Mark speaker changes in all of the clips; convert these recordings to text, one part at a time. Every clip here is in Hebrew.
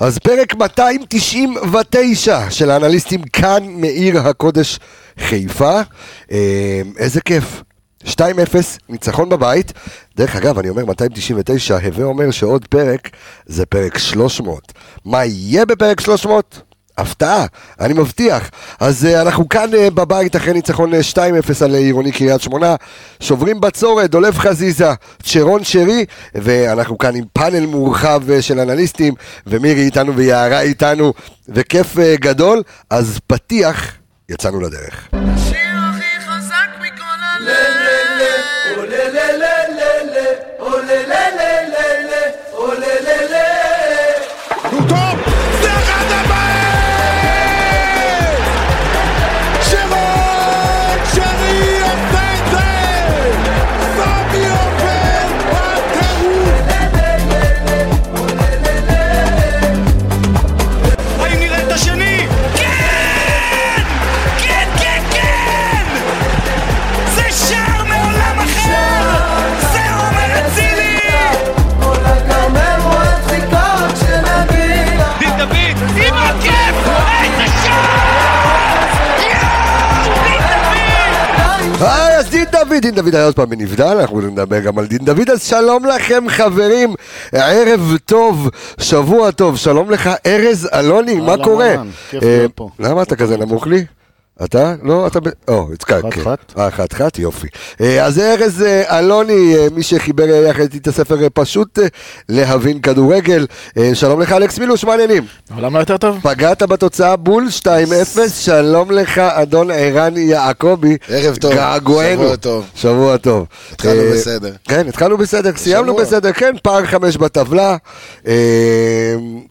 Speaker 1: אז פרק 299 של האנליסטים כאן מעיר הקודש חיפה. אה, איזה כיף. 2-0, ניצחון בבית. דרך אגב, אני אומר 299, הווה אומר שעוד פרק זה פרק 300. מה יהיה בפרק 300? הפתעה, אני מבטיח. אז אה, אנחנו כאן אה, בבית אחרי ניצחון אה, 2-0 על אה, עירוני קריית שמונה, שוברים בצורת, דולב חזיזה, צ'רון שרי, ואנחנו כאן עם פאנל מורחב אה, של אנליסטים, ומירי איתנו ויערה איתנו, וכיף אה, גדול, אז פתיח, יצאנו לדרך.
Speaker 2: השיר הכי חזק מכל הלב.
Speaker 3: טוב! זה אחד הבעיה! שרון שרי עושה את זה! סמי עופר הטירוף! האם נראה את השני? כן! כן, כן, כן! זה שער מעולם אחר! זה עומר אצילי! דין דוד, לא- עם הכיף! אה, איזה
Speaker 1: היי, אז דין דוד, דין דוד היה עוד פעם בנבדל, אנחנו נדבר גם על דין דוד, אז שלום לכם חברים, ערב טוב, שבוע טוב, שלום לך ארז אלוני, מה
Speaker 4: אהלן,
Speaker 1: קורה?
Speaker 4: אהלן, כיף
Speaker 1: אה,
Speaker 4: להיות פה.
Speaker 1: למה אתה כזה נמוך לי? אתה? לא, אתה ב... או, יצחק.
Speaker 4: אחת,
Speaker 1: כן.
Speaker 4: אחת.
Speaker 1: אה, אחת אחת, יופי. אה, אז ארז אה, אלוני, אה, מי שחיבר אה, יחד איתי את הספר אה, פשוט אה, להבין כדורגל. אה, שלום לך אלכס מילוש, מה העניינים?
Speaker 4: העולם לא יותר טוב?
Speaker 1: פגעת בתוצאה בול 2-0, שלום לך אדון ערן יעקבי.
Speaker 5: ערב טוב,
Speaker 1: געגוענו.
Speaker 5: שבוע טוב.
Speaker 1: שבוע טוב.
Speaker 5: התחלנו
Speaker 1: אה,
Speaker 5: בסדר.
Speaker 1: כן, התחלנו בסדר, סיימנו
Speaker 5: שבוע.
Speaker 1: בסדר, כן, פער חמש בטבלה. אה,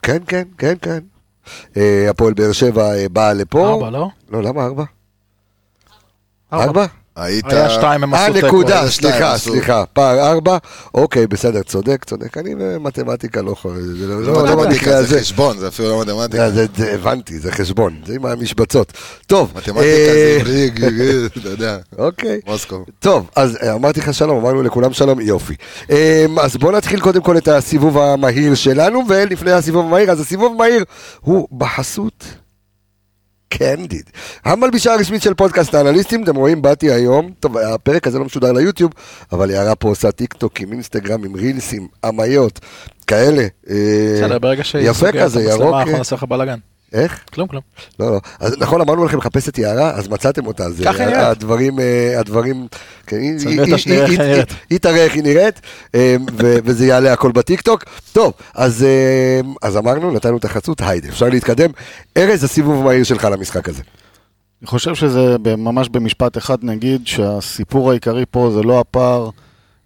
Speaker 1: כן, כן, כן, כן. אה, הפועל באר שבע אה, באה לפה.
Speaker 4: ארבע, לא?
Speaker 1: לא, למה ארבע? ארבע?
Speaker 5: היית...
Speaker 4: היה שתיים הם
Speaker 1: אה,
Speaker 4: עשו
Speaker 1: נקודה,
Speaker 5: זה שתיים,
Speaker 1: סליחה,
Speaker 5: עשו.
Speaker 1: סליחה, פער ארבע, אוקיי, בסדר, צודק, צודק, אני במתמטיקה לא יכול, זה לא-
Speaker 5: לא
Speaker 1: לא במקרה
Speaker 5: מתמטיקה,
Speaker 1: הזה.
Speaker 5: זה חשבון, זה אפילו לא מתמטיקה.
Speaker 1: אה, זה- זה- הבנתי, זה חשבון, זה עם המשבצות. טוב,
Speaker 5: מתמטיקה
Speaker 1: אה,
Speaker 5: זה בריג, אתה יודע,
Speaker 1: אוקיי.
Speaker 5: מוסקו.
Speaker 1: טוב, אז אה, אמרתי לך שלום, אמרנו לכולם שלום, יופי. אמ, אז בואו נתחיל קודם כל את הסיבוב המהיר שלנו, ולפני הסיבוב המהיר, אז הסיבוב המהיר הוא בחסות קנדיד. המלבישה הרשמית של פודקאסט האנליסטים, אתם רואים, באתי היום, טוב, הפרק הזה לא משודר ליוטיוב, אבל יערה פה עושה טיקטוקים, אינסטגרמים, רילסים, אמיות, כאלה. אה,
Speaker 4: בסדר, ברגע שהיא
Speaker 1: יפה
Speaker 4: סוגרת את
Speaker 1: כזה,
Speaker 4: המצלמה,
Speaker 1: ירוק,
Speaker 4: אנחנו
Speaker 1: אה.
Speaker 4: נעשה לך בלאגן.
Speaker 1: איך?
Speaker 4: כלום, כלום.
Speaker 1: לא, לא. אז נכון, אמרנו לכם לחפש את יערה, אז מצאתם אותה. אז
Speaker 4: ככה
Speaker 1: אה,
Speaker 4: נראית.
Speaker 1: הדברים, אה, הדברים, כן, היא-
Speaker 4: צלמי
Speaker 1: היא-
Speaker 4: אותה
Speaker 1: היא-
Speaker 4: שנראה איך
Speaker 1: היא-
Speaker 4: היא נראית.
Speaker 1: היא- היא תראה איך היא נראית, אה, ו- וזה יעלה הכל בטיקטוק. טוב, אז אה, אז אמרנו, נתנו את החצות, היידה, אפשר להתקדם. ארז, הסיבוב מהיר שלך למשחק הזה.
Speaker 4: אני חושב שזה ב- ממש במשפט אחד נגיד שהסיפור העיקרי פה זה לא הפער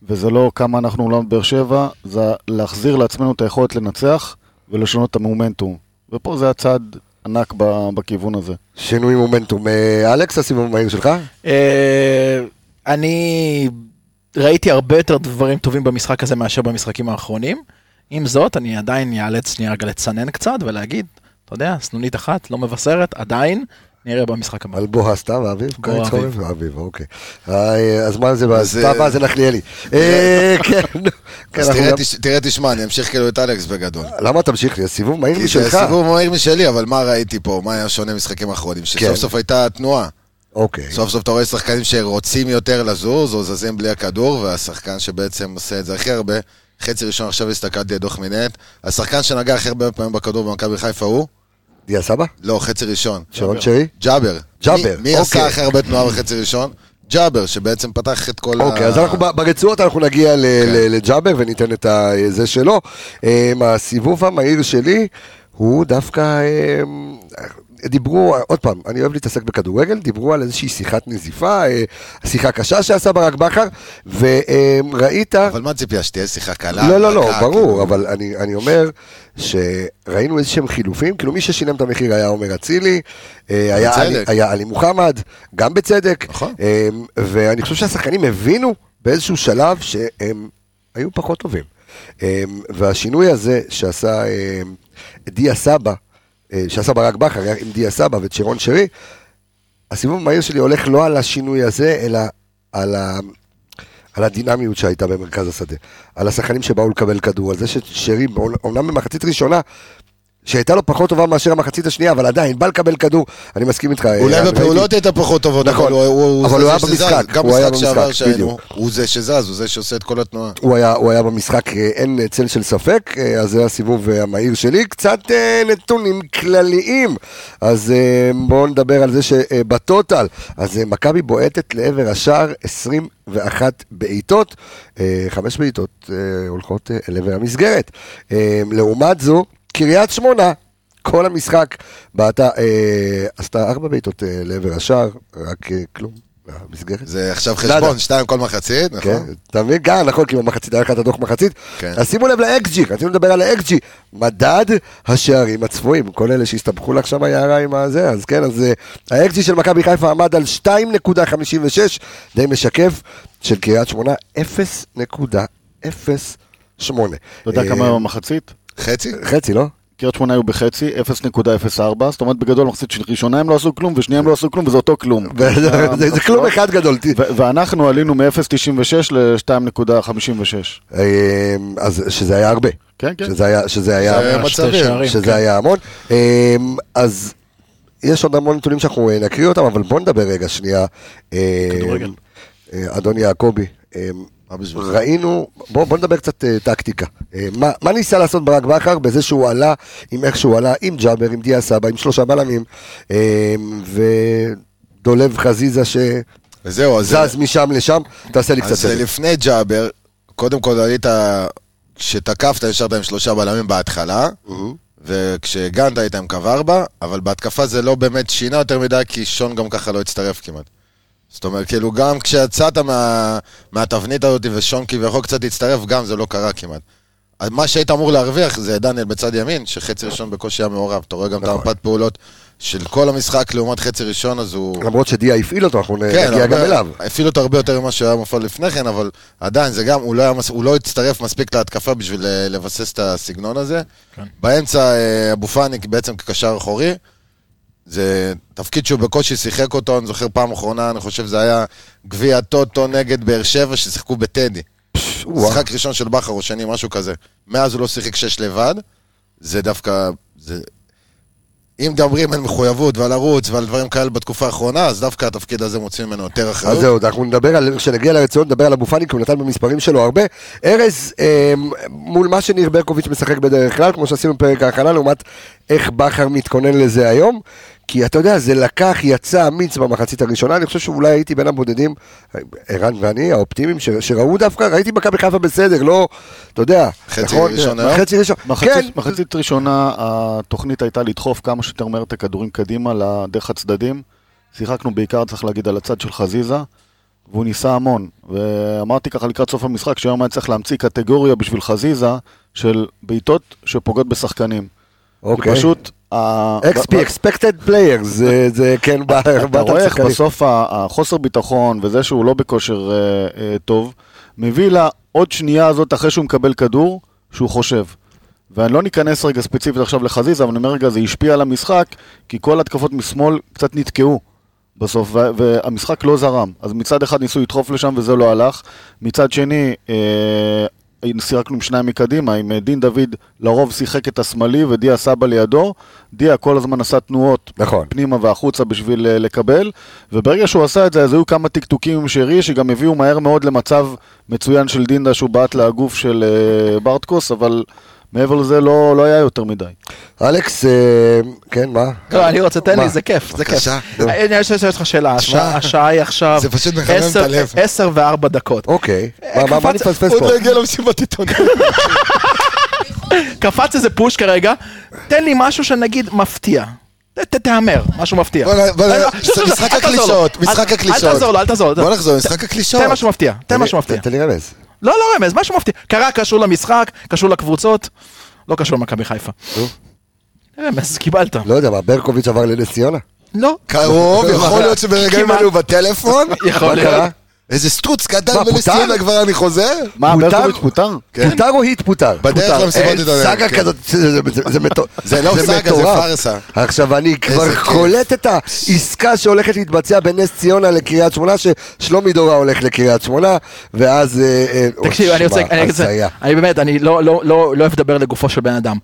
Speaker 4: וזה לא כמה אנחנו אולם באר שבע, זה להחזיר לעצמנו את היכולת לנצח ולשנות את המומנטום. ופה זה הצעד ענק ב- בכיוון הזה.
Speaker 1: שינוי מומנטום. אה, אלכס, הסיבוב מהיר שלך?
Speaker 6: אה, אני ראיתי הרבה יותר דברים טובים במשחק הזה מאשר במשחקים האחרונים. עם זאת, אני עדיין אאלץ שנייה רגע לצנן קצת ולהגיד, אתה יודע, סנונית אחת, לא מבשרת, עדיין, נראה במשחק הבא.
Speaker 1: על בוהה סתיו, האביב?
Speaker 6: בוא,
Speaker 1: קיץ
Speaker 6: האביב.
Speaker 1: חורף? האביב, אוקיי. אה, אז מה זה, הסתיו
Speaker 5: אה,
Speaker 1: הבא זה נחליאלי. אה, כן, נו. כן,
Speaker 5: אז
Speaker 1: אנחנו
Speaker 5: תראה,
Speaker 1: גם-
Speaker 5: תש- תראה, תשמע, אני אמשיך כאילו את אלכס בגדול.
Speaker 1: למה תמשיך לי? הסיבוב מהיר
Speaker 5: כי זה
Speaker 1: משלך.
Speaker 5: סיבוב מהיר משלי, אבל מה ראיתי פה? מה היה שונה משחקים אחרונים?
Speaker 1: כן.
Speaker 5: שסוף סוף הייתה תנועה.
Speaker 1: אוקיי.
Speaker 5: סוף סוף אתה רואה שחקנים שרוצים יותר לזוז, או זזים בלי הכדור, והשחקן שבעצם עושה את זה הכי הרבה, חצי ראשון עכשיו הסתכלתי על דוח מינט, השחקן שנגע הכי הרבה פעמים בכדור במכבי חיפה הוא?
Speaker 1: דיה סבא?
Speaker 5: לא, חצי ראשון.
Speaker 1: שרון שרי?
Speaker 5: ג'אבר.
Speaker 1: ג'אבר,
Speaker 5: מי, מי
Speaker 1: אוקיי.
Speaker 5: עשה הכי הרבה תנועה בחצי ראשון? ג'אבר, שבעצם פתח את כל
Speaker 1: אוקיי, אז אנחנו ב- ברצועות אנחנו נגיע ל- ל- לג'אבר וניתן את ה- זה שלו. אמ, הסיבוב המהיר שלי הוא דווקא... אמ, דיברו, עוד פעם, אני אוהב להתעסק בכדורגל, דיברו על איזושהי שיחת נזיפה, אה, שיחה קשה שעשה ברק בכר, וראית...
Speaker 5: אבל מה הציפייה, שתהיה שיחה קלה?
Speaker 1: לא, לא, לא,
Speaker 5: רכה,
Speaker 1: ברור,
Speaker 5: כאילו?
Speaker 1: אבל אני, אני אומר שראינו איזשהם חילופים, כאילו מי ששילם את המחיר היה עומר אצילי, אה, היה, עלי,
Speaker 5: בצדק.
Speaker 1: היה עלי מוחמד, גם בצדק,
Speaker 5: נכון.
Speaker 1: אה, ואני חושב שהשחקנים הבינו באיזשהו שלב שהם היו פחות טובים. אה, והשינוי הזה שעשה אה, דיה סבא, אה, שעשה ברק בכר היה עם דיה סבא וצ'רון שרי, הסיבוב המהיר שלי הולך לא על השינוי הזה, אלא על ה... על הדינמיות שהייתה במרכז השדה, על השחקנים שבאו לקבל כדור, על זה ששרי, אומנם במחצית ראשונה, שהייתה לו פחות טובה מאשר המחצית השנייה, אבל עדיין, בא לקבל כדור, אני מסכים איתך. אה,
Speaker 5: אולי
Speaker 1: ראיתי-
Speaker 5: בפעולות הייתה פחות טובות,
Speaker 1: נכון.
Speaker 5: אבל הוא- הוא
Speaker 1: אבל
Speaker 5: זה
Speaker 1: הוא היה
Speaker 5: שזז.
Speaker 1: במשחק,
Speaker 5: גם
Speaker 1: הוא היה
Speaker 5: משחק שעבר
Speaker 1: במשחק,
Speaker 5: שהיינו,
Speaker 1: בדיוק.
Speaker 5: הוא זה שזז, הוא זה שעושה את כל התנועה.
Speaker 1: הוא היה, הוא היה במשחק, אה, אין אה, צל של ספק, אה, אז זה הסיבוב אה, המהיר שלי. קצת אה, נתונים כלליים. אז אה, בואו נדבר על זה שבטוטל, אז אה, מכבי בועטת לעבר השער 21 בעיטות, אה, חמש בעיטות אה, הולכות אה, לעבר המסגרת. אה, לעומת זו, קריית שמונה. כל המשחק בעטה, אה, עשתה ארבע בעיטות אה, לעבר השער, רק אה, כלום, המסגרת.
Speaker 5: זה עכשיו
Speaker 1: נאדה.
Speaker 5: חשבון, שתיים כל מחצית,
Speaker 1: לא כן,
Speaker 5: נכון?
Speaker 1: אתה מבין? גם, נכון, כי במחצית היה לך את הדוח מחצית.
Speaker 5: כן.
Speaker 1: אז שימו לב לאקג'י, רצינו לדבר על האקג'י. מדד השערים הצפויים, כל אלה שהסתבכו לה עכשיו היערה עם הזה, אז כן, אז אה, האקג'י של מכבי חיפה עמד על 2.56, די משקף, של קריית שמונה 0.08.
Speaker 4: אתה יודע
Speaker 1: אה,
Speaker 4: כמה היום המחצית?
Speaker 5: חצי?
Speaker 1: חצי, לא?
Speaker 4: קריית שמונה היו בחצי, 0.04, זאת אומרת בגדול מחצית של ראשונה הם לא עשו כלום ושנייה הם לא עשו כלום וזה אותו כלום.
Speaker 1: זה זה כלום אחד גדול. ת-
Speaker 4: ו- ואנחנו עלינו מ-0.96 ל-2.56.
Speaker 1: אה, אז שזה היה הרבה.
Speaker 4: כן, כן.
Speaker 1: שזה היה, שזה היה...
Speaker 5: זה
Speaker 6: שתי
Speaker 5: מצבים.
Speaker 6: שערים.
Speaker 1: שזה
Speaker 6: כן.
Speaker 1: היה המון. אמ, אז יש עוד המון נתונים שאנחנו אה, נקריא אותם, אבל בוא נדבר רגע שנייה. אמ,
Speaker 6: כדורגל.
Speaker 1: אה, אדון יעקבי, אמ,
Speaker 5: מה בשבילך?
Speaker 1: ראינו, בוא בוא נדבר קצת אה, טקטיקה. אה, מה- מה ניסה לעשות ברק בכר בזה שהוא עלה, עם איך שהוא עלה, עם ג'אבר, עם דיה סבא, עם שלושה בלמים, אמ, ודולב חזיזה שזז
Speaker 5: אז זהו, אז זה-
Speaker 1: משם לשם, תעשה לי קצת...
Speaker 5: אז אה,
Speaker 1: סדר.
Speaker 5: לפני ג'אבר, קודם כל עלית, כשתקפת ישרת עם שלושה בלמים בהתחלה, וכשהגנת היית עם קו ארבע, אבל בהתקפה זה לא באמת שינה יותר מדי, כי שון גם ככה לא הצטרף כמעט. זאת אומרת, כאילו, גם כשיצאת מה, מהתבנית הזאת ושון כביכול קצת הצטרף, גם זה לא קרה כמעט. אז מה שהיית אמור להרוויח זה דניאל בצד ימין, שחצי ראשון בקושי היה מעורב. אתה רואה גם
Speaker 1: נכון.
Speaker 5: את המפת פעולות של כל המשחק לעומת חצי ראשון, אז הוא...
Speaker 1: כן. למרות שדיה הפעיל אותו, אנחנו
Speaker 5: כן,
Speaker 1: נגיע גם
Speaker 5: הרבה-
Speaker 1: אליו.
Speaker 5: הפעיל אותו הרבה יותר ממה שהוא היה מופעל לפני כן, אבל עדיין, זה גם, הוא לא, היה, מס- הוא לא הצטרף מספיק להתקפה בשביל אה, לבסס את הסגנון הזה.
Speaker 6: כן.
Speaker 5: באמצע, אה, אבו פאניק בעצם כקשר אחורי. זה תפקיד שהוא בקושי שיחק אותו, אני זוכר פעם אחרונה, אני חושב זה היה גביע טוטו נגד באר שבע, ששיחקו בטדי.
Speaker 1: וואו.
Speaker 5: משחק ראשון של בכר או שני, משהו כזה. מאז הוא לא שיחק שש לבד, זה דווקא... זה... אם מדברים על מחויבות ועל ערוץ ועל דברים כאלה בתקופה האחרונה, אז דווקא התפקיד הזה מוציא ממנו יותר
Speaker 1: אז
Speaker 5: אחריות.
Speaker 1: זהו, אנחנו נדבר על, כשנגיע לרצועות, נדבר על אבו פאני, כי הוא נתן במספרים שלו הרבה. ארז, אה, מול מה שניר ברקוביץ' משחק בדרך כלל, כמו שעשינו בפרק ההכנה, לעומת איך בכר מתכונן לזה היום. כי אתה יודע, זה לקח, יצא אמיץ במחצית הראשונה, אני חושב שאולי הייתי בין הבודדים, ערן ואני, האופטימיים, ש- שראו דווקא, ראיתי מכבי חיפה בסדר, לא, אתה יודע,
Speaker 5: חצי
Speaker 1: נכון?
Speaker 5: ראשון היום?
Speaker 1: חצי ראשון, כן,
Speaker 4: מחצית, מחצית ראשונה, התוכנית הייתה לדחוף כמה שיותר מהר את הכדורים קדימה לדרך הצדדים. שיחקנו בעיקר, צריך להגיד, על הצד של חזיזה, והוא ניסה המון. ואמרתי ככה לקראת סוף המשחק, שהיום היה צריך להמציא קטגוריה בשביל חזיזה של בעיטות שפוגעות בשחקנים.
Speaker 1: אוקיי.
Speaker 4: כי פשוט... ה-
Speaker 1: XP, expected players, זה- זה כן, בא-
Speaker 4: אתה
Speaker 1: באת
Speaker 4: רואה איך
Speaker 1: לשחקנים.
Speaker 4: בסוף ה- החוסר ביטחון וזה שהוא לא בכושר אה, אה, טוב, מביא לה עוד שנייה הזאת אחרי שהוא מקבל כדור, שהוא חושב. ואני לא ניכנס רגע ספציפית עכשיו לחזיזה, אבל אני אומר רגע, זה השפיע על המשחק, כי כל התקפות משמאל קצת נתקעו בסוף, ו- והמשחק לא זרם. אז מצד אחד ניסו לדחוף לשם וזה לא הלך, מצד שני, אה, סירקנו עם שניים מקדימה, עם אה, דין דוד לרוב שיחק את השמאלי ודיה סבא לידו, דיה כל הזמן עשה תנועות
Speaker 1: נכון.
Speaker 4: פנימה והחוצה בשביל אה, לקבל, וברגע שהוא עשה את זה, אז היו כמה טקטוקים עם שרי, שגם הביאו מהר מאוד למצב מצוין של דינדה, שהוא בעט לגוף של אה, ברטקוס, אבל מעבר לזה לא, לא היה יותר מדי.
Speaker 1: אלכס, אה, כן, מה?
Speaker 6: לא, אני רוצה, תן
Speaker 1: מה?
Speaker 6: לי, זה כיף, אה, זה כיף.
Speaker 5: בבקשה,
Speaker 1: נו.
Speaker 6: אני רוצה לשאול אותך שאלה, השעה- השעה היא עכשיו
Speaker 5: זה פשוט מחמם את
Speaker 6: עשר-
Speaker 5: הלב.
Speaker 6: עשר וארבע דקות.
Speaker 1: אוקיי, מה- מה- מה
Speaker 6: אה, קפץ-
Speaker 1: נפספס
Speaker 5: עוד
Speaker 1: פה?
Speaker 5: לא הגיע למסיבת עיתונאים.
Speaker 6: קפץ איזה פוש כרגע, תן לי משהו שנגיד מפתיע. ת- ת- תהמר, משהו מפתיע.
Speaker 5: בוא נ- בוא נ-
Speaker 6: לא, לא, שוב, שוב,
Speaker 5: משחק
Speaker 6: אל תעזור לו.
Speaker 5: הקלישאות,
Speaker 6: אל-
Speaker 5: משחק הקלישאות.
Speaker 6: אל תעזור לו, אל תעזור לו.
Speaker 5: בוא נחזור,
Speaker 6: ת-
Speaker 5: משחק הקלישאות.
Speaker 6: תן משהו מפתיע, תן משהו מפתיע.
Speaker 1: תן לי רמז.
Speaker 6: לא, לא רמז, משהו מפתיע. קרה, קשור למשחק, קשור לקבוצות, לא קשור למכבי חיפה. רמז, קיבלת.
Speaker 1: לא יודע מה, ברקוביץ' עבר לנס ציונה?
Speaker 6: לא.
Speaker 5: קרוב, יכול להיות שברגעים
Speaker 6: כמעט.
Speaker 5: האלו הוא בטלפון.
Speaker 6: יכול
Speaker 1: מה קרה?
Speaker 6: להיות.
Speaker 5: איזה סטרוץ קטן
Speaker 1: מה, פוטר?
Speaker 5: מלסיונה כבר אני חוזר?
Speaker 4: מה,
Speaker 1: פוטר?
Speaker 4: ברקוביץ' פוטר?
Speaker 5: כן.
Speaker 1: פוטר או התפוטר?
Speaker 5: בדרך
Speaker 1: פוטר.
Speaker 5: למסיבת
Speaker 1: אין
Speaker 5: עיתונאים,
Speaker 1: סאגה
Speaker 5: כן.
Speaker 1: כזאת, זה- זה- זה- זה מטורף.
Speaker 5: זה לא סאגה, זה
Speaker 1: מטורף.
Speaker 5: פארסה.
Speaker 1: עכשיו אני כבר
Speaker 5: כיף.
Speaker 1: קולט את העסקה שהולכת להתבצע בין נס ציונה לקריית שמונה, ששלומי דורה הולך לקריית שמונה, ואז... אה, אה,
Speaker 6: תקשיב,
Speaker 1: או,
Speaker 6: אני רוצה,
Speaker 1: שמע,
Speaker 6: אני אגיד את זה,
Speaker 1: הזיה.
Speaker 6: אני באמת, אני לא, לא, לא, לא אוהב לדבר לגופו של בן אדם.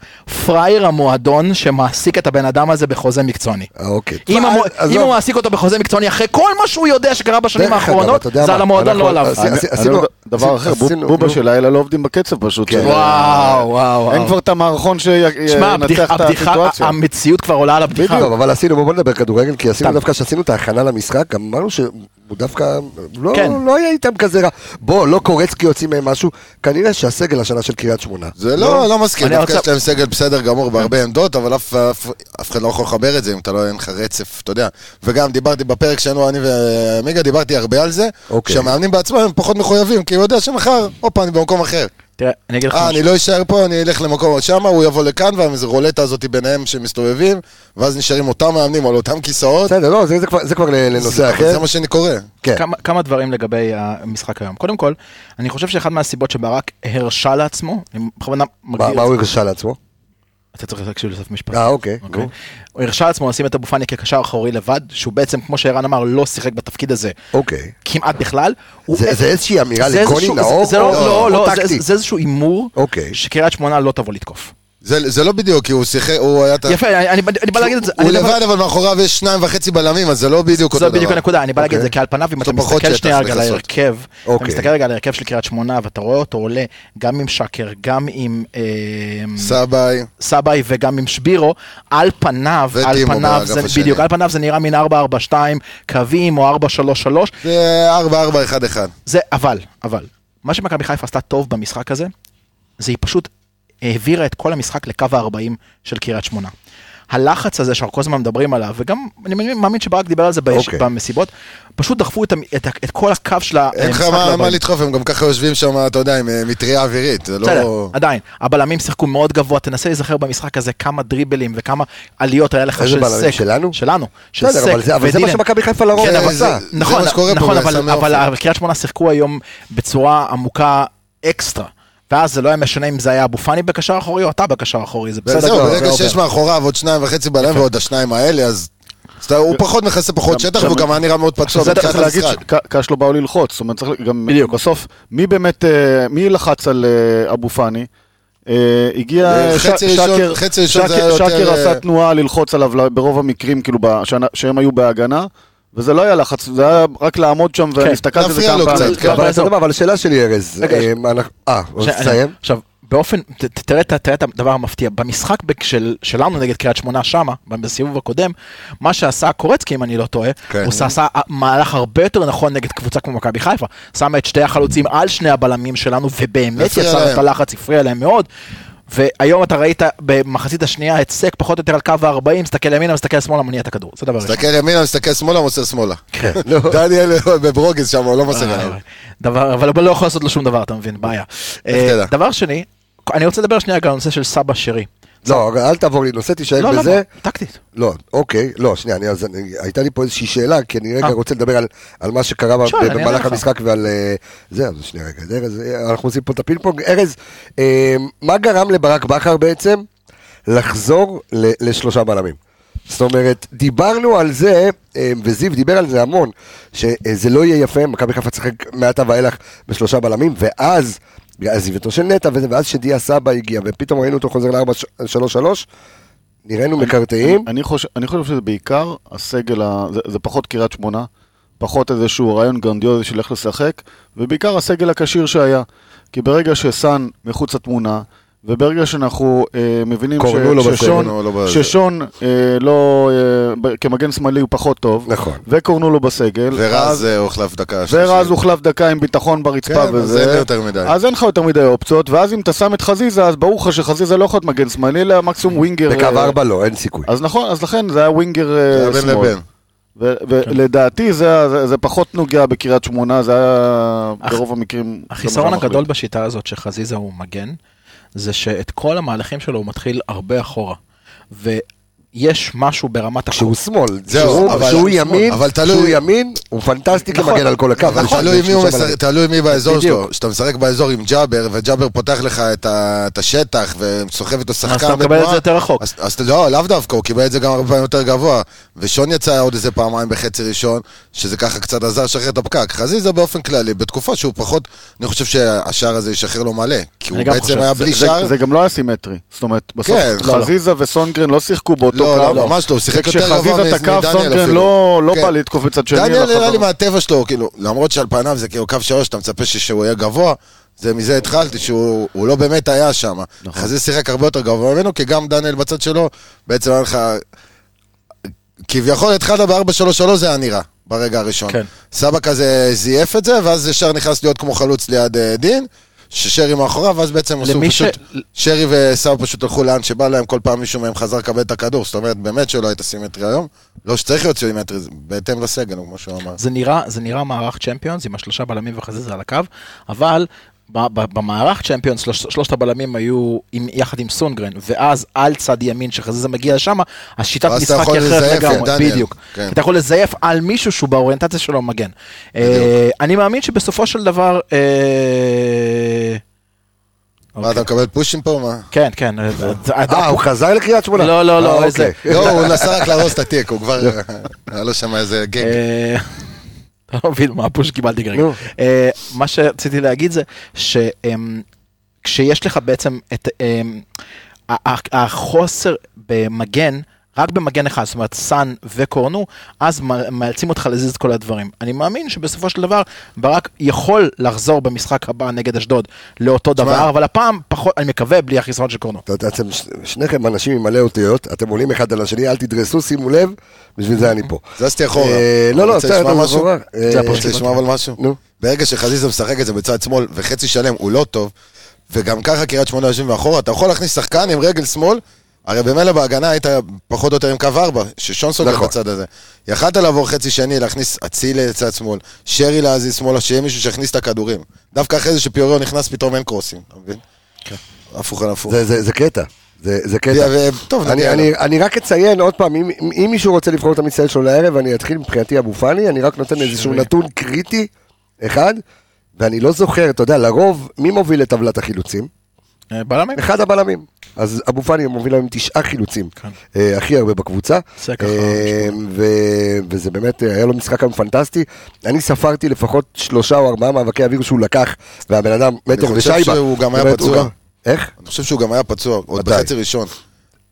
Speaker 6: פראייר המועדון שמעסיק את הבן אדם הזה בחוזה מקצועני.
Speaker 1: אה, אוקיי.
Speaker 6: אם, המו,
Speaker 1: אז
Speaker 6: אם
Speaker 1: לא,
Speaker 6: הוא מעסיק אותו בחוזה מקצועני אחרי כל מה שהוא יודע שקרה בשנים
Speaker 1: דרך אגב,
Speaker 6: האחרונות,
Speaker 1: אתה יודע מה,
Speaker 6: זה על המועדון,
Speaker 1: אנחנו-
Speaker 6: לא עליו.
Speaker 1: אז- עשינו-
Speaker 4: אני לא יודע, דבר
Speaker 1: עשינו-
Speaker 4: אחר,
Speaker 1: עשינו-
Speaker 4: בוב- בובה
Speaker 1: נו.
Speaker 4: של לילה לא עובדים בקצב פשוט.
Speaker 1: כן.
Speaker 4: של-
Speaker 6: וואו, וואו,
Speaker 4: אין
Speaker 6: וואו.
Speaker 4: כבר את המערכון
Speaker 6: שמע, הבדיח-
Speaker 4: שינצח את
Speaker 6: הבדיחה,
Speaker 4: הסיטואציה.
Speaker 6: המציאות כבר עולה על הבדיחה.
Speaker 1: טוב, אבל עשינו, בואו נדבר כדורגל, כי עשינו
Speaker 6: סתם.
Speaker 1: דווקא, כשעשינו את ההכנה למשחק, גם אמרנו שהוא דווקא, לא,
Speaker 6: כן.
Speaker 1: לא היה איתם כזה רע. בוא, לא קורצקי יוצאים מהם משהו, כנראה שהסגל השנה של קריית שמונה.
Speaker 5: זה לא, לא מסכים,
Speaker 6: אני
Speaker 5: דווקא
Speaker 6: עכשיו-
Speaker 5: יש להם סגל בסדר גמור בהרבה עמדות, אבל אף- אף אף אחד לא יכול לחבר את זה אם אתה לא, אין לך רצף, אתה יודע. וגם דיברתי בפרק שלנו, אני ומיגה, דיברתי הרבה על זה,
Speaker 1: אוקיי.
Speaker 5: שהמאמנים בעצמם הם פחות מחויבים, כי הוא יודע שמחר, הופה, אני במקום אחר.
Speaker 6: תראה, אני אגיד לך
Speaker 5: אה,
Speaker 6: משהו.
Speaker 5: אני לא אשאר פה, אני אלך למקום עוד שמה, הוא יבוא לכאן, והרולטה הזאת ביניהם שמסתובבים, ואז נשארים אותם מאמנים על אותם כיסאות.
Speaker 1: בסדר, לא, זה, זה כבר, זה כבר ל- לנושא
Speaker 5: זה-
Speaker 1: אחר.
Speaker 5: זה מה שאני קורא.
Speaker 1: כן.
Speaker 6: כמה, כמה דברים לגבי המשחק היום. קודם כל, אני חושב שאחד מהסיבות שברק הרשה לעצמו, אני בכוונה מגדיר
Speaker 1: מה,
Speaker 6: את
Speaker 1: מה
Speaker 6: זה.
Speaker 1: הוא הרשה לעצמו?
Speaker 6: אתה צריך להקשיב לסוף משפט.
Speaker 1: אה, אוקיי.
Speaker 6: אוקיי.
Speaker 1: נו.
Speaker 6: הוא הרשה לעצמו לשים את אבו פאני כקשר אחורי לבד, שהוא בעצם, כמו שערן אמר, לא שיחק בתפקיד הזה
Speaker 1: אוקיי.
Speaker 6: כמעט בכלל. הוא- אה,
Speaker 1: זה זה איזושהי אמירה
Speaker 6: זה
Speaker 1: לקוני
Speaker 6: איזשהו-
Speaker 1: נאור?
Speaker 6: זה- זה לא,
Speaker 1: או-
Speaker 6: לא,
Speaker 1: או
Speaker 6: לא, זה-
Speaker 1: טקטי? אוקיי.
Speaker 6: זה איזשהו הימור
Speaker 1: אוקיית.
Speaker 6: שקריית שמונה לא תבוא לתקוף.
Speaker 5: זה זה לא בדיוק, כי הוא שיחק, הוא היה... את ה-
Speaker 6: יפה, אני- אני אני בא להגיד את זה.
Speaker 5: הוא
Speaker 6: אני
Speaker 5: לבד, אבל מאחוריו יש שניים וחצי בלמים, אז זה לא בדיוק אותו
Speaker 6: זו
Speaker 5: דבר.
Speaker 6: בדיוק הנקודה, אני בא להגיד את זה,
Speaker 1: אוקיי.
Speaker 6: כי על פניו, אם
Speaker 5: יש
Speaker 6: אתה
Speaker 5: לו פחות
Speaker 6: מסתכל
Speaker 5: שטח
Speaker 6: שנייה רגע על
Speaker 5: לכסות.
Speaker 6: ההרכב, אתה
Speaker 1: אוקיי.
Speaker 6: מסתכל רגע על ההרכב של קריית שמונה, ואתה רואה אותו עולה גם עם שקר, גם עם אה,
Speaker 5: סבאי,
Speaker 6: סבאי וגם עם שבירו, על פניו, על
Speaker 5: וטימו
Speaker 6: פניו,
Speaker 5: באגף
Speaker 6: זה-
Speaker 5: השני.
Speaker 6: בדיוק, על פניו זה נראה מין 4-4-2 קווים או 4-3-3,
Speaker 5: זה 4-4-1-1.
Speaker 4: אה,
Speaker 6: זה אבל, אבל, מה שמכבי חיפה עשתה טוב במשחק הזה, זה היא פשוט העבירה את כל המשחק לקו ה-40 של קריית שמונה. הלחץ הזה שאנחנו כל הזמן מדברים עליו, וגם אני מאמין- מאמין שברק דיבר על זה ביש-
Speaker 1: אוקיי.
Speaker 6: במסיבות, פשוט דחפו את, המ- את, ה- את כל הקו של
Speaker 5: אין לך
Speaker 6: המשחק
Speaker 5: מה-
Speaker 4: לא
Speaker 6: ל-40.
Speaker 5: מה לדחוף, הם גם ככה יושבים שם, אתה יודע, עם אה, מטריה אווירית, זה
Speaker 6: בסדר,
Speaker 5: לא...
Speaker 6: עדיין, הבלמים שיחקו מאוד גבוה, תנסה להיזכר במשחק הזה כמה דריבלים וכמה עליות היה לך
Speaker 1: איזה
Speaker 6: של
Speaker 1: בלמים?
Speaker 6: סק.
Speaker 1: שלנו?
Speaker 6: שלנו, של סק.
Speaker 1: בסדר, אבל זה- אבל זה מה
Speaker 6: ודילן.
Speaker 1: שמכבי חיפה לא לרוב
Speaker 5: כן, אבל
Speaker 1: עשה.
Speaker 5: זה-
Speaker 6: נכון,
Speaker 5: מה שקורה פה,
Speaker 6: נכון,
Speaker 5: בסמי
Speaker 6: אבל,
Speaker 5: עופר.
Speaker 6: אבל אבל קריית שמונה שיחקו היום בצורה עמוקה אקסטרה. ואז זה לא היה משנה אם זה היה אבו פאני בקשר אחורי או אתה בקשר אחורי, זה בסדר.
Speaker 5: וזהו,
Speaker 6: זה
Speaker 5: ברגע
Speaker 4: אוקיי,
Speaker 6: עובר.
Speaker 5: שיש מאחוריו עוד שניים וחצי בלמים ועוד השניים האלה, אז... אז אתה- הוא פחות מכסה פחות שטח, והוא גם היה נראה מאוד פצוע
Speaker 6: זה
Speaker 5: בתחילת
Speaker 4: צריך להגיד
Speaker 5: המשחק.
Speaker 4: שקאש לא באו ללחוץ, זאת אומרת, צריך גם
Speaker 6: בדיוק.
Speaker 4: בסוף, מי באמת, אה, מי לחץ על אה, אבו פאני? אה, הגיע
Speaker 5: אה,
Speaker 4: ש-
Speaker 5: חצי ראשון-
Speaker 4: שקר-
Speaker 5: חצי ראשון זה
Speaker 4: שקר-
Speaker 5: היה יותר,
Speaker 4: שקר
Speaker 5: אה,
Speaker 4: עשה תנועה ללחוץ עליו ל- ברוב המקרים, כאילו, בשנה- שהם היו בהגנה, וזה לא היה לחץ, זה היה רק לעמוד שם,
Speaker 6: כן.
Speaker 4: ואני הסתכלתי על זה
Speaker 5: להפריע
Speaker 4: כמה
Speaker 5: לו
Speaker 4: פעמים.
Speaker 5: קצת, כן.
Speaker 1: אבל אתה
Speaker 6: עזוב.
Speaker 1: יודע מה, אבל השאלה שלי, ארז,
Speaker 6: רגע,
Speaker 1: אה, אנחנו- אה, אז
Speaker 6: עכשיו,
Speaker 1: תסיים.
Speaker 6: עכשיו, באופן, ת- ת- תראה את ה- תראה את הדבר המפתיע, במשחק בק- של- שלנו נגד קריית שמונה שמה, בסיבוב הקודם, מה שעשה קורצקי, אם אני לא טועה,
Speaker 5: כן.
Speaker 6: הוא עשה- עשה מהלך הרבה יותר נכון נגד קבוצה כמו מכבי חיפה, שמה את שתי החלוצים על שני הבלמים שלנו, ובאמת
Speaker 5: הפריע
Speaker 6: יצר
Speaker 5: להם.
Speaker 6: את הלחץ, הפריע להם מאוד. והיום אתה ראית במחצית השנייה היצק פחות או יותר על קו ה-40, מסתכל ימינה, מסתכל שמאלה, מניע את הכדור, זה דבר ראשון.
Speaker 5: מסתכל ימינה, מסתכל שמאלה, מוסר שמאלה.
Speaker 1: כן, לא.
Speaker 5: דניאל בברוגז שם, הוא לא מוסר
Speaker 6: אה,
Speaker 5: עליו.
Speaker 6: דבר, אבל הוא לא יכול לעשות לו שום דבר, אתה מבין, בעיה. אה,
Speaker 5: תדע.
Speaker 6: דבר שני, אני רוצה לדבר שנייה גם על הנושא של סבא שרי.
Speaker 1: לא, אל תעבור לי נושא, תישאר
Speaker 6: לא, לא,
Speaker 1: בזה.
Speaker 6: לא, טקטית.
Speaker 1: לא, אוקיי, לא, שנייה, אני, אז, אני, הייתה לי פה איזושהי שאלה, כי אני רגע
Speaker 6: אה.
Speaker 1: רוצה לדבר על, על מה שקרה ב-
Speaker 6: שואל, אני אענה
Speaker 1: במהלך
Speaker 6: לך.
Speaker 1: המשחק ועל... אה, זה, אז שנייה רגע, זה, ארז, אה, אנחנו עושים פה את הפינג פונג. ארז, אה, מה גרם לברק בכר בעצם לחזור ל, לשלושה בלמים? זאת אומרת, דיברנו על זה, אה, וזיו דיבר על זה המון, שזה לא יהיה יפה, מכבי חיפה תשחק מעתה ואילך בשלושה בלמים, ואז... עזיבתו של נטע, וזה, ואז שדיה סבא הגיע, ופתאום ראינו אותו חוזר ל-4-3-3, נראינו מקרטעים.
Speaker 4: אני חושב, אני חושב שזה בעיקר הסגל, ה, זה, זה פחות קריית שמונה, פחות איזשהו רעיון גרנדיוזי של איך לשחק, ובעיקר הסגל הכשיר שהיה. כי ברגע שסאן מחוץ לתמונה, וברגע שאנחנו אה, מבינים
Speaker 1: קורנו
Speaker 4: ש,
Speaker 1: לא
Speaker 4: ששון,
Speaker 5: בסגל, לא בזה.
Speaker 4: ששון אה, לא, אה, ב- כמגן שמאלי הוא פחות טוב,
Speaker 1: נכון.
Speaker 4: וקורנו לו בסגל,
Speaker 5: ורז
Speaker 4: אז-
Speaker 5: אה, הוחלף דקה.
Speaker 4: ורז
Speaker 5: שלישית.
Speaker 4: הוחלף דקה עם ביטחון
Speaker 5: כן,
Speaker 4: ברצפה
Speaker 5: אז
Speaker 4: וזה,
Speaker 5: אין לי יותר מדי.
Speaker 4: אז אין לך יותר מדי אופציות, ואז אם אתה שם את חזיזה, אז ברור לך שחזיזה לא יכול להיות מגן שמאלי, אלא מקסימום ווינגר.
Speaker 1: בקו
Speaker 4: אה,
Speaker 1: ארבע לא, אין סיכוי.
Speaker 4: אז נכון, אז לכן זה היה ווינגר אה,
Speaker 5: זה היה בין
Speaker 4: שמאל.
Speaker 5: לבין.
Speaker 6: כן.
Speaker 4: ולדעתי זה, היה- זה, זה פחות נוגע בקריית שמונה, זה היה ברוב המקרים... לא
Speaker 6: החיסרון
Speaker 4: גם שם
Speaker 6: הגדול
Speaker 4: מחליט.
Speaker 6: בשיטה הזאת שחזיזה הוא מגן, זה שאת כל המהלכים שלו הוא מתחיל הרבה אחורה. ו... יש משהו ברמת החוץ.
Speaker 1: כשהוא שמאל,
Speaker 5: זהו,
Speaker 1: כשהוא-
Speaker 5: אבל-
Speaker 1: כשהוא
Speaker 5: שמאל.
Speaker 1: ימין,
Speaker 5: אבל תלוי-
Speaker 1: כשהוא ימין, הוא פנטסטי
Speaker 6: נכון.
Speaker 1: כמגן על כל הקו.
Speaker 5: אבל
Speaker 1: נכון,
Speaker 5: תלוי מי הוא
Speaker 1: שלושה בלמים.
Speaker 5: משחק- תלוי מי באזור שלו.
Speaker 1: בדיוק.
Speaker 5: כשאתה משחק באזור עם ג'אבר, וג'אבר פותח לך את ה- את השטח, וסוחב איתו שחקן
Speaker 6: אתה מקבל את זה יותר רחוק.
Speaker 5: אז- אז לא, לאו דווקא, הוא קיבל את זה גם הרבה פעמים יותר גבוה. ושון יצא עוד איזה פעמיים בחצי ראשון, שזה ככה קצת עזר לשחרר את הפקק. חזיזה באופן כללי, בתקופה שהוא פחות, אני חושב שהשער הזה ישחרר לו מלא. כי הוא
Speaker 6: אני גם
Speaker 5: בעצם
Speaker 6: חושב.
Speaker 5: היה
Speaker 4: זה-
Speaker 5: בלי
Speaker 4: זה-
Speaker 5: שער.
Speaker 4: זה גם לא היה סימטרי. זאת אומרת, בסוף
Speaker 5: כן, לא, לא.
Speaker 4: חזיזה וסונגרן לא שיחקו באותו
Speaker 5: לא,
Speaker 4: קו.
Speaker 5: לא, ממש לא, הוא שיחק יותר גבוה
Speaker 4: כשחזיזה
Speaker 5: מ-
Speaker 4: תקף,
Speaker 5: מדניאל
Speaker 4: סונגרן
Speaker 5: אפילו.
Speaker 4: לא לא
Speaker 5: כן.
Speaker 4: בא לתקוף מצד שני.
Speaker 5: דניאל
Speaker 4: לחזור.
Speaker 5: נראה
Speaker 6: לא.
Speaker 5: לי מהטבע שלו, כאילו, למרות שעל פניו זה כאילו קו שלוש, אתה מצפה ש- שהוא יהיה גבוה, זה מזה התחלתי, שהוא הוא לא באמת היה שם.
Speaker 6: נכון.
Speaker 5: חזיזה שיחק הרבה יותר גבוה ממנו, כי גם דניאל בצד שלו, בעצם היה לך... כביכול התחלת ב-4-3-3 זה היה נראה, ברגע הראשון.
Speaker 6: כן.
Speaker 5: סבא כזה זייף את זה, ואז ישר נכנס להיות כמו חלוץ ליד אה, דין. ששרי מאחוריו, ואז בעצם עשו
Speaker 6: למי ש-
Speaker 5: פשוט, שרי וסבא פשוט הלכו לאן שבא להם, כל פעם מישהו מהם חזר לקבל את הכדור, זאת אומרת, באמת שלא הייתה סימטרי היום. לא שצריך להיות סימטרי, זה בהתאם לסגל, כמו שהוא אמר.
Speaker 6: זה נראה, זה נראה מערך צ'מפיונס עם השלושה בלמים וחזיזה על הקו, אבל ב- ב- במערך צ'מפיונס שלוש, שלושת הבלמים היו עם, יחד עם סונגרן, ואז על צד ימין שחזיזה מגיע לשם, השיטת
Speaker 5: ואז אתה
Speaker 6: משחק
Speaker 5: יכול
Speaker 6: היא אחרת
Speaker 5: לזייף,
Speaker 6: לגמרי,
Speaker 5: דניאל,
Speaker 6: בדיוק.
Speaker 5: כן.
Speaker 6: כן. אתה יכול לזייף על מישהו שהוא באוריינטציה שלו מגן. אה, אני מאמין שבסופו של דבר... אה,
Speaker 5: מה, אתה מקבל פושים פה? מה?
Speaker 6: כן, כן. אה,
Speaker 1: אה, הוא חזר לקריית שמונה?
Speaker 6: לא, לא,
Speaker 1: אה,
Speaker 6: לא,
Speaker 1: אוקיי.
Speaker 6: איזה...
Speaker 5: לא, הוא נסע רק להרוס את התיק, הוא כבר... היה לו שם איזה גג.
Speaker 6: אה, אתה לא מבין מה הפוש שקיבלתי כרגע.
Speaker 1: נו.
Speaker 6: אה, מה שרציתי להגיד זה שכשיש לך בעצם את אמ, ה- ה- החוסר במגן, רק במגן אחד, זאת אומרת סאן וקורנו, אז מ- מאלצים אותך להזיז את כל הדברים. אני מאמין שבסופו של דבר ברק יכול לחזור במשחק הבא נגד אשדוד לאותו דבר, אבל הפעם פחות, אני מקווה, בלי החיסרון של קורנו.
Speaker 1: אתה יודע, אתם ש- שניכם אנשים עם מלא אותיות, אתם עולים אחד על השני, אל תדרסו, שימו לב, בשביל זה אני פה.
Speaker 5: זזתי אחורה.
Speaker 1: אה, לא, לא,
Speaker 5: רוצה
Speaker 1: בסדר,
Speaker 5: לשמוע
Speaker 1: אתה
Speaker 5: משהו?
Speaker 1: זורק. אה,
Speaker 5: אתה רוצה לשמוע אבל משהו?
Speaker 1: נו.
Speaker 5: ברגע שחזיזה משחק את זה בצד שמאל, וחצי שלם הוא לא טוב, וגם ככה קריית שמונה יושבים מאחורה, אתה יכול להכניס שחקן עם רגל שמאל, הרי במילא בהגנה היית פחות או יותר עם קו ארבע, ששונסון
Speaker 1: נכון.
Speaker 5: נכון. בצד הזה. יכלת לעבור חצי שני, להכניס אצילי לצד שמאל, שרי להזיז שמאלה, שיהיה מישהו שיכניס את הכדורים. דווקא אחרי זה שפיוריו נכנס, פתאום אין קרוסים, אתה מבין? הפוך על הפוך.
Speaker 1: כן. זה- זה זה קטע. זה זה קטע.
Speaker 5: ו- טוב,
Speaker 1: אני,
Speaker 5: נגיע
Speaker 1: אני, אני רק אציין עוד פעם, אם, אם מישהו רוצה לבחור את המצטיין שלו לערב, אני אתחיל מבחינתי אבו פאני, אני רק נותן איזשהו נתון קריטי, אחד, ואני לא זוכר, אתה יודע, לרוב, מי מוביל את טבלת החילוצים?
Speaker 6: אה, בלמים.
Speaker 1: אחד הבלמים. אז אבו פאני מוביל היום עם תשעה חילוצים,
Speaker 6: כן.
Speaker 1: אה, הכי הרבה בקבוצה.
Speaker 6: זה ככה,
Speaker 1: אה, ו- וזה באמת, אה, היה לו משחק היום פנטסטי. אני ספרתי לפחות שלושה או ארבעה מאבקי אוויר שהוא לקח, והבן אדם מטר
Speaker 5: חושב
Speaker 1: ושייבה.
Speaker 5: שהוא גם היה
Speaker 1: זאת אומרת, הוא
Speaker 5: פצוע.
Speaker 1: גם- איך?
Speaker 5: אני חושב שהוא גם היה פצוע, עוד
Speaker 1: מתי?
Speaker 5: בחצי ראשון.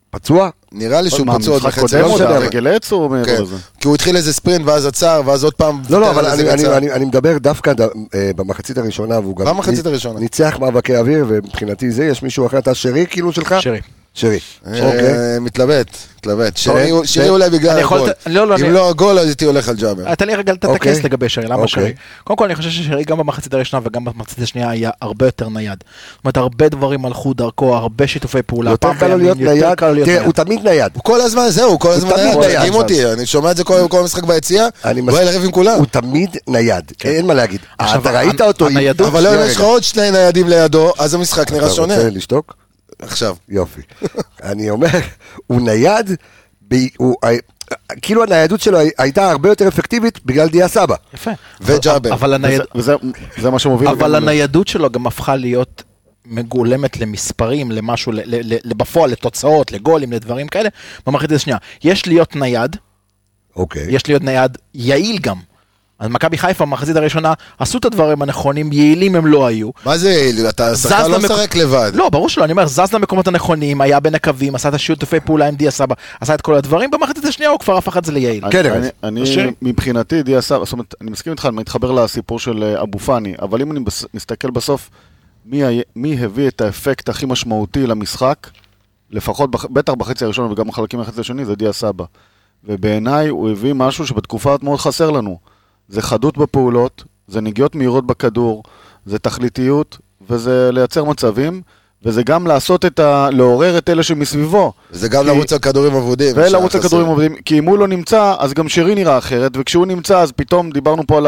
Speaker 1: פצוע?
Speaker 5: נראה לי שהוא
Speaker 4: מה,
Speaker 5: פצוע עוד
Speaker 4: משחק
Speaker 5: בחצי
Speaker 4: קודם
Speaker 1: לא
Speaker 4: עוד
Speaker 5: ראשון.
Speaker 1: משנה,
Speaker 4: היה
Speaker 1: אבל-
Speaker 4: רגל עץ או מעבר
Speaker 5: כן,
Speaker 4: לזה?
Speaker 5: כי הוא התחיל איזה ספרינט ואז עצר, ואז עוד פעם...
Speaker 1: לא, לא,
Speaker 5: ויתר
Speaker 1: אבל
Speaker 5: על איזה
Speaker 1: אני, אני,
Speaker 5: קצר.
Speaker 1: אני, אני מדבר דווקא ד... אה, במחצית הראשונה, והוא גם
Speaker 5: במחצית הראשונה.
Speaker 1: ניצח מאבקי אוויר, ומבחינתי זה, יש מישהו אחר, אתה שרי כאילו שלך?
Speaker 6: שרי.
Speaker 1: שרי,
Speaker 5: אה,
Speaker 1: אוקיי.
Speaker 5: מתלבט, מתלבט. שרי-
Speaker 1: אוקיי.
Speaker 5: שרי
Speaker 1: ו-
Speaker 5: אולי בגלל
Speaker 6: אני יכול
Speaker 5: הגול.
Speaker 6: לת- לא, לא,
Speaker 5: אם
Speaker 6: אני-
Speaker 5: לא הגול, אז הייתי הולך על ג'אבר.
Speaker 6: תן לי רגע לתת את
Speaker 1: אוקיי.
Speaker 6: הכס לגבי שרי, למה
Speaker 1: אוקיי.
Speaker 6: שרי? קודם כל אני חושב ששרי גם במחצית הראשונה וגם במחצית השנייה היה הרבה יותר נייד. זאת אומרת הרבה דברים הלכו דרכו, הרבה שיתופי פעולה.
Speaker 1: יותר
Speaker 6: פעם
Speaker 1: קל לו
Speaker 6: לא, בימין,
Speaker 1: להיות נייד,
Speaker 6: קל לו להיות
Speaker 1: תראה, הוא
Speaker 6: נייד.
Speaker 1: תמיד נייד.
Speaker 5: הוא כל הזמן, זהו, הוא כל הזמן
Speaker 1: תמיד
Speaker 5: היה,
Speaker 1: נייד,
Speaker 5: מדגים
Speaker 1: אבל.
Speaker 5: אותי, אני שומע את זה כל כל המשחק ביציאה,
Speaker 1: אני
Speaker 5: הוא היה
Speaker 1: מסכים.
Speaker 5: לריב עם כולם. כן.
Speaker 1: הוא תמיד נייד, אין מה להגיד.
Speaker 6: עכשיו,
Speaker 1: אתה ראית
Speaker 6: הנ-
Speaker 1: אותו עם...
Speaker 6: הניידות-
Speaker 5: אבל לא,
Speaker 1: שנייה,
Speaker 5: אם יש לך
Speaker 1: רגע.
Speaker 5: עוד שני ניידים לידו, אז המשחק נראה שונה.
Speaker 1: אתה רוצה לשתוק?
Speaker 5: עכשיו,
Speaker 1: יופי. אני אומר, הוא נייד, ב... הוא... כאילו הניידות שלו הייתה הרבה יותר אפקטיבית בגלל דיה סבא.
Speaker 6: יפה.
Speaker 5: וג'אבר.
Speaker 6: אבל הנייד-
Speaker 4: וזה- וזה זה מה שמוביל.
Speaker 6: אבל
Speaker 4: גם-
Speaker 6: הניידות שלו גם הפכה להיות מגולמת למספרים, למשהו, ל- ל- ל- בפועל, לתוצאות, לגולים, לדברים כאלה. במחצית השנייה, יש להיות נייד,
Speaker 1: אוקיי.
Speaker 6: יש להיות נייד יעיל גם. אז מכבי חיפה במחצית הראשונה עשו את הדברים הנכונים, יעילים הם לא היו.
Speaker 5: מה זה, יעיל? אתה
Speaker 6: זז
Speaker 5: שחקן לא
Speaker 6: למק-
Speaker 5: משחק לבד.
Speaker 6: לא, ברור שלא, אני אומר, זז למקומות הנכונים, היה בין הקווים, עשה את השיתופי פעולה עם דיה סבא, עשה את כל הדברים, במחצית השנייה הוא כבר הפך את זה ליעיל.
Speaker 1: כן,
Speaker 4: אני-
Speaker 1: אבל-
Speaker 4: אני
Speaker 6: השם.
Speaker 4: מבחינתי, דיה סבא, זאת אומרת, אני מסכים איתך, אני מתחבר לסיפור של אה, אבו פאני, אבל אם אני בס- מסתכל בסוף, מי היה- מי הביא את האפקט הכי משמעותי למשחק, לפחות, בח- בטח בחצי הראשון וגם בחלקים מהחצי השני, זה דיה סבא. ובעיניי הוא הביא משהו שבתקופה מאוד חסר לנו. זה חדות בפעולות, זה נגיעות מהירות בכדור, זה תכליתיות, וזה לייצר מצבים, וזה גם לעשות את ה... לעורר את אלה שמסביבו.
Speaker 5: זה גם
Speaker 4: כי-
Speaker 5: לרוץ על כדורים אבודים.
Speaker 4: ולרוץ
Speaker 5: שחסר.
Speaker 4: לכדורים עובדים, כי אם הוא לא נמצא, אז גם שרי נראה אחרת, וכשהוא נמצא, אז פתאום דיברנו פה על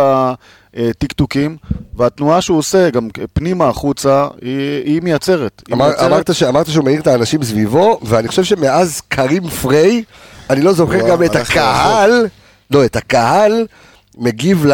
Speaker 4: הטקטוקים, והתנועה שהוא עושה, גם פנימה, החוצה, היא, היא מייצרת. היא
Speaker 1: אמר,
Speaker 4: מייצרת
Speaker 1: אמרת, ש, אמרת שהוא מעיר את האנשים סביבו, ואני חושב שמאז קרים פריי, אני לא זוכר
Speaker 5: וואו,
Speaker 1: גם את
Speaker 5: הלכת
Speaker 1: הקהל, לא, את הקהל מגיב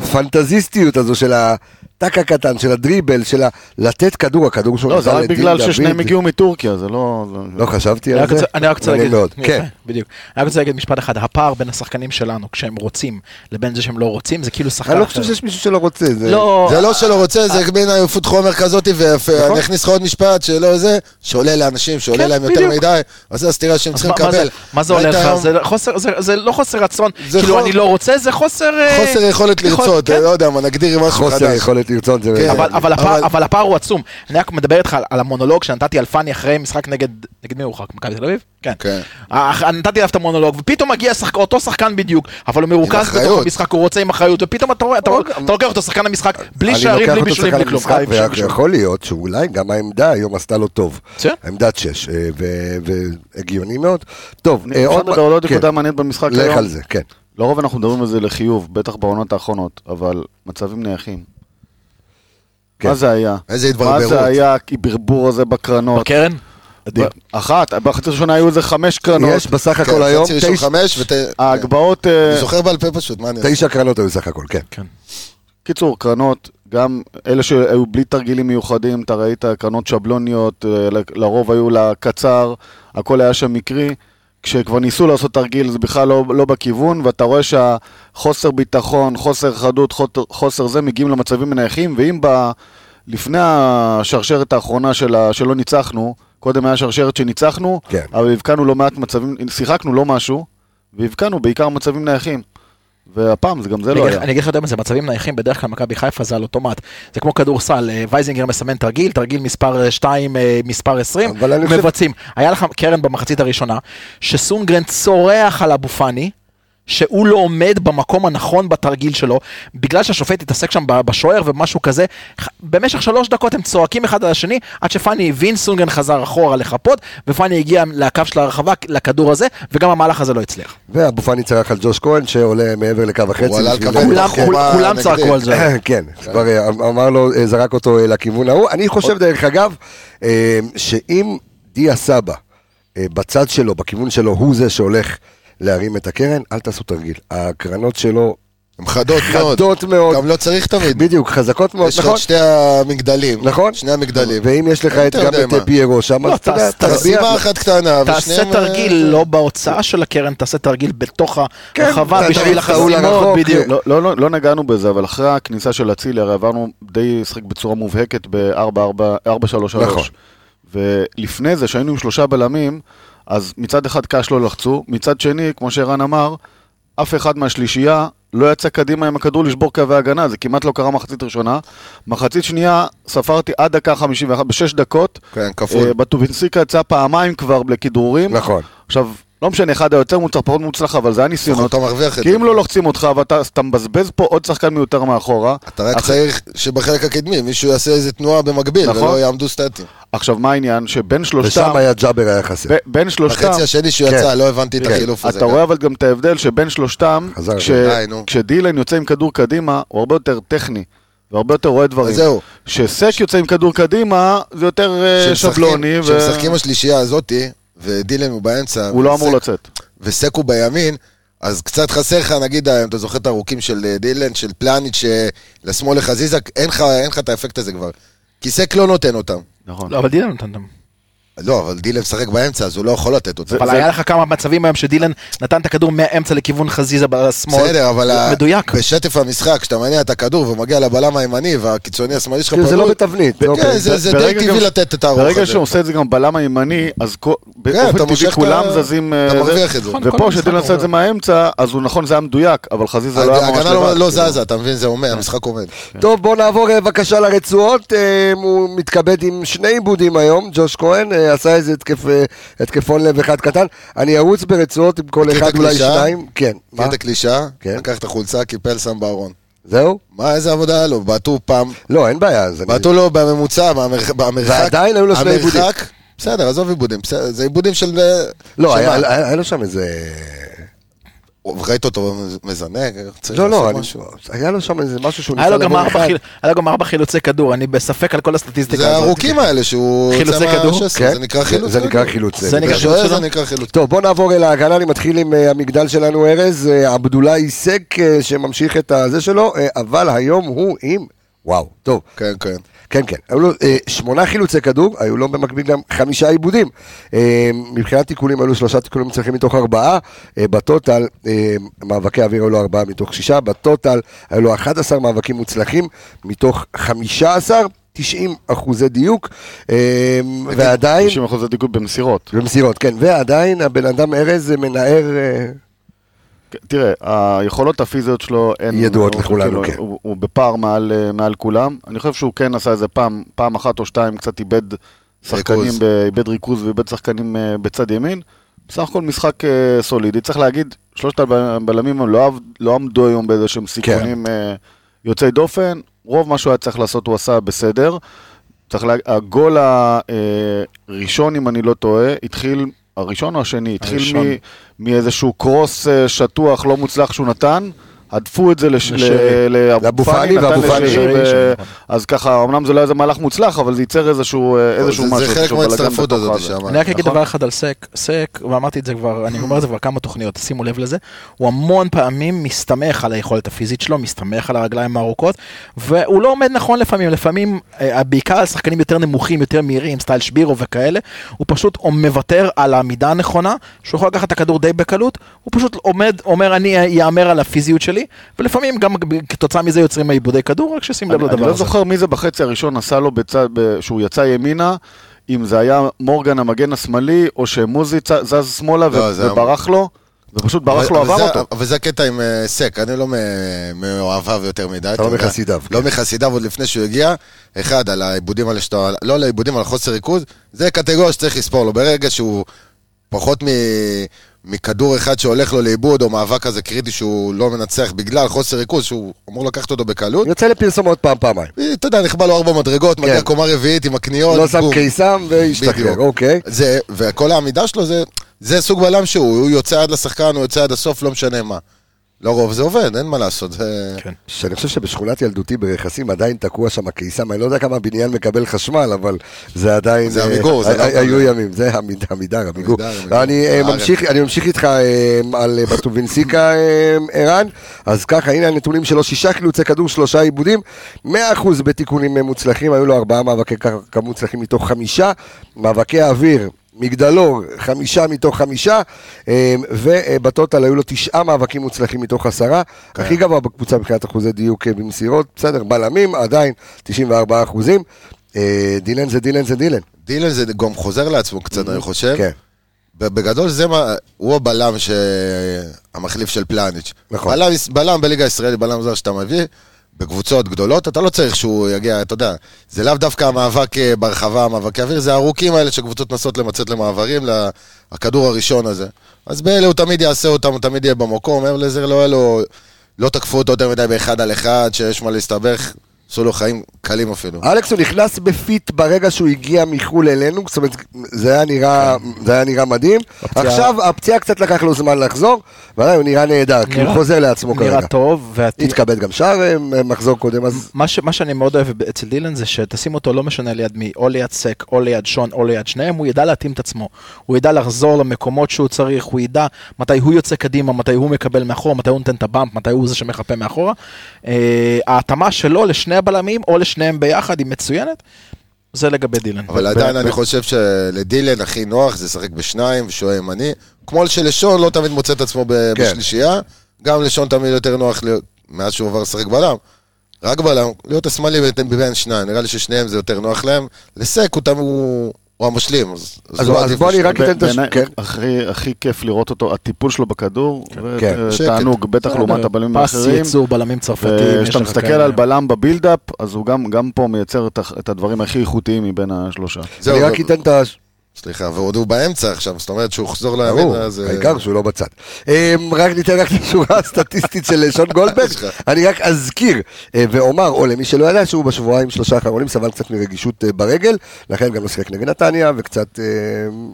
Speaker 1: לפנטזיסטיות הזו של הטאק הקטן, של הדריבל, של ה... לתת כדור, הכדור שהוא
Speaker 4: לא, זה
Speaker 1: נתן
Speaker 4: רק
Speaker 1: לדין
Speaker 4: בגלל
Speaker 1: דוד.
Speaker 4: ששניהם הגיעו מטורקיה, זה לא...
Speaker 1: לא חשבתי
Speaker 6: אני
Speaker 1: על
Speaker 6: רק
Speaker 1: זה.
Speaker 6: רוצה- אני רק רוצה
Speaker 1: מעניין
Speaker 6: להגיד,
Speaker 1: מאוד,
Speaker 6: יפה,
Speaker 1: כן.
Speaker 6: בדיוק. אני רק רוצה להגיד משפט אחד, הפער בין השחקנים שלנו כשהם רוצים לבין זה שהם לא רוצים, זה כאילו שחקן
Speaker 1: אני לא
Speaker 6: אחר.
Speaker 1: חושב שיש מישהו שלא רוצה. זה-
Speaker 6: לא,
Speaker 5: זה לא שלא רוצה, זה
Speaker 6: אה.
Speaker 5: מין עייפות חומר כזאת, ואני אכניס לך עוד משפט שלא זה, שעולה לאנשים, שעולה
Speaker 6: נכון. כן,
Speaker 5: להם יותר
Speaker 6: בדיוק.
Speaker 5: מדי, אז זה הסתירה שהם
Speaker 6: אז
Speaker 5: צריכים
Speaker 6: מה- מה זה-
Speaker 5: לקבל.
Speaker 6: מה זה עולה
Speaker 5: ראית
Speaker 6: לך?
Speaker 5: היום?
Speaker 6: זה חוסר- זה- זה לא חוסר רצון,
Speaker 5: זה
Speaker 6: כאילו
Speaker 5: חו-
Speaker 6: אני לא רוצה, זה חוסר... אה,
Speaker 5: חוסר יכולת
Speaker 6: יכול-
Speaker 5: לרצות,
Speaker 6: כן.
Speaker 5: לא יודע מה, נגדיר משהו
Speaker 1: חוסר
Speaker 5: חדש.
Speaker 1: יכולת לרצות. זה-
Speaker 5: כן.
Speaker 1: זה-
Speaker 6: אבל, אבל, הפער,
Speaker 5: אבל-
Speaker 6: אבל... אבל הפער הוא עצום. אני רק מדבר איתך על, על המונולוג שנתתי על פאני אחרי משחק נגד, נגד מי הוא הורחק? מכבי תל אביב? כן.
Speaker 5: כן.
Speaker 6: אח- נתתי עליו את המונולוג, ופתאום מגיע שחק, אותו שחקן בדיוק, אבל הוא מרוכז בתוך
Speaker 5: אחריות.
Speaker 6: המשחק, הוא רוצה עם אחריות, ופתאום אתה, רואה- אתה, רואה- אתה לוקח אותו שחקן למשחק, בלי
Speaker 1: אוקיי. אני
Speaker 6: שערים,
Speaker 1: לוקח
Speaker 6: בלי
Speaker 1: אותו
Speaker 6: בישולים,
Speaker 1: שחקן
Speaker 6: בלי כלום.
Speaker 1: למשחק,
Speaker 6: אה, אפשר לשאול.
Speaker 1: ויכול להיות שאולי גם העמדה היום עשתה לו טוב.
Speaker 6: בסדר.
Speaker 1: עמדת שש, אה, ו- והגיוני מאוד. טוב, אה,
Speaker 4: אפשר לדבר על
Speaker 5: לא
Speaker 4: עוד
Speaker 1: כן.
Speaker 4: נקודה מעניינת במשחק
Speaker 1: לך
Speaker 4: היום.
Speaker 1: על זה, כן.
Speaker 4: לרוב אנחנו מדברים על זה לחיוב, בטח בעונות האחרונות, אבל מצבים נייחים.
Speaker 1: כן.
Speaker 4: מה זה היה?
Speaker 5: איזה
Speaker 4: מה
Speaker 5: התברברות.
Speaker 4: זה היה הברבור הזה בקרנות?
Speaker 6: בקרן?
Speaker 4: אחת, בחצי הראשונה היו איזה חמש קרנות.
Speaker 1: יש בסך
Speaker 5: כן,
Speaker 1: הכל היום
Speaker 5: חצי ראשון
Speaker 1: תשע-
Speaker 5: חמש, ות-
Speaker 4: ההגבהות... אה,
Speaker 5: אני זוכר בעל פה פשוט, מה אני עושה?
Speaker 1: תשע קרנות היו סך הכל, כן.
Speaker 4: קיצור, קרנות, גם אלה שהיו בלי תרגילים מיוחדים, אתה ראית קרנות שבלוניות, אה, ל- לרוב היו לקצר, הכל היה שם מקרי. כשכבר ניסו לעשות תרגיל זה בכלל לא, לא בכיוון, ואתה רואה שהחוסר ביטחון, חוסר חדות, חוט- חוסר זה, מגיעים למצבים מנייחים, ואם ב... לפני השרשרת האחרונה של ה... שלא ניצחנו, קודם היה שרשרת שניצחנו,
Speaker 1: כן.
Speaker 4: אבל הבקענו לא מעט מצבים, שיחקנו לא משהו, והבקענו בעיקר מצבים נייחים. והפעם זה גם זה
Speaker 6: אני
Speaker 4: לא
Speaker 6: אגיד
Speaker 4: היה.
Speaker 6: לך- אני אגיד לך יותר מזה, מצבים נייחים בדרך כלל מכבי חיפה זה על אוטומט. זה כמו כדורסל, אה, וייזינגר מסמן תרגיל, תרגיל מספר 2, מספר 20,
Speaker 1: אבל אני חושב-
Speaker 6: מבצעים. היה לך קרן במחצית הראשונה, שסונגרן צורח על אבו פאני. שהוא לא עומד במקום הנכון בתרגיל שלו, בגלל שהשופט התעסק שם ב- בשוער ומשהו כזה, ח- במשך שלוש דקות הם צועקים אחד על השני, עד שפאני הבין, סונגרן חזר אחורה לחפות, ופאני הגיע לקו של הרחבה, לכדור הזה, וגם המהלך הזה לא הצליח.
Speaker 1: ואבו פאני צרח על ג'וש כהן שעולה מעבר לקו החצי.
Speaker 5: הוא עלה על
Speaker 1: בשביל-
Speaker 5: כבד.
Speaker 6: כולם-
Speaker 5: בחומה
Speaker 6: כולם
Speaker 5: נגדית.
Speaker 6: צעקו על זה.
Speaker 1: כן, כבר אה, אמר לו, אה, זרק אותו אה, לכיוון ההוא. אני חושב, דרך אגב, אה, שאם דיה סבא, אה, בצד שלו, בכיוון שלו, הוא זה שהולך להרים את הקרן, אל תעשו תרגיל. הקרנות שלו
Speaker 5: הן חדות מאוד.
Speaker 1: חדות מאוד.
Speaker 5: גם לא צריך תמיד.
Speaker 1: בדיוק, חזקות מאוד,
Speaker 5: יש לך
Speaker 1: נכון?
Speaker 5: את שתי המגדלים.
Speaker 1: נכון.
Speaker 5: שני המגדלים.
Speaker 1: ואם יש לך
Speaker 5: אתה
Speaker 1: את- גם
Speaker 5: יודע
Speaker 1: את
Speaker 5: מה.
Speaker 1: אה, פיירו שם,
Speaker 6: לא,
Speaker 1: אז אתה יודע,
Speaker 6: תעש- תעש-
Speaker 1: תרביע.
Speaker 5: משימה אחת קטנה,
Speaker 6: תעשה
Speaker 5: ושניהם... אה,
Speaker 6: תרגיל לא בהוצאה של הקרן, תעשה תרגיל בתוך
Speaker 1: כן,
Speaker 6: הרחבה
Speaker 1: אתה
Speaker 6: בשביל
Speaker 1: תריץ את ההוא
Speaker 6: החסימות,
Speaker 1: לרחוק,
Speaker 6: בדיוק.
Speaker 4: לא, לא, לא, לא נגענו בזה, אבל אחרי הכניסה של אצילי, הרי עברנו די לשחק בצורה מובהקת ב-4-3-3.
Speaker 1: נכון.
Speaker 4: ולפני זה, שהיינו עם שלושה בלמים, אז מצד אחד קאש לא לחצו, מצד שני, כמו שערן אמר, אף אחד מהשלישייה לא יצא קדימה עם הכדור לשבור קווי הגנה, זה כמעט לא קרה מחצית ראשונה. מחצית שנייה, ספרתי עד דקה 51, בשש דקות.
Speaker 5: כן, כפול.
Speaker 4: אה, בטובינסיקה יצא פעמיים כבר לכדרורים.
Speaker 1: נכון.
Speaker 4: עכשיו, לא משנה, אחד היותר מוצלח, פחות מוצלח, אבל זה היה ניסיונות.
Speaker 5: אתה מרוויח את
Speaker 4: כי
Speaker 5: זה. כן.
Speaker 4: אם לא לוחצים אותך, ואתה אז אתה מבזבז פה עוד שחקן מיותר מאחורה.
Speaker 5: אתה רק
Speaker 4: אח-
Speaker 5: צריך שבחלק הקדמי מישהו יעשה איזה תנועה במקביל,
Speaker 4: נכון.
Speaker 5: ולא יעמדו סטטים.
Speaker 4: עכשיו, מה העניין? שבין שלושתם...
Speaker 1: ושם היה ג'אבר היה חסר.
Speaker 4: ב- בין שלושתם...
Speaker 5: בחצי השני שהוא
Speaker 1: כן.
Speaker 5: יצא, לא הבנתי את החילוף הזה.
Speaker 4: אתה רואה אבל גם את ההבדל שבין שלושתם,
Speaker 1: חזר,
Speaker 4: כש-
Speaker 5: די, נו.
Speaker 4: כשדילן יוצא עם כדור קדימה, הוא הרבה יותר טכני, והרבה יותר רואה דברים.
Speaker 5: אז זהו.
Speaker 4: כשסק יוצא עם כדור קדימה, זה יותר אה, שבלוני, ו-
Speaker 5: כשמשחקים השלישייה הזאתי, ודילן הוא באמצע,
Speaker 4: הוא לא אמור
Speaker 5: וסק-
Speaker 4: לצאת.
Speaker 5: וסק הוא בימין, אז קצת חסר לך, נגיד, אה, אם אתה זוכר את הארוכים של אה, דילן, של פלניץ', שלשמאל לחזיזה, אין לך- אין לך את האפקט הזה כבר. כי סק לא נותן אותם.
Speaker 4: נכון.
Speaker 6: לא, אבל דילן נתן אותם.
Speaker 5: לא, אבל דילן משחק באמצע, אז הוא לא יכול לתת אותם.
Speaker 6: אבל היה לך כמה מצבים היום שדילן נתן את הכדור מהאמצע לכיוון חזיזה בשמאל.
Speaker 5: בסדר, אבל ה-
Speaker 6: מדויק.
Speaker 5: בשטף המשחק, כשאתה מניע את הכדור ומגיע לבלם הימני והקיצוני השמאלי שלך
Speaker 1: כאילו, זה
Speaker 5: פנוי,
Speaker 1: לא בתבנית.
Speaker 5: כן,
Speaker 1: אוקיי.
Speaker 5: זה- זה
Speaker 4: ברגע
Speaker 5: די טבעי
Speaker 4: גם-
Speaker 5: לתת את הארוך הזה. כן,
Speaker 4: ברגע שהוא עושה את זה גם בלם הימני, אז כל- באופן
Speaker 5: מושך
Speaker 4: טבעי
Speaker 5: את
Speaker 4: כולם
Speaker 5: ה-
Speaker 4: זזים... אה,
Speaker 5: אתה
Speaker 4: זה-
Speaker 5: מרוויח את זה.
Speaker 6: נכון, כל
Speaker 4: ופה,
Speaker 6: המשחק
Speaker 4: כשדילן עשה את זה
Speaker 6: עובר.
Speaker 4: מהאמצע, אז הוא נכון, זה היה מדויק, אבל חזיזה לא היה ממש
Speaker 5: ההגנה לא-
Speaker 4: לבד.
Speaker 5: לא
Speaker 4: כאילו.
Speaker 5: זזה, אתה מבין? זה אומר, המשחק עומד.
Speaker 6: כן.
Speaker 1: טוב, בואו נעבור אה, בבקשה לרצועות. אה, הוא מתכבד עם שני עיבודים היום, ג'וש כהן אה, עשה איזה התקף, אה, התקפון לב אחד קטן. אני ארוץ ברצועות עם כל
Speaker 5: מכיר את
Speaker 1: אחד, אולי
Speaker 5: הקלישאה?
Speaker 1: שניים. כן, מה?
Speaker 5: מכיר את הקלישאה?
Speaker 1: כן.
Speaker 5: לקח את החולצה, קיפל, שם בארון.
Speaker 1: זהו?
Speaker 5: מה, איזה עבודה היה לו? בעטו פעם,
Speaker 1: לא, אין בעיה. אז אני-
Speaker 5: בעטו לו בממוצע, במרח- במרחק.
Speaker 1: ועדיין היו לו שני
Speaker 5: המרחק-
Speaker 1: עיבודים.
Speaker 5: בסדר, עזוב עיבודים, בסדר, זה עיבודים של... אה,
Speaker 1: לא,
Speaker 5: של
Speaker 1: היה-
Speaker 5: מה?
Speaker 1: היה היה לו שם איזה...
Speaker 5: ראית אותו מזנק? צריך
Speaker 1: לא, לא,
Speaker 5: לעשות
Speaker 1: אני-
Speaker 5: משהו.
Speaker 1: היה לו שם איזה משהו שהוא
Speaker 6: היה לו
Speaker 1: ניסה
Speaker 6: גם
Speaker 1: לבוא
Speaker 6: ארבע
Speaker 1: אחד.
Speaker 6: חיל- היה לו גם ארבע חילוצי כדור, אני בספק על כל הסטטיסטיקה
Speaker 5: זה
Speaker 6: הזאת.
Speaker 5: הארוכים האלה שהוא...
Speaker 6: חילוצי
Speaker 5: יוצא
Speaker 6: כדור?
Speaker 5: מה- 16,
Speaker 1: כן?
Speaker 5: זה נקרא חילוץ.
Speaker 1: זה
Speaker 5: כדור.
Speaker 1: נקרא חילוץ.
Speaker 6: זה
Speaker 1: כדור.
Speaker 6: נקרא חילוץ
Speaker 5: בשוער
Speaker 6: שלו?
Speaker 5: זה נקרא חילוץ.
Speaker 1: טוב, בואו נעבור אל ההגנה, אני מתחיל עם אה, המגדל שלנו ארז, אה, עבדולאי סק אה, שממשיך את הזה שלו, אה, אבל היום הוא עם... וואו, טוב.
Speaker 5: כן, כן.
Speaker 1: כן, כן. היו לו אה, שמונה חילוצי כדור, היו לו במקביל גם חמישה עיבודים. אה, מבחינת תיקולים היו לו שלושה תיקולים מצליחים מתוך ארבעה. אה, בטוטל, אה, מאבקי אוויר היו לו ארבעה מתוך שישה. בטוטל היו לו 11 מאבקים מוצלחים מתוך 15, 90 אחוזי דיוק. אה, ועדיין...
Speaker 4: 90% דיגול במסירות.
Speaker 1: במסירות, כן. ועדיין הבן אדם ארז אה, מנער... אה,
Speaker 4: תראה, היכולות הפיזיות שלו הן...
Speaker 1: ידועות
Speaker 4: הוא-
Speaker 1: לכולנו,
Speaker 4: כאילו,
Speaker 1: כן.
Speaker 4: הוא, הוא בפער מעל, אה, מעל כולם. אני חושב שהוא כן עשה איזה פעם, פעם אחת או שתיים, קצת איבד שחקנים,
Speaker 5: ריכוז.
Speaker 4: ב- איבד ריכוז ואיבד שחקנים אה, בצד ימין. בסך הכל משחק אה, סולידי. צריך להגיד, שלושת הבל- הבלמים הם לא, עב- לא עמדו היום באיזה שהם סיכונים
Speaker 1: כן.
Speaker 4: אה, יוצאי דופן. רוב מה שהוא היה צריך לעשות הוא עשה בסדר. צריך להגיד, הגול הראשון, אם אני לא טועה, התחיל, הראשון או השני, התחיל
Speaker 6: הראשון.
Speaker 4: מ, מאיזשהו קרוס אה, שטוח לא מוצלח שהוא נתן, הדפו את זה לש-
Speaker 6: לשרי.
Speaker 4: ל- לאבו
Speaker 1: לאבו
Speaker 4: פאני,
Speaker 1: פאני,
Speaker 4: נתן
Speaker 1: ואבו פאני
Speaker 4: לשרי,
Speaker 6: שרי,
Speaker 4: ו-
Speaker 6: נכון.
Speaker 4: אז ככה, אמנם זה לא היה איזה מהלך מוצלח, אבל זה ייצר איזשהו אה, איזשהו
Speaker 5: זה-
Speaker 4: משהו.
Speaker 5: זה חלק
Speaker 4: איזשהו בלגן
Speaker 5: מההצטרפות
Speaker 4: בתוך
Speaker 5: הזאת
Speaker 4: הזה.
Speaker 5: שם.
Speaker 6: אני רק אגיד
Speaker 4: נכון.
Speaker 6: דבר אחד על סק, סק, ואמרתי את זה כבר, אני אומר את זה כבר כמה תוכניות, שימו לב לזה, הוא המון פעמים מסתמך על היכולת הפיזית שלו, מסתמך על הרגליים הארוכות, והוא לא עומד נכון לפעמים, לפעמים, אה, בעיקר על שחקנים יותר נמוכים, יותר מהירים, סטייל שבירו וכאלה, הוא פשוט מוותר על העמידה הנכונה, שהוא יכול לקחת את הכדור די בקלות, הוא פשוט עומד, אומר אני אאמר על הפיזיות שלי, ולפעמים גם כתוצאה מזה יוצרים עיבודי כדור, רק ששים לב
Speaker 4: אני- אני
Speaker 6: לדבר
Speaker 4: לא
Speaker 6: הזה.
Speaker 4: זוכר מי זה בחצי הראשון עשה לו בצד, ב- שהוא יצא ימינה, אם זה היה מורגן המגן השמאלי, או שמוזי צ- זז שמאלה
Speaker 5: לא,
Speaker 4: ו-
Speaker 5: זה היה-
Speaker 4: וברח לו, ופשוט ברח
Speaker 5: אבל-
Speaker 4: לו,
Speaker 5: אבל
Speaker 4: עבר
Speaker 5: זה-
Speaker 4: אותו.
Speaker 5: אבל זה הקטע עם אה, סק, אני לא מ- מאוהביו יותר מדי.
Speaker 1: לא
Speaker 5: יודע.
Speaker 1: מחסידיו,
Speaker 5: לא
Speaker 1: כן.
Speaker 5: מחסידיו עוד לפני שהוא הגיע. אחד, על העיבודים האלה שאתה... לא על העיבודים, על חוסר ריכוז. זה קטגוריה שצריך לספור לו. ברגע שהוא פחות מ... מכדור אחד שהולך לו לאיבוד, או מאבק כזה קריטי שהוא לא מנצח בגלל חוסר ריכוז, שהוא אמור לקחת אותו בקלות.
Speaker 1: יוצא לפרסום עוד פעם, פעמיים.
Speaker 5: אתה יודע, נכבה לו ארבע מדרגות, מגיע
Speaker 1: כן.
Speaker 5: קומה רביעית עם הקניות.
Speaker 1: לא שם
Speaker 5: בום.
Speaker 1: קיסם והשתחרר,
Speaker 5: בדיוק.
Speaker 1: אוקיי.
Speaker 5: זה, וכל העמידה שלו זה, זה סוג בלם שהוא, הוא יוצא עד לשחקן, הוא יוצא עד הסוף, לא משנה מה. לרוב זה עובד, אין מה לעשות. זה...
Speaker 6: כן.
Speaker 1: שאני חושב שבשכונת ילדותי ברכסים עדיין תקוע שם הקיסם, אני לא יודע כמה הבניין מקבל חשמל, אבל זה עדיין...
Speaker 5: זה
Speaker 1: אה,
Speaker 5: עמיגור, זה
Speaker 1: אה,
Speaker 5: לא
Speaker 1: אה, היו
Speaker 5: עמיגור.
Speaker 1: ימים, זה עמיד- עמידר, עמיגור.
Speaker 5: עמיגור.
Speaker 1: אני אה,
Speaker 5: הארץ.
Speaker 1: ממשיך אני ממשיך איתך אה, על אה, בטובינסיקה, אה, ערן. אז ככה, הנה הנתונים שלו, שישה חילוצי כדור, שלושה עיבודים, 100% בתיקונים אה, מוצלחים, היו לו ארבעה מאבקי קרקע מוצלחים מתוך חמישה, מאבקי האוויר. מגדלור, חמישה מתוך חמישה, אה, ובטוטל היו לו תשעה מאבקים מוצלחים מתוך עשרה. הכי גבוה בקבוצה מבחינת אחוזי דיוק אה, במסירות, בסדר, בלמים, עדיין 94 אחוזים. אה, דילן זה דילן זה דילן.
Speaker 5: דילן זה גם חוזר לעצמו קצת, אני חושב.
Speaker 1: כן.
Speaker 5: בגדול זה מה, הוא הבלם ש... המחליף של פלניץ'.
Speaker 1: נכון.
Speaker 5: בלם, בלם בליגה הישראלית, בלם זר שאתה מביא, בקבוצות גדולות, אתה לא צריך שהוא יגיע, אתה יודע, זה לאו דווקא המאבק אה, ברחבה, המאבק האוויר, זה הארוכים האלה שקבוצות מנסות למצות למעברים, לה- הכדור הראשון הזה. אז באלה הוא תמיד יעשה אותם, הוא תמיד יהיה במקום, מעבר לזה לא היה לו... לא תקפו אותו יותר מדי באחד על אחד, שיש מה להסתבך, עשו לו חיים קלים אפילו.
Speaker 1: אלכס, הוא נכנס בפיט ברגע שהוא הגיע מחו"ל אלינו, זאת אומרת, זה היה נראה, זה היה נראה מדהים. עכשיו, הפציעה קצת לקח לו זמן לחזור, ועדיין הוא נראה נהדר, כי הוא
Speaker 6: נראה-
Speaker 1: חוזר לעצמו כרגע.
Speaker 6: נראה טוב, והת-
Speaker 1: התקבל גם שער אה, מחזור קודם, אז
Speaker 6: מה, ש, מה שאני מאוד אוהב אצל דילן זה שתשים אותו לא משנה ליד מי, או ליד סק, או ליד שון, או ליד שניהם, הוא ידע להתאים את עצמו. הוא ידע לחזור למקומות שהוא צריך, הוא ידע מתי הוא יוצא קדימה, מתי הוא מקבל מאחורה, מתי הוא נותן את הבאמפ, מתי הוא זה שמחפה מאחורה. אה, ההתאמה שלו לשני הבלמים, או לשניהם ביחד, היא מצוינת. זה לגבי דילן.
Speaker 5: אבל עדיין אני חושב שלדילן הכי נוח זה לשחק בשניים ושועה ימני. כמו שלשון לא תמיד מוצא את עצמו ב-
Speaker 1: כן.
Speaker 5: בשלישייה, גם לשון תמיד יותר נוח להיות, מאז שהוא עבר לשחק בלם. רק בלם, להיות השמאלי בין- בין שניים, נראה לי ששניהם זה יותר נוח להם. לסק הוא תמיד, הוא הוא המשלים. אז-
Speaker 1: אז
Speaker 5: הוא
Speaker 1: בוא- אז
Speaker 5: עדיף
Speaker 1: בוא אני
Speaker 5: לשניים.
Speaker 1: רק- ניתן את הש-
Speaker 4: בעיניי
Speaker 1: כן.
Speaker 4: הכי- הכי כיף לראות אותו, הטיפול שלו בכדור, ו-
Speaker 1: כן.
Speaker 4: אה,
Speaker 5: שקט.
Speaker 4: תענוג, בטח לעומת הבלמים
Speaker 6: פס
Speaker 4: האחרים.
Speaker 6: יצור, בלמים צרפתיים. יש
Speaker 4: וכשאתה
Speaker 6: לך
Speaker 4: מסתכל
Speaker 6: כאלה.
Speaker 4: על בלם בבילדאפ, אז הוא גם גם פה מייצר את ה- את הדברים הכי איכותיים מבין השלושה.
Speaker 6: לא,
Speaker 5: זהו,
Speaker 1: אני רק
Speaker 5: זה-
Speaker 1: אתן את ה...
Speaker 5: סליחה, ועוד הוא באמצע עכשיו, זאת אומרת שהוא יחזור
Speaker 1: ברור,
Speaker 5: לימין, אז... אה,
Speaker 1: העיקר שהוא לא בצד. אמ, רק ניתן רק את השורה הסטטיסטית של אה, שון גולדברג.
Speaker 5: יש לך.
Speaker 1: אני רק אזכיר אה, ואומר, או למי שלא ידע, שהוא בשבועיים שלושה האחרונים סבל קצת מרגישות אה, ברגל, לכן גם לא שיחק נגד נתניה, וקצת אה,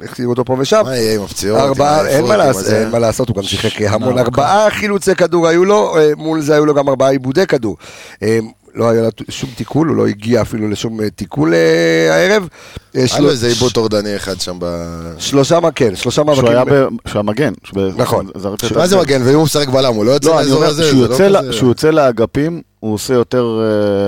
Speaker 1: החזירו אותו פה ושם.
Speaker 5: מה יהיה עם הפציעות? עם
Speaker 1: ארבעה, אין
Speaker 5: העייפות,
Speaker 1: מה
Speaker 5: עם
Speaker 1: לעשות,
Speaker 5: הזה?
Speaker 1: אין מה לעשות, הוא גם שיחק המון, ארבעה חילוצי כדור היו לו, אה, מול זה היו לו גם ארבעה עיבודי כדור. אה, לא היה לו שום תיקול, הוא לא הגיע אפילו לשום אה, תיקול אה, הערב. אה,
Speaker 5: היה לו
Speaker 1: שלוש-
Speaker 5: איזה עיבוד טורדני אחד שם ב...
Speaker 1: שלושה, מה- כן, שלושה מאבקים.
Speaker 4: שהוא היה,
Speaker 6: כאילו-
Speaker 4: ב... שהוא המגן. שהוא ב-
Speaker 1: נכון.
Speaker 4: זרק את
Speaker 5: מה זה
Speaker 4: ה-
Speaker 5: מגן? ואם הוא משחק בלם, הוא לא יוצא
Speaker 4: לא, אני
Speaker 5: לאזור
Speaker 4: אומר,
Speaker 5: הזה?
Speaker 4: כשהוא
Speaker 5: זה לא
Speaker 4: יוצא ל-
Speaker 5: כזה-
Speaker 4: כשהוא יוצא לאגפים, הוא עושה יותר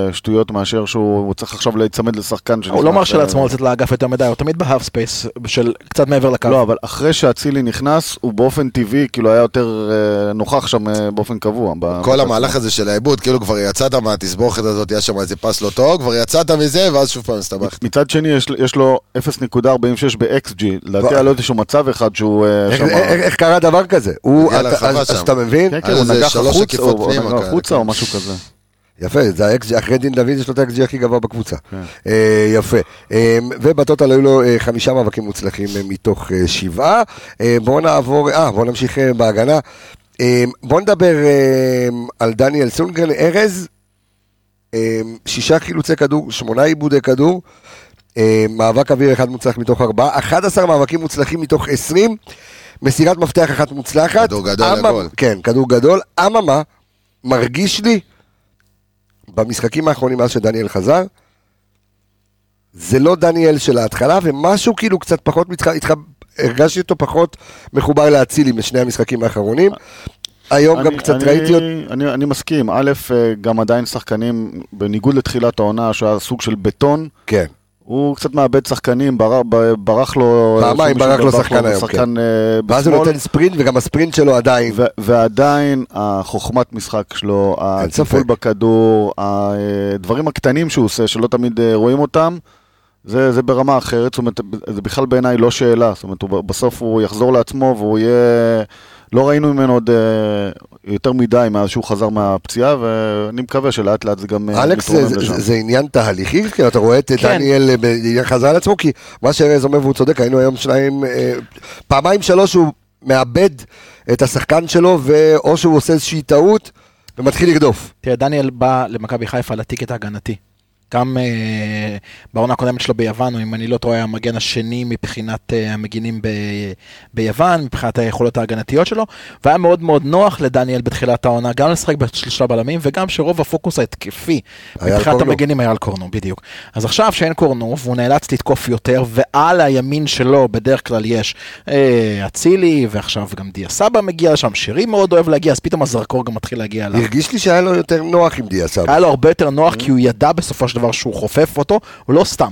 Speaker 4: אה, שטויות מאשר שהוא הוא צריך עכשיו להיצמד לשחקן שנכנס.
Speaker 6: הוא לא מרשה
Speaker 4: ל-
Speaker 6: לעצמו לצאת לאגף יותר מדי, הוא תמיד בהאב ספייס של קצת מעבר לקו.
Speaker 4: לא, אבל אחרי שאצילי נכנס, הוא באופן טבעי, כאילו היה יותר אה, נוכח שם אה, באופן קבוע. ב-
Speaker 5: כל המהלך הזה של העיבוד, כאילו כבר יצאת מהתסבוכת הזאת, היה שם איזה פס לא טוב, כבר יצאת מזה, ואז שוב פעם הסתבכת.
Speaker 4: מצד שני, יש, יש לו 0.46 ב-XG. לדעתי
Speaker 1: וואי.
Speaker 4: היה לו איזשהו מצב אחד שהוא אה,
Speaker 1: איך-
Speaker 4: שם...
Speaker 1: איך איך קרה דבר כזה? הוא,
Speaker 5: הגיע
Speaker 1: אתה-
Speaker 5: לרחבה
Speaker 1: אז-
Speaker 5: שם.
Speaker 1: אז אה, אתה מבין?
Speaker 4: כן, כן,
Speaker 5: היה
Speaker 4: הוא
Speaker 5: איזה
Speaker 4: נגח
Speaker 5: שלוש
Speaker 4: החוצה,
Speaker 5: עקיפות
Speaker 4: הוא
Speaker 5: פנימה,
Speaker 4: נגח
Speaker 5: כן,
Speaker 4: החוצה
Speaker 5: כן.
Speaker 4: או משהו כזה.
Speaker 1: יפה, זה האקס, אחרי דין דוד יש לו את האקס הכי גבוה בקבוצה. אה, יפה. אה, ובטוטל היו לו אה, חמישה מאבקים מוצלחים אה, מתוך אה, שבעה. אה, בואו נעבור, אה, בואו נמשיך אה, בהגנה. אה, בואו נדבר אה, על דניאל סונגרן ארז. אה, שישה חילוצי כדור, שמונה עיבודי כדור. אה, מאבק אוויר אחד מוצלח מתוך ארבעה. 11 מאבקים מוצלחים מתוך 20. מסירת מפתח אחת מוצלחת.
Speaker 5: כדור גדול
Speaker 1: אממה-
Speaker 5: לגול.
Speaker 1: כן, כדור גדול. אממה, מרגיש לי במשחקים האחרונים מאז שדניאל חזר, זה לא דניאל של ההתחלה, ומשהו כאילו קצת פחות, מתח... התח... הרגשתי אותו פחות מחובר לאצילי בשני המשחקים האחרונים. היום גם קצת ראיתי אותו.
Speaker 4: אני, אני, אני מסכים, א', אה, גם עדיין שחקנים, בניגוד לתחילת העונה, שהיה סוג של בטון,
Speaker 1: כן,
Speaker 4: הוא קצת מאבד שחקנים, ברח, ברח לו...
Speaker 1: פעמיים
Speaker 4: שום-
Speaker 1: ברח לו
Speaker 4: שום-
Speaker 1: שחקן היום, כן.
Speaker 4: שחקן אה,
Speaker 1: ואז הוא
Speaker 4: בשמאל,
Speaker 1: נותן ספרינט, וגם הספרינט שלו עדיין.
Speaker 4: ו- ועדיין החוכמת משחק שלו, הטיפול
Speaker 1: ספק.
Speaker 4: בכדור, הדברים הקטנים שהוא עושה, שלא תמיד אה, רואים אותם, זה, זה ברמה אחרת, זאת אומרת, זה בכלל בעיניי לא שאלה, זאת אומרת, הוא ב- בסוף הוא יחזור לעצמו והוא יהיה... לא ראינו ממנו עוד אה, יותר מדי מאז שהוא חזר מהפציעה, ואני מקווה שלאט לאט זה גם אה,
Speaker 1: אלכס, זה,
Speaker 4: יתרומם לשם.
Speaker 1: זה, זה עניין תהליכי, כאילו, אתה רואה את
Speaker 6: כן.
Speaker 1: דניאל אה, ב- חזר על עצמו, כי מה שארז אומר והוא צודק, היינו היום שניים, אה, פעמיים שלוש הוא מאבד את השחקן שלו, ואו שהוא עושה איזושהי טעות, ומתחיל לרדוף.
Speaker 6: תראה, דניאל בא למכבי חיפה על הטיקט ההגנתי. גם אה, בעונה הקודמת שלו ביוון, או אם אני לא טועה, היה המגן השני מבחינת אה, המגינים ב, ביוון, מבחינת היכולות ההגנתיות שלו, והיה מאוד מאוד נוח לדניאל בתחילת העונה, גם לשחק בשלושה בלמים, וגם שרוב הפוקוס ההתקפי
Speaker 1: היה על
Speaker 6: מבחינת
Speaker 1: קורנו.
Speaker 6: המגנים היה על קורנו, בדיוק. אז עכשיו שאין קורנו, והוא נאלץ לתקוף יותר, ועל הימין שלו בדרך כלל יש אה, אצילי, ועכשיו גם דיה סבא מגיע לשם, שירי מאוד אוהב להגיע, אז פתאום הזרקור גם מתחיל להגיע אליו.
Speaker 1: הרגיש לי שהיה לו יותר נוח עם דיה סבא.
Speaker 6: היה לו הרבה יותר נוח כי הוא ידע בסופו של דבר שהוא חופף אותו, הוא לא סתם.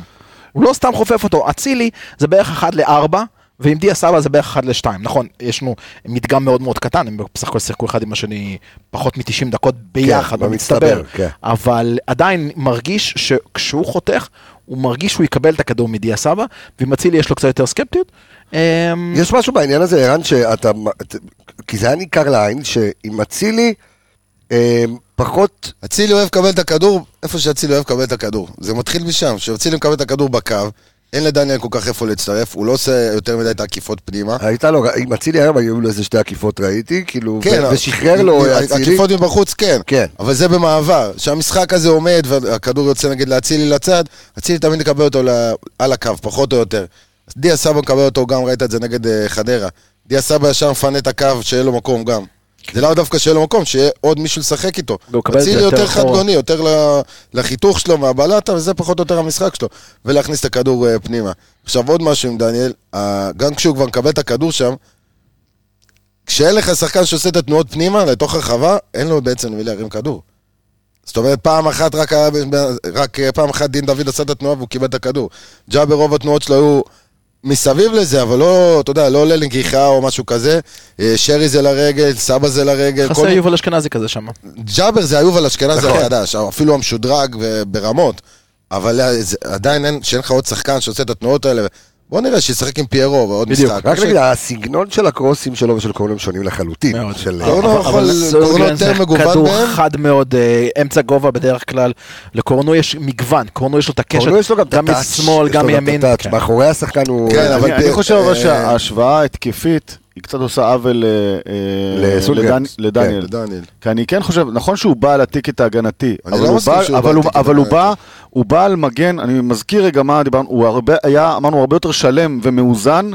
Speaker 6: הוא לא סתם חופף אותו, אצילי זה בערך 1 ל-4. ועם דיה סבא זה בערך 1 ל-2, נכון, יש לנו מדגם מאוד מאוד קטן, הם בסך הכל שיחקו אחד עם השני פחות מ-90 דקות ביחד,
Speaker 1: כן,
Speaker 6: במצטבר,
Speaker 1: במצטבר, כן.
Speaker 6: אבל עדיין מרגיש שכשהוא חותך, הוא מרגיש שהוא יקבל את הכדור מדיה סבא, ועם אצילי יש לו קצת יותר סקפטיות. אמ,
Speaker 1: יש משהו בעניין הזה, ערן, שאתה... כי זה היה ניכר לעין, שעם אצילי, אה, פחות...
Speaker 5: אצילי אוהב לקבל את הכדור, איפה שאצילי אוהב לקבל את הכדור. זה מתחיל משם, כשאצילי מקבל את הכדור בקו, אין לדניאל כל כך איפה להצטרף, הוא לא עושה יותר מדי את העקיפות פנימה.
Speaker 1: הייתה לו, עם אצילי היום היו לו איזה שתי עקיפות ראיתי, כאילו,
Speaker 5: כן,
Speaker 1: ו- ושחרר לו אצילי.
Speaker 5: עקיפות מבחוץ, כן.
Speaker 1: כן.
Speaker 5: אבל זה במעבר. כשהמשחק הזה עומד והכדור יוצא נגיד לאצילי לצד, אצילי תמיד יקבל אותו ל- על הקו, פחות או יותר. אז דיה סבא מקבל אותו גם, ראית את זה נגד אה, חדרה. דיה סבא ישר מפנה את הקו, שיהיה לו מקום גם. זה לאו דווקא שיהיה לו מקום, שיהיה עוד מישהו לשחק איתו.
Speaker 6: והוא מקבל את זה
Speaker 5: אצילי
Speaker 6: יותר נכון.
Speaker 5: יותר
Speaker 6: אחורה.
Speaker 5: חדגוני, יותר ל- לחיתוך שלו מהבלטה, וזה פחות או יותר המשחק שלו. ולהכניס את הכדור אה, פנימה. עכשיו עוד משהו עם דניאל, אה, גם כשהוא כבר מקבל את הכדור שם, כשאין לך שחקן שעושה את התנועות פנימה לתוך הרחבה, אין לו בעצם למי להרים כדור. זאת אומרת, פעם אחת, רק, היה ב- ב- רק אה, פעם אחת דין דוד עשה את התנועה והוא קיבל את הכדור. ג'אבר, רוב התנועות שלו היו מסביב לזה, אבל לא, אתה יודע, לא עולה לגיחה או משהו כזה. אה, שרי זה לרגל, סבא זה לרגל.
Speaker 6: חסר
Speaker 5: כל...
Speaker 6: יובל אשכנזי כזה שם.
Speaker 5: ג'אבר זה היובל אשכנזי
Speaker 4: נכון.
Speaker 5: החדש, אפילו המשודרג אה, ברמות. אבל אה, זה- עדיין אין, שאין לך עוד שחקן שעושה את התנועות האלה. בוא נראה, שישחק עם פיירו ועוד
Speaker 1: בדיוק,
Speaker 5: משחק.
Speaker 1: רק
Speaker 5: ש-
Speaker 1: נגיד, הסגנון של הקרוסים שלו ושל קורנם שונים לחלוטין.
Speaker 6: מאוד.
Speaker 1: של- אה,
Speaker 5: קורנו
Speaker 6: אה, אבל-
Speaker 5: יכול-
Speaker 6: אבל
Speaker 5: קורנו
Speaker 6: סולגרן
Speaker 5: יותר
Speaker 6: זה
Speaker 5: מגוון
Speaker 6: כדור
Speaker 5: מהם?
Speaker 6: חד מאוד, אה, אמצע גובה בדרך כלל. לקורנו יש מגוון, קורנו יש לו את הקשר,
Speaker 1: קורנו יש לו גם את
Speaker 6: גם
Speaker 1: הטאץ',
Speaker 6: משמאל,
Speaker 1: יש לו
Speaker 6: גם
Speaker 1: את
Speaker 6: מימין.
Speaker 1: הטאץ'.
Speaker 6: כן.
Speaker 1: מאחורי השחקן הוא...
Speaker 5: כן, אבל
Speaker 4: אני, אני
Speaker 5: ב-
Speaker 4: חושב אבל
Speaker 5: אה,
Speaker 4: שההשוואה ההתקפית היא קצת עושה עוול אה, אה,
Speaker 1: לסולגרן.
Speaker 4: לדני- לדניאל.
Speaker 5: כן, לדניאל.
Speaker 4: כי אני כן חושב, נכון שהוא בא על הטיקט ההגנתי,
Speaker 5: אני
Speaker 4: אבל
Speaker 5: לא
Speaker 4: הוא
Speaker 5: מסכים
Speaker 4: בא-
Speaker 5: שהוא בא
Speaker 4: אבל
Speaker 5: על
Speaker 4: הוא-
Speaker 5: הטיקט
Speaker 4: אבל הוא בא,
Speaker 5: ההגנתי.
Speaker 4: הוא בא על מגן, אני מזכיר רגע מה דיברנו, הוא הרבה, היה, אמרנו, הרבה יותר שלם ומאוזן,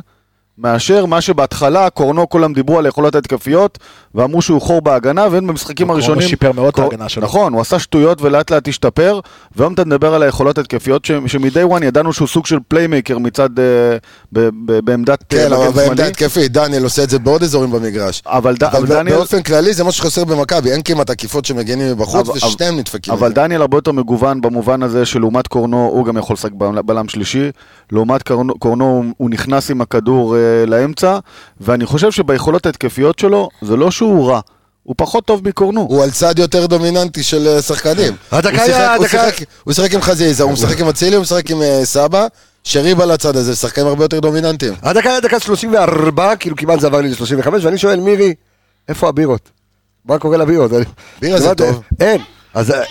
Speaker 4: מאשר מה שבהתחלה, קורנו כולם דיברו על היכולות ההתקפיות, ואמרו שהוא חור בהגנה, ואין במשחקים
Speaker 6: קורנו
Speaker 4: הראשונים...
Speaker 6: שיפר מאוד את
Speaker 4: קור-
Speaker 6: ההגנה שלו.
Speaker 4: נכון, הוא עשה שטויות ולאט לאט השתפר, והיום אתה מדבר על היכולות ההתקפיות, ש- שמ-day one ידענו שהוא סוג של פליימייקר מצד... אה, ב- ב- בעמדת אה,
Speaker 5: כן, אבל
Speaker 4: מגן
Speaker 5: בעמדה
Speaker 4: שמאלי. אה,
Speaker 5: התקפית, דניאל עושה את זה בעוד אזורים במגרש.
Speaker 4: אבל ד- אבל
Speaker 5: אבל
Speaker 4: דניאל...
Speaker 5: באופן כללי זה מה שחסר במכבי, אין כמעט עקיפות שמגנים מבחוץ
Speaker 4: אבל-
Speaker 5: ושניהם נדפקים.
Speaker 4: כן. אבל
Speaker 5: מזה.
Speaker 4: דניאל הרבה יותר מגוון במובן הזה שלעומת קורנו הוא גם יכול לשחק בל- בלם שלישי, לעומת קורנו- קורנו הוא- הוא נכנס עם הכדור אה, לאמצע, ואני חושב שביכולות ההתקפיות שלו זה לא שהוא רע, הוא פחות טוב מקורנו.
Speaker 5: הוא על צד יותר דומיננטי של אה, שחקנים.
Speaker 1: הדקה
Speaker 5: הוא שיחק-
Speaker 1: היה-
Speaker 5: הוא
Speaker 1: הדקה-
Speaker 5: שיחק- הוא שיחק עם חזיזה, הוא משחק עם אצילי, הוא משחק עם אה, סבא, שריבה לצד הזה, שחקנים הרבה יותר דומיננטיים.
Speaker 1: הדקה היה דקה 34, כאילו כמעט זה עבר לי ל-35, ואני שואל, מירי, איפה הבירות? מה קורה לבירות?
Speaker 5: בירה זה
Speaker 1: כמעט,
Speaker 5: טוב.
Speaker 1: אין. אז אה,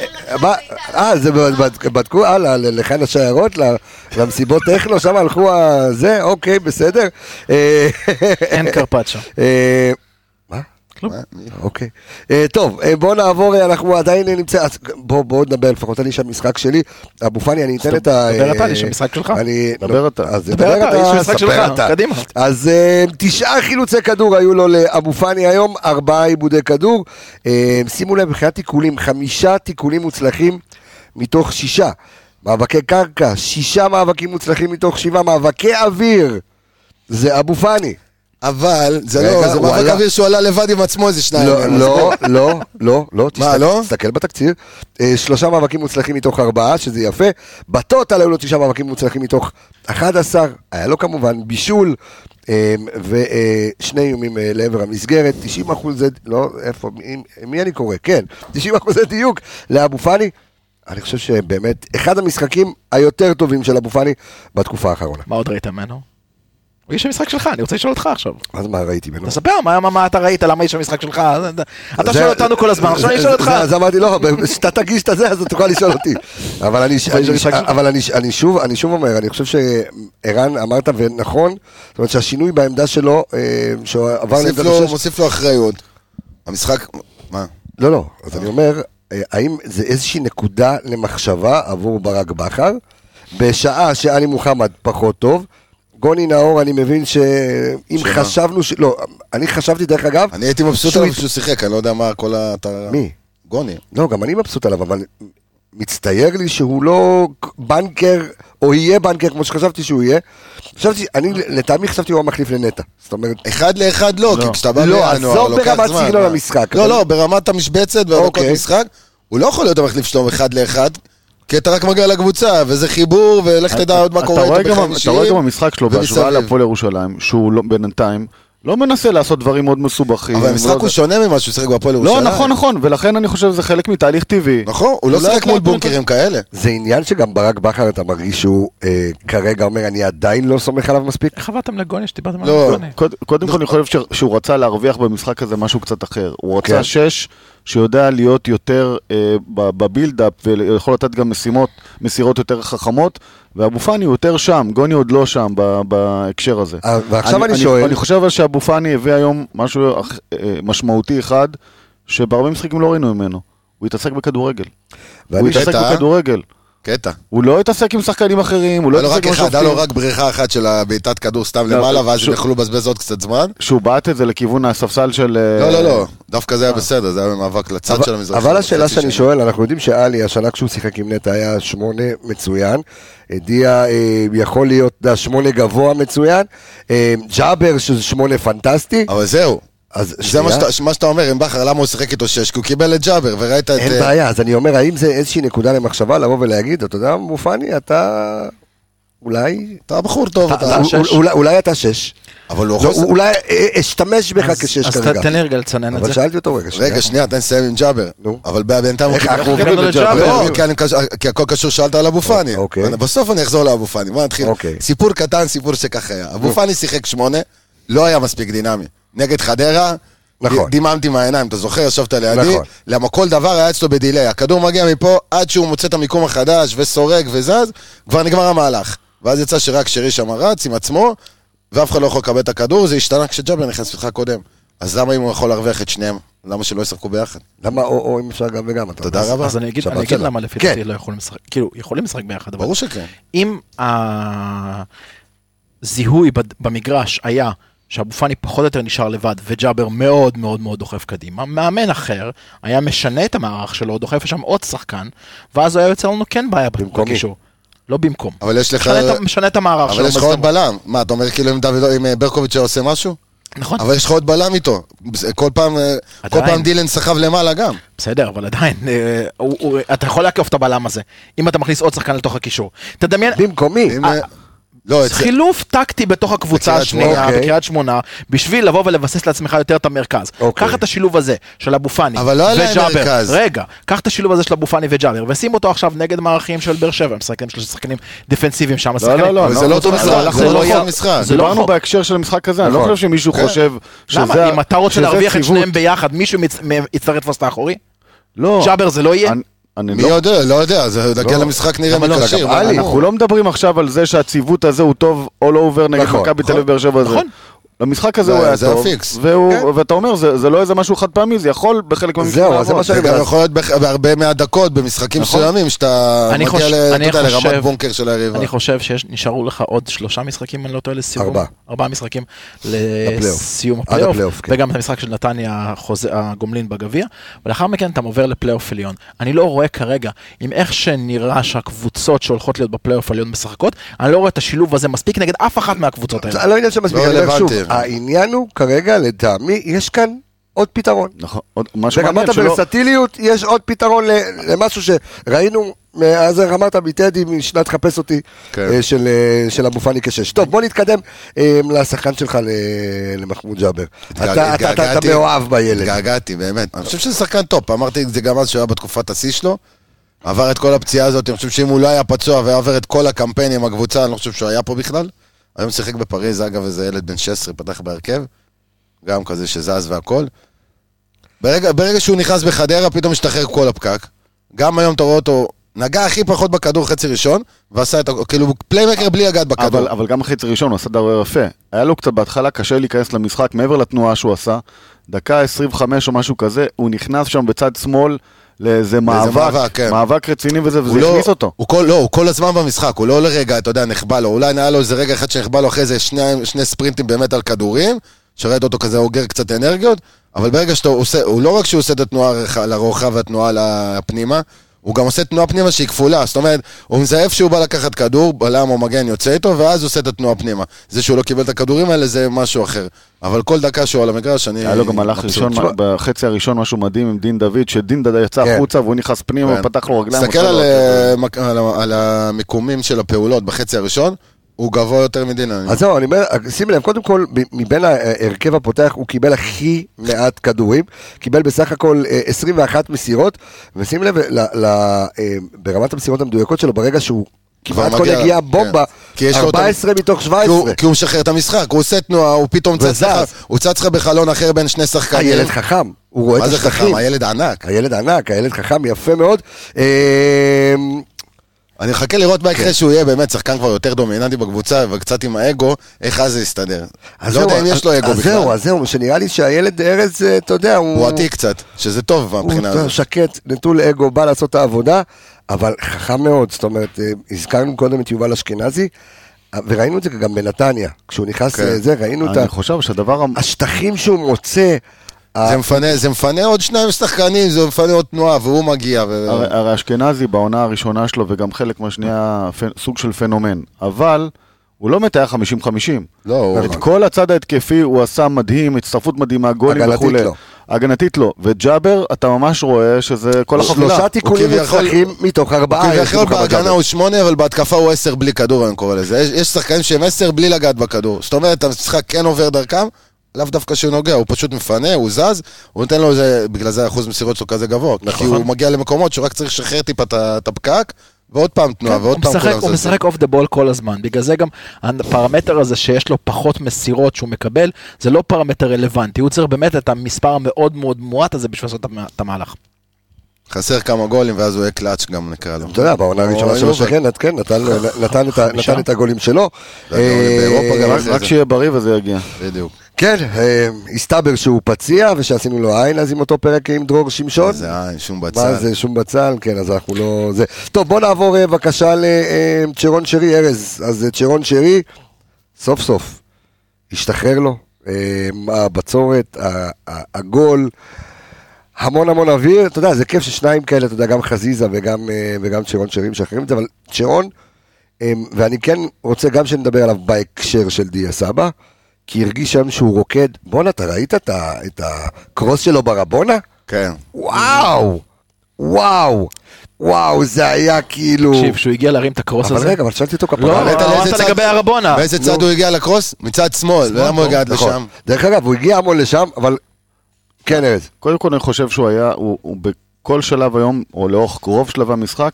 Speaker 1: מה, אה, זה בד- בדקו, אה, ל- ל- לכאן השיירות, ל- למסיבות טכנו, שם הלכו ה... זה, אוקיי, בסדר. אה,
Speaker 6: אין קרפצ'ו.
Speaker 1: אה, מה?
Speaker 6: כלום.
Speaker 1: אוקיי. אה, טוב, אה, בואו נעבור, אה, אנחנו עדיין נמצא... אז בואו בואו נדבר, לפחות אני שם משחק שלי. אבו פאני, אני אתן את ה...
Speaker 6: דבר אתה,
Speaker 1: אה,
Speaker 6: יש שם משחק שלך.
Speaker 1: אני...
Speaker 4: דבר
Speaker 1: לא,
Speaker 4: אתה.
Speaker 1: אז
Speaker 6: דבר אתה, יש שם משחק
Speaker 1: ספר
Speaker 6: שלך,
Speaker 1: אתה.
Speaker 6: קדימה.
Speaker 1: אז אה, תשעה חילוצי כדור היו לו לאבו פאני היום, ארבעה עיבודי כדור. אה, שימו לב, מבחינת תיקולים, חמישה תיקולים מוצלחים מתוך שישה. מאבקי קרקע, שישה מאבקים מוצלחים מתוך שבעה, מאבקי אוויר. זה אבו פאני.
Speaker 5: אבל, זה
Speaker 1: רגע,
Speaker 5: לא, זה
Speaker 1: הוא
Speaker 5: מאבק
Speaker 1: עלה-
Speaker 5: אוויר שהוא עלה לבד עם עצמו איזה שניים.
Speaker 1: לא,
Speaker 5: מהם, אז
Speaker 1: לא,
Speaker 5: בוא.
Speaker 1: לא, לא, לא, תסתכל-
Speaker 5: לא?
Speaker 1: תסתכל בתקציר. אה, שלושה מאבקים מוצלחים מתוך ארבעה, שזה יפה. בטוטל היו לו תשעה מאבקים מוצלחים מתוך 11, היה לו כמובן בישול, ושני איומים אה, לעבר המסגרת, 90 אחוז, לא, איפה, מי- מי אני קורא? כן, 90 אחוזי דיוק לאבו פאני. אני חושב שבאמת, אחד המשחקים היותר טובים של אבו פאני בתקופה האחרונה.
Speaker 6: מה עוד ראית ממנו? הוא איש המשחק שלך, אני רוצה לשאול אותך עכשיו.
Speaker 1: אז מה ראיתי ממנו?
Speaker 6: תספר מה- מה- מה אתה ראית, למה איש המשחק שלך?
Speaker 1: זה-
Speaker 6: אתה שואל אותנו כל הזמן,
Speaker 1: זה-
Speaker 6: עכשיו אני
Speaker 1: זה-
Speaker 6: שואל אותך.
Speaker 1: זה- אז אמרתי, לא, כשאתה תגיש את הזה, אז אתה תוכל לשאול אותי. אבל אני- אני-
Speaker 6: זה משחק שלך.
Speaker 1: אבל אני- אני שוב אני שוב אומר, אני חושב שערן אמרת ונכון, זאת אומרת שהשינוי בעמדה שלו, אה, שהוא עבר
Speaker 5: מוסיף
Speaker 1: לעמדה
Speaker 5: לו-
Speaker 1: לשש-
Speaker 5: מוסיף לו אחריות. המשחק, מה?
Speaker 1: לא, לא, אז אני אומר, אה, האם זה איזושהי נקודה למחשבה עבור ברק בכר, בשעה שאלי מוחמד פחות טוב, גוני נאור, אני מבין שאם
Speaker 5: שמה?
Speaker 1: חשבנו, ש- לא, אני חשבתי דרך אגב,
Speaker 5: אני הייתי מבסוט
Speaker 1: שהוא
Speaker 5: עליו
Speaker 1: הת-
Speaker 5: שהוא שיחק, אני לא יודע מה כל ה... אתה-
Speaker 1: מי?
Speaker 5: גוני.
Speaker 1: לא, גם אני מבסוט עליו, אבל מצטייר לי שהוא לא בנקר, או יהיה בנקר כמו שחשבתי שהוא יהיה. חשבתי, אני לטעמי חשבתי הוא המחליף לנטע. זאת אומרת,
Speaker 5: אחד לאחד לא, כי כשאתה בא
Speaker 1: לא,
Speaker 5: בינואר,
Speaker 1: עזוב
Speaker 5: לוקח
Speaker 1: ברמת
Speaker 5: זמן,
Speaker 1: סגנון
Speaker 5: מה?
Speaker 1: המשחק,
Speaker 5: לא,
Speaker 1: אבל-
Speaker 5: לא, ברמת המשבצת והדקות
Speaker 1: אוקיי.
Speaker 5: משחק, הוא לא יכול להיות המחליף שלו אחד לאחד, כי אתה רק מגיע לקבוצה, וזה חיבור, ולך תדע לא עוד מה
Speaker 4: אתה
Speaker 5: קורה
Speaker 4: רואה
Speaker 5: איתו
Speaker 4: גם-
Speaker 5: בחיים
Speaker 4: אתה רואה גם במשחק שלו בהשוואה
Speaker 5: ומסביב.
Speaker 4: להפועל ירושלים, שהוא לא- בינתיים לא מנסה לעשות דברים מאוד מסובכים.
Speaker 5: אבל המשחק
Speaker 4: ולא-
Speaker 5: הוא שונה ממה שהוא שיחק בהפועל
Speaker 4: לא,
Speaker 5: ירושלים.
Speaker 4: נכון, נכון, ולכן אני חושב שזה חלק מתהליך טבעי.
Speaker 5: נכון, הוא לא
Speaker 4: אולי
Speaker 5: שיחק
Speaker 4: לא
Speaker 5: מול
Speaker 4: נתנו
Speaker 5: בונקרים כאלה.
Speaker 1: זה עניין שגם ברק בכר, אתה מרגיש שהוא אה, כרגע אומר, אני עדיין לא סומך עליו מספיק?
Speaker 6: איך עברתם לגוני שדיברתם על
Speaker 5: לא.
Speaker 6: גוני?
Speaker 4: קוד- קודם כל אני חושב ש- שהוא רצה להרוויח במשחק הזה משהו קצת אחר. הוא
Speaker 1: כן.
Speaker 4: רצה שש שיודע להיות יותר אה, ב- בבילדאפ ויכול לתת גם משימות, מסירות יותר חכמות, ואבו פאני הוא יותר שם, גוני עוד לא שם ב- בהקשר הזה.
Speaker 1: אה, ועכשיו אני שואל-
Speaker 4: אני חושב אבל שאבו פאני הביא היום משהו אח- אה, משמעותי אחד, שבהרבה משחקים לא ראינו ממנו. הוא התעסק בכדורגל. הוא
Speaker 1: ואני-
Speaker 4: התעסק
Speaker 5: קטע.
Speaker 4: בכדורגל.
Speaker 5: קטע.
Speaker 4: הוא לא התעסק עם שחקנים אחרים, הוא לא
Speaker 5: היה לו רק
Speaker 4: התעסק עם
Speaker 5: אחד, היה לו
Speaker 4: השופטים.
Speaker 5: רק בריחה אחת של הבעיטת כדור סתם
Speaker 4: לא,
Speaker 5: למעלה, ואז הם
Speaker 4: שוב-
Speaker 5: יכלו לבזבז עוד קצת זמן.
Speaker 4: שהוא בעט את זה לכיוון הספסל של... אה,
Speaker 5: לא, לא, לא, דווקא זה היה בסדר, זה היה מאבק לצד של
Speaker 1: אה, אבל,
Speaker 5: המזרחים.
Speaker 1: אבל השאלה
Speaker 5: בחצי
Speaker 1: שאני
Speaker 5: שנה.
Speaker 1: שואל, אנחנו יודעים שאלי, השנה כשהוא שיחק עם נטע היה שמונה מצוין, דיה אה, יכול להיות אתה יודע, שמונה גבוה מצוין, אה, ג'אבר שזה שמונה פנטסטי,
Speaker 5: אבל זהו,
Speaker 1: אז
Speaker 5: זה
Speaker 1: שנייה.
Speaker 5: מה שאתה- מה שאתה אומר, עם בכר, למה הוא שיחק איתו שש? כי הוא קיבל את ג'אבר, וראית את...
Speaker 1: אין
Speaker 5: אה,
Speaker 1: בעיה, אז אני אומר, האם זה איזושהי נקודה למחשבה לבוא ולהגיד, אתה יודע, מופני, אתה... אולי...
Speaker 5: אתה בחור טוב, אתה...
Speaker 1: אולי- אולי- אולי אתה שש.
Speaker 5: אבל הוא
Speaker 1: לא,
Speaker 5: אוחז...
Speaker 1: אולי אה, אשתמש בך
Speaker 6: אוקיי. אז-
Speaker 1: כשש
Speaker 6: אז
Speaker 1: כרגע.
Speaker 6: ת- תן לי רגע לצנן את
Speaker 1: אבל
Speaker 6: זה.
Speaker 1: שאלתי אותו רגע. שנייה.
Speaker 5: רגע, שנייה, תן לסיים עם ג'אבר.
Speaker 1: נו.
Speaker 5: אבל בינתיים הוא
Speaker 1: איך
Speaker 5: קיבל...
Speaker 1: אנחנו עוברים
Speaker 6: הגענו
Speaker 1: לג'אבר?
Speaker 6: אוקיי,
Speaker 5: לא, כי אני קש- כי הכל קשור, שאלת על אבו פאני.
Speaker 1: אוקיי.
Speaker 5: אבל בסוף אני אחזור לאבו פאני, בוא נתחיל.
Speaker 1: אוקיי.
Speaker 5: סיפור קטן, סיפור שככה היה. אבו פאני שיחק שמונה, לא היה מספיק דינמי. נגד חדרה,
Speaker 1: נכון.
Speaker 5: ד- דיממתי מהעיניים, אתה זוכר? ישבת לידי.
Speaker 1: נכון.
Speaker 5: למה כל דבר היה אצלו בדיליי. הכדור מגיע מפה, עד שהוא מוצא את המיקום החדש, וסורק וזז, כבר נגמר המהלך. ואז יצא שרק שרי שם רץ עם עצמו, ואף אחד לא יכול לקבל את הכדור, זה השתנה כשג'אבר נכנס לך קודם. אז למה אם הוא יכול להרוויח את שניהם? למה שלא ישחקו ביחד?
Speaker 1: למה או או אם אפשר גם וגם? אתה
Speaker 5: תודה
Speaker 1: יודע.
Speaker 5: רבה.
Speaker 6: אז אני אגיד,
Speaker 5: שבת
Speaker 6: אני אגיד
Speaker 5: שלום.
Speaker 6: למה לפי
Speaker 1: כן.
Speaker 6: דעתי לא יכולים לשחק, כאילו, יכולים לשחק ביחד, אבל
Speaker 5: ברור שכן.
Speaker 6: אם הזיהוי בד- במגרש היה שאבו פאני פחות או יותר נשאר לבד וג'אבר מאוד מאוד מאוד דוחף קדימה, מאמן אחר היה משנה את המערך שלו, דוחף לשם עוד שחקן, ואז היה יוצא לנו כן בעיה
Speaker 1: במקומי.
Speaker 6: בקישור. לא במקום.
Speaker 5: אבל יש לך...
Speaker 6: משנה את ה- משנה את המערך שלו.
Speaker 5: אבל יש לך עוד
Speaker 6: בהזדמנות.
Speaker 5: בלם. מה, אתה אומר כאילו אם דוד- אם אה, ברקוביץ' היה עושה משהו?
Speaker 6: נכון,
Speaker 5: אבל יש לך עוד בלם איתו. זה- כל פעם, אה, כל
Speaker 6: עדיין.
Speaker 5: פעם דילן סחב למעלה גם.
Speaker 6: בסדר, אבל עדיין, אה, הוא- הוא- אתה יכול לעקוף את הבלם הזה, אם אתה מכניס עוד שחקן לתוך הקישור. תדמיין,
Speaker 1: במקומי.
Speaker 5: אם, אה, לא,
Speaker 6: זה
Speaker 5: אצל-
Speaker 6: חילוף טקטי בתוך הקבוצה
Speaker 5: בקריית שמונה,
Speaker 6: השנייה,
Speaker 1: אוקיי.
Speaker 6: בקריית שמונה, בשביל לבוא ולבסס לעצמך יותר את המרכז.
Speaker 1: אוקיי.
Speaker 6: קח את השילוב הזה של אבו פאני
Speaker 5: אבל לא היה להם
Speaker 6: וג'אבר.
Speaker 5: מרכז.
Speaker 6: רגע, קח את השילוב הזה של אבו פאני וג'אבר, ושים אותו עכשיו נגד מערכים של באר שבע, הם משחקים שלושה שחקנים דפנסיביים שם. שחקנים-
Speaker 4: לא, לא,
Speaker 5: אבל זה לא אותו
Speaker 4: אנחנו-
Speaker 5: משחק,
Speaker 4: אנחנו
Speaker 5: זה לא
Speaker 4: לא-
Speaker 5: אותו משחק.
Speaker 6: זה לא
Speaker 4: דיברנו
Speaker 6: חוק.
Speaker 4: בהקשר של המשחק הזה, אני לא
Speaker 1: נכון.
Speaker 4: חושב שמישהו חושב שזה...
Speaker 6: למה? אם אתה רוצה
Speaker 4: שזה
Speaker 6: להרוויח את
Speaker 4: ציוות.
Speaker 6: שניהם ביחד, מישהו מצ- מהם יצטרך לתפוס את האחורי?
Speaker 4: לא.
Speaker 6: ג'אבר זה לא יהיה?
Speaker 4: אני- אני
Speaker 5: מי
Speaker 4: לא-
Speaker 5: יודע, לא יודע, זה- נגיע למשחק נראה
Speaker 1: למה
Speaker 5: מי
Speaker 1: לא?
Speaker 5: כשיר.
Speaker 1: גם
Speaker 5: מה,
Speaker 1: עלי.
Speaker 5: ברור.
Speaker 4: אנחנו לא מדברים עכשיו על זה שהציוות הזה הוא טוב all over נגד
Speaker 1: נכון,
Speaker 4: מכבי תל
Speaker 1: נכון.
Speaker 4: אביב באר שבע הזה.
Speaker 6: נכון.
Speaker 4: למשחק הזה
Speaker 5: זה-
Speaker 4: הוא היה
Speaker 5: זה
Speaker 4: טוב,
Speaker 5: הפיקס.
Speaker 4: והוא-
Speaker 1: כן.
Speaker 4: ואתה אומר, זה זה לא איזה משהו חד פעמי, זה יכול בחלק מהמשחק
Speaker 1: זהו, אז זה מה
Speaker 5: זה
Speaker 1: שאני
Speaker 5: גם
Speaker 1: אומר.
Speaker 5: יכול להיות בח- בהרבה מהדקות, במשחקים מסוימים, שאתה
Speaker 6: אני
Speaker 5: מגיע
Speaker 6: חושב-
Speaker 5: ל- אתה
Speaker 6: אני
Speaker 5: יודע, לרמת
Speaker 6: חושב-
Speaker 5: בונקר של היריבה.
Speaker 6: אני חושב שנשארו לך עוד שלושה משחקים, אני לא טועה, לסיום.
Speaker 1: ארבעה.
Speaker 6: ארבעה משחקים
Speaker 1: לפלייאוף.
Speaker 6: לסיום
Speaker 1: עד
Speaker 6: הפלייאוף.
Speaker 1: הפלייאוף, כן.
Speaker 6: וגם את המשחק של נתניה, החוז- הגומלין בגביע. ולאחר מכן אתה עובר לפלייאוף עליון. אני לא רואה כרגע, עם איך שנראה שהקבוצות שהולכות להיות בפלייאוף עליון משחקות, אני לא רואה את השילוב הזה מספיק נגד אף אחת מהקבוצות האלה.
Speaker 1: זה לא עניין של מספיק,
Speaker 5: לא
Speaker 1: אני אומר שוב,
Speaker 5: רלוונטי.
Speaker 1: העניין הוא כרגע, לטעמי, יש כאן עוד פתרון.
Speaker 4: נכון, עוד משהו
Speaker 1: ברמת
Speaker 4: מעניין שלא...
Speaker 1: הוורסטיליות, יש עוד פתרון ל- למשהו שראינו, אה, אז איך אמרת מטדי משנת חפש אותי,
Speaker 5: כן.
Speaker 1: אה, של, אה, של אבו פאני כשש. טוב, בוא נתקדם אה, לשחקן שלך, ל- למחמוד ג'אבר. אתה- אתה- אתה אתה
Speaker 5: התגעגעתי.
Speaker 1: מאוהב בילד.
Speaker 5: התגעגעתי, באמת. אני חושב שזה שחקן טופ, אמרתי את זה גם אז שהוא היה בתקופת השיא שלו. עבר את כל הפציעה הזאת, אני חושב שאם הוא לא היה פצוע והיה עובר את כל הקמפיין עם הקבוצה, אני לא חושב שהוא היה פה בכלל. היום שיחק בפריז, אגב, איזה ילד בן 16 פתח בהרכב. גם כזה שזז והכל. ברגע, ברגע שהוא נכנס בחדרה, פתאום השתחרר כל הפקק. גם היום אתה רואה אותו, נגע הכי פחות בכדור חצי ראשון, ועשה את ה... כאילו, הוא פליימקר בלי לגעת בכדור.
Speaker 4: אבל, אבל גם החצי הראשון הוא עשה דבר יפה. היה לו קצת בהתחלה קשה להיכנס למשחק מעבר לתנועה שהוא עשה. דקה 25 או משהו כזה, הוא נכנס שם בצד שמאל לאיזה מאבק,
Speaker 5: מאבק, כן.
Speaker 4: מאבק רציני וזה, וזה
Speaker 5: הוא
Speaker 4: הכניס אותו.
Speaker 5: הוא כל, לא, הוא כל הזמן במשחק, הוא לא לרגע, אתה יודע, נחבא לו. אולי היה לו איזה רגע אחד שנחבא לו אחרי זה שני, שני ספרינטים באמת על כדורים, שראית אותו כזה אוגר קצת אנרגיות, אבל ברגע שאתה עושה, הוא לא רק שהוא עושה את התנועה הרח- לרוחב והתנועה לפנימה, הוא גם עושה תנועה פנימה שהיא כפולה, זאת אומרת, הוא מזייף שהוא בא לקחת כדור, בלם או מגן יוצא איתו, ואז הוא עושה את התנועה פנימה. זה שהוא לא קיבל את הכדורים האלה זה משהו אחר. אבל כל דקה שהוא על המגרש, אני...
Speaker 4: היה לו גם מהלך
Speaker 5: מבסוט.
Speaker 4: ראשון,
Speaker 5: אה, תשמע,
Speaker 4: בחצי הראשון משהו מדהים עם דין דוד, שדין דוד יצא
Speaker 1: כן.
Speaker 4: החוצה והוא נכנס פנימה
Speaker 5: כן.
Speaker 4: ופתח לו רגליים.
Speaker 5: תסתכל
Speaker 4: עושה לו
Speaker 5: על,
Speaker 4: כזה.
Speaker 5: אה, מק- על ה- על המיקומים של הפעולות בחצי הראשון, הוא גבוה יותר מדינן. אני
Speaker 1: אז זהו, אני אומר, אה, שים לב, קודם כל, ב- מבין ההרכב הפותח, הוא קיבל הכי מעט כדורים, קיבל בסך הכל אה, 21 מסירות, ושים לב, ל- ל- אה, ברמת המסירות המדויקות שלו, ברגע שהוא
Speaker 5: כבר
Speaker 1: כמעט כל
Speaker 5: מגיע,
Speaker 1: הגיעה
Speaker 5: כן.
Speaker 1: בומבה,
Speaker 5: כי יש לו את ה-
Speaker 1: 14 מתוך
Speaker 5: כי הוא-
Speaker 1: 17.
Speaker 5: כי הוא משחרר את המשחק, הוא עושה תנועה, הוא פתאום צץ
Speaker 1: וזז.
Speaker 5: לך, הוא צץ לך בחלון אחר בין שני שחקנים.
Speaker 1: הילד חכם, הוא רואה
Speaker 5: מה
Speaker 1: את
Speaker 5: זה
Speaker 1: השטחים.
Speaker 5: חכם? הילד ענק.
Speaker 1: הילד ענק, הילד חכם, יפה מאוד. אה,
Speaker 5: אני מחכה לראות מה
Speaker 1: כן.
Speaker 5: יקרה שהוא יהיה באמת שחקן כבר יותר דומיננטי בקבוצה, וקצת עם האגו, איך אז זה יסתדר.
Speaker 1: אז
Speaker 5: לא יודע
Speaker 1: זהו,
Speaker 5: אם יש לו
Speaker 1: אז-
Speaker 5: אגו
Speaker 1: אז זהו,
Speaker 5: בכלל.
Speaker 1: אז זהו, שנראה לי שהילד ארז, אה, אתה יודע,
Speaker 5: הוא עתיק קצת, שזה טוב
Speaker 1: הוא
Speaker 5: מהבחינה הזאת.
Speaker 1: שקט, נטול אגו, בא לעשות את העבודה, אבל חכם מאוד, זאת אומרת, אה, הזכרנו קודם את יובל אשכנזי, אה, וראינו את זה גם בנתניה, כשהוא נכנס
Speaker 5: כן.
Speaker 1: לזה, ראינו את ה-
Speaker 4: אני חושב שהדבר...
Speaker 5: אה,
Speaker 4: המ-
Speaker 1: השטחים שהוא מוצא, ה-
Speaker 5: זה מפנה- זה מפנה עוד שניים שחקנים, זה מפנה עוד תנועה, והוא מגיע. ו-
Speaker 4: הרי- הרי אשכנזי בעונה הראשונה שלו, וגם חלק מהשנייה, פ- סוג של פנומן. אבל הוא לא מתאר 50-50.
Speaker 5: לא, הוא...
Speaker 4: את כל הצד ההתקפי הוא עשה מדהים, הצטרפות מדהימה, גולים
Speaker 1: הגנתית
Speaker 4: וכולי.
Speaker 1: לא.
Speaker 4: הגנתית לא. וג'אבר, אתה ממש רואה שזה כל החבילה.
Speaker 1: שלושה תיקונים
Speaker 5: כביכול-
Speaker 1: מוצלחים מתוך ארבעה. אה, יש
Speaker 5: כביכול
Speaker 1: למוחמד
Speaker 5: בהגנה
Speaker 1: ג'אבר.
Speaker 5: הוא שמונה, אבל בהתקפה הוא עשר בלי כדור, אני קורא לזה. יש- יש שחקנים שהם עשר בלי לגעת בכדור. זאת אומרת, המשחק כן עובר דרכם, לאו דווקא שהוא נוגע, הוא פשוט מפנה, הוא זז, הוא נותן לו איזה, בגלל זה האחוז מסירות שלו כזה גבוה. כי הוא מגיע למקומות שהוא רק צריך לשחרר טיפה את ה- את הפקק, ועוד פעם
Speaker 1: לא,
Speaker 5: תנועה,
Speaker 6: כן,
Speaker 5: ועוד
Speaker 6: הוא
Speaker 5: פעם
Speaker 6: משחק-
Speaker 5: כולם
Speaker 6: הוא
Speaker 5: זזים.
Speaker 6: משחק אוף דה בול כל הזמן, בגלל זה גם הפרמטר הזה שיש לו פחות מסירות שהוא מקבל, זה לא פרמטר רלוונטי, הוא צריך באמת את המספר המאוד מאוד מועט הזה בשביל לעשות את המ- את המהלך.
Speaker 5: חסר כמה גולים, ואז הוא יהיה קלאץ' גם נקרא לו.
Speaker 1: אתה יודע, בעונה
Speaker 5: או
Speaker 1: הראשונה שלו
Speaker 5: יובל.
Speaker 1: שכן, כן, נתן- נתן את ה-
Speaker 6: חמישה.
Speaker 1: נתן את הגולים שלו.
Speaker 5: והגולים באירופה גם
Speaker 1: אה,
Speaker 4: רק-
Speaker 5: אחרי
Speaker 4: רק
Speaker 5: זה.
Speaker 4: שיהיה בריא וזה יגיע.
Speaker 5: בדיוק.
Speaker 1: כן, אה, הסתבר שהוא פציע, ושעשינו לו עין אז עם אותו פרק עם דרור שמשון.
Speaker 5: זה אה, אין שום
Speaker 1: מה
Speaker 5: בצד.
Speaker 1: זה, שום בצל? כן, אז אנחנו לא... זה. טוב, בוא נעבור אה, בבקשה לצ'רון שרי, ארז. אז אה, צ'רון שרי, סוף סוף, השתחרר לו. אה, הבצורת, ה- ה- הגול, המון המון אוויר. אתה יודע, זה כיף ששניים כאלה, אתה יודע, גם חזיזה וגם, אה, וגם צ'רון שרי משחררים את זה, אבל צ'רון, אה, ואני כן רוצה גם שנדבר עליו בהקשר של דיה סבא. כי הרגיש היום שהוא רוקד, בואנה, אתה ראית את ה- את הקרוס שלו ברבונה?
Speaker 5: כן.
Speaker 1: וואו, וואו, וואו, זה היה כאילו...
Speaker 6: תקשיב, כשהוא הגיע להרים את הקרוס הזה,
Speaker 1: אבל רגע, אבל שאלתי אותו
Speaker 6: לא,
Speaker 1: כפרה.
Speaker 5: העלית
Speaker 1: רגע,
Speaker 5: לאיזה
Speaker 6: אמרת
Speaker 5: צד?
Speaker 6: לגבי הרבונה.
Speaker 5: באיזה
Speaker 1: נו.
Speaker 5: צד הוא הגיע לקרוס? מצד שמאל, למה הוא הגעת
Speaker 1: נכון.
Speaker 5: לשם?
Speaker 1: דרך אגב, הוא הגיע המון לשם, אבל... כן, ארז.
Speaker 4: קודם כל אני חושב שהוא היה, הוא, הוא בכל שלב היום, או לאורך רוב שלבי המשחק,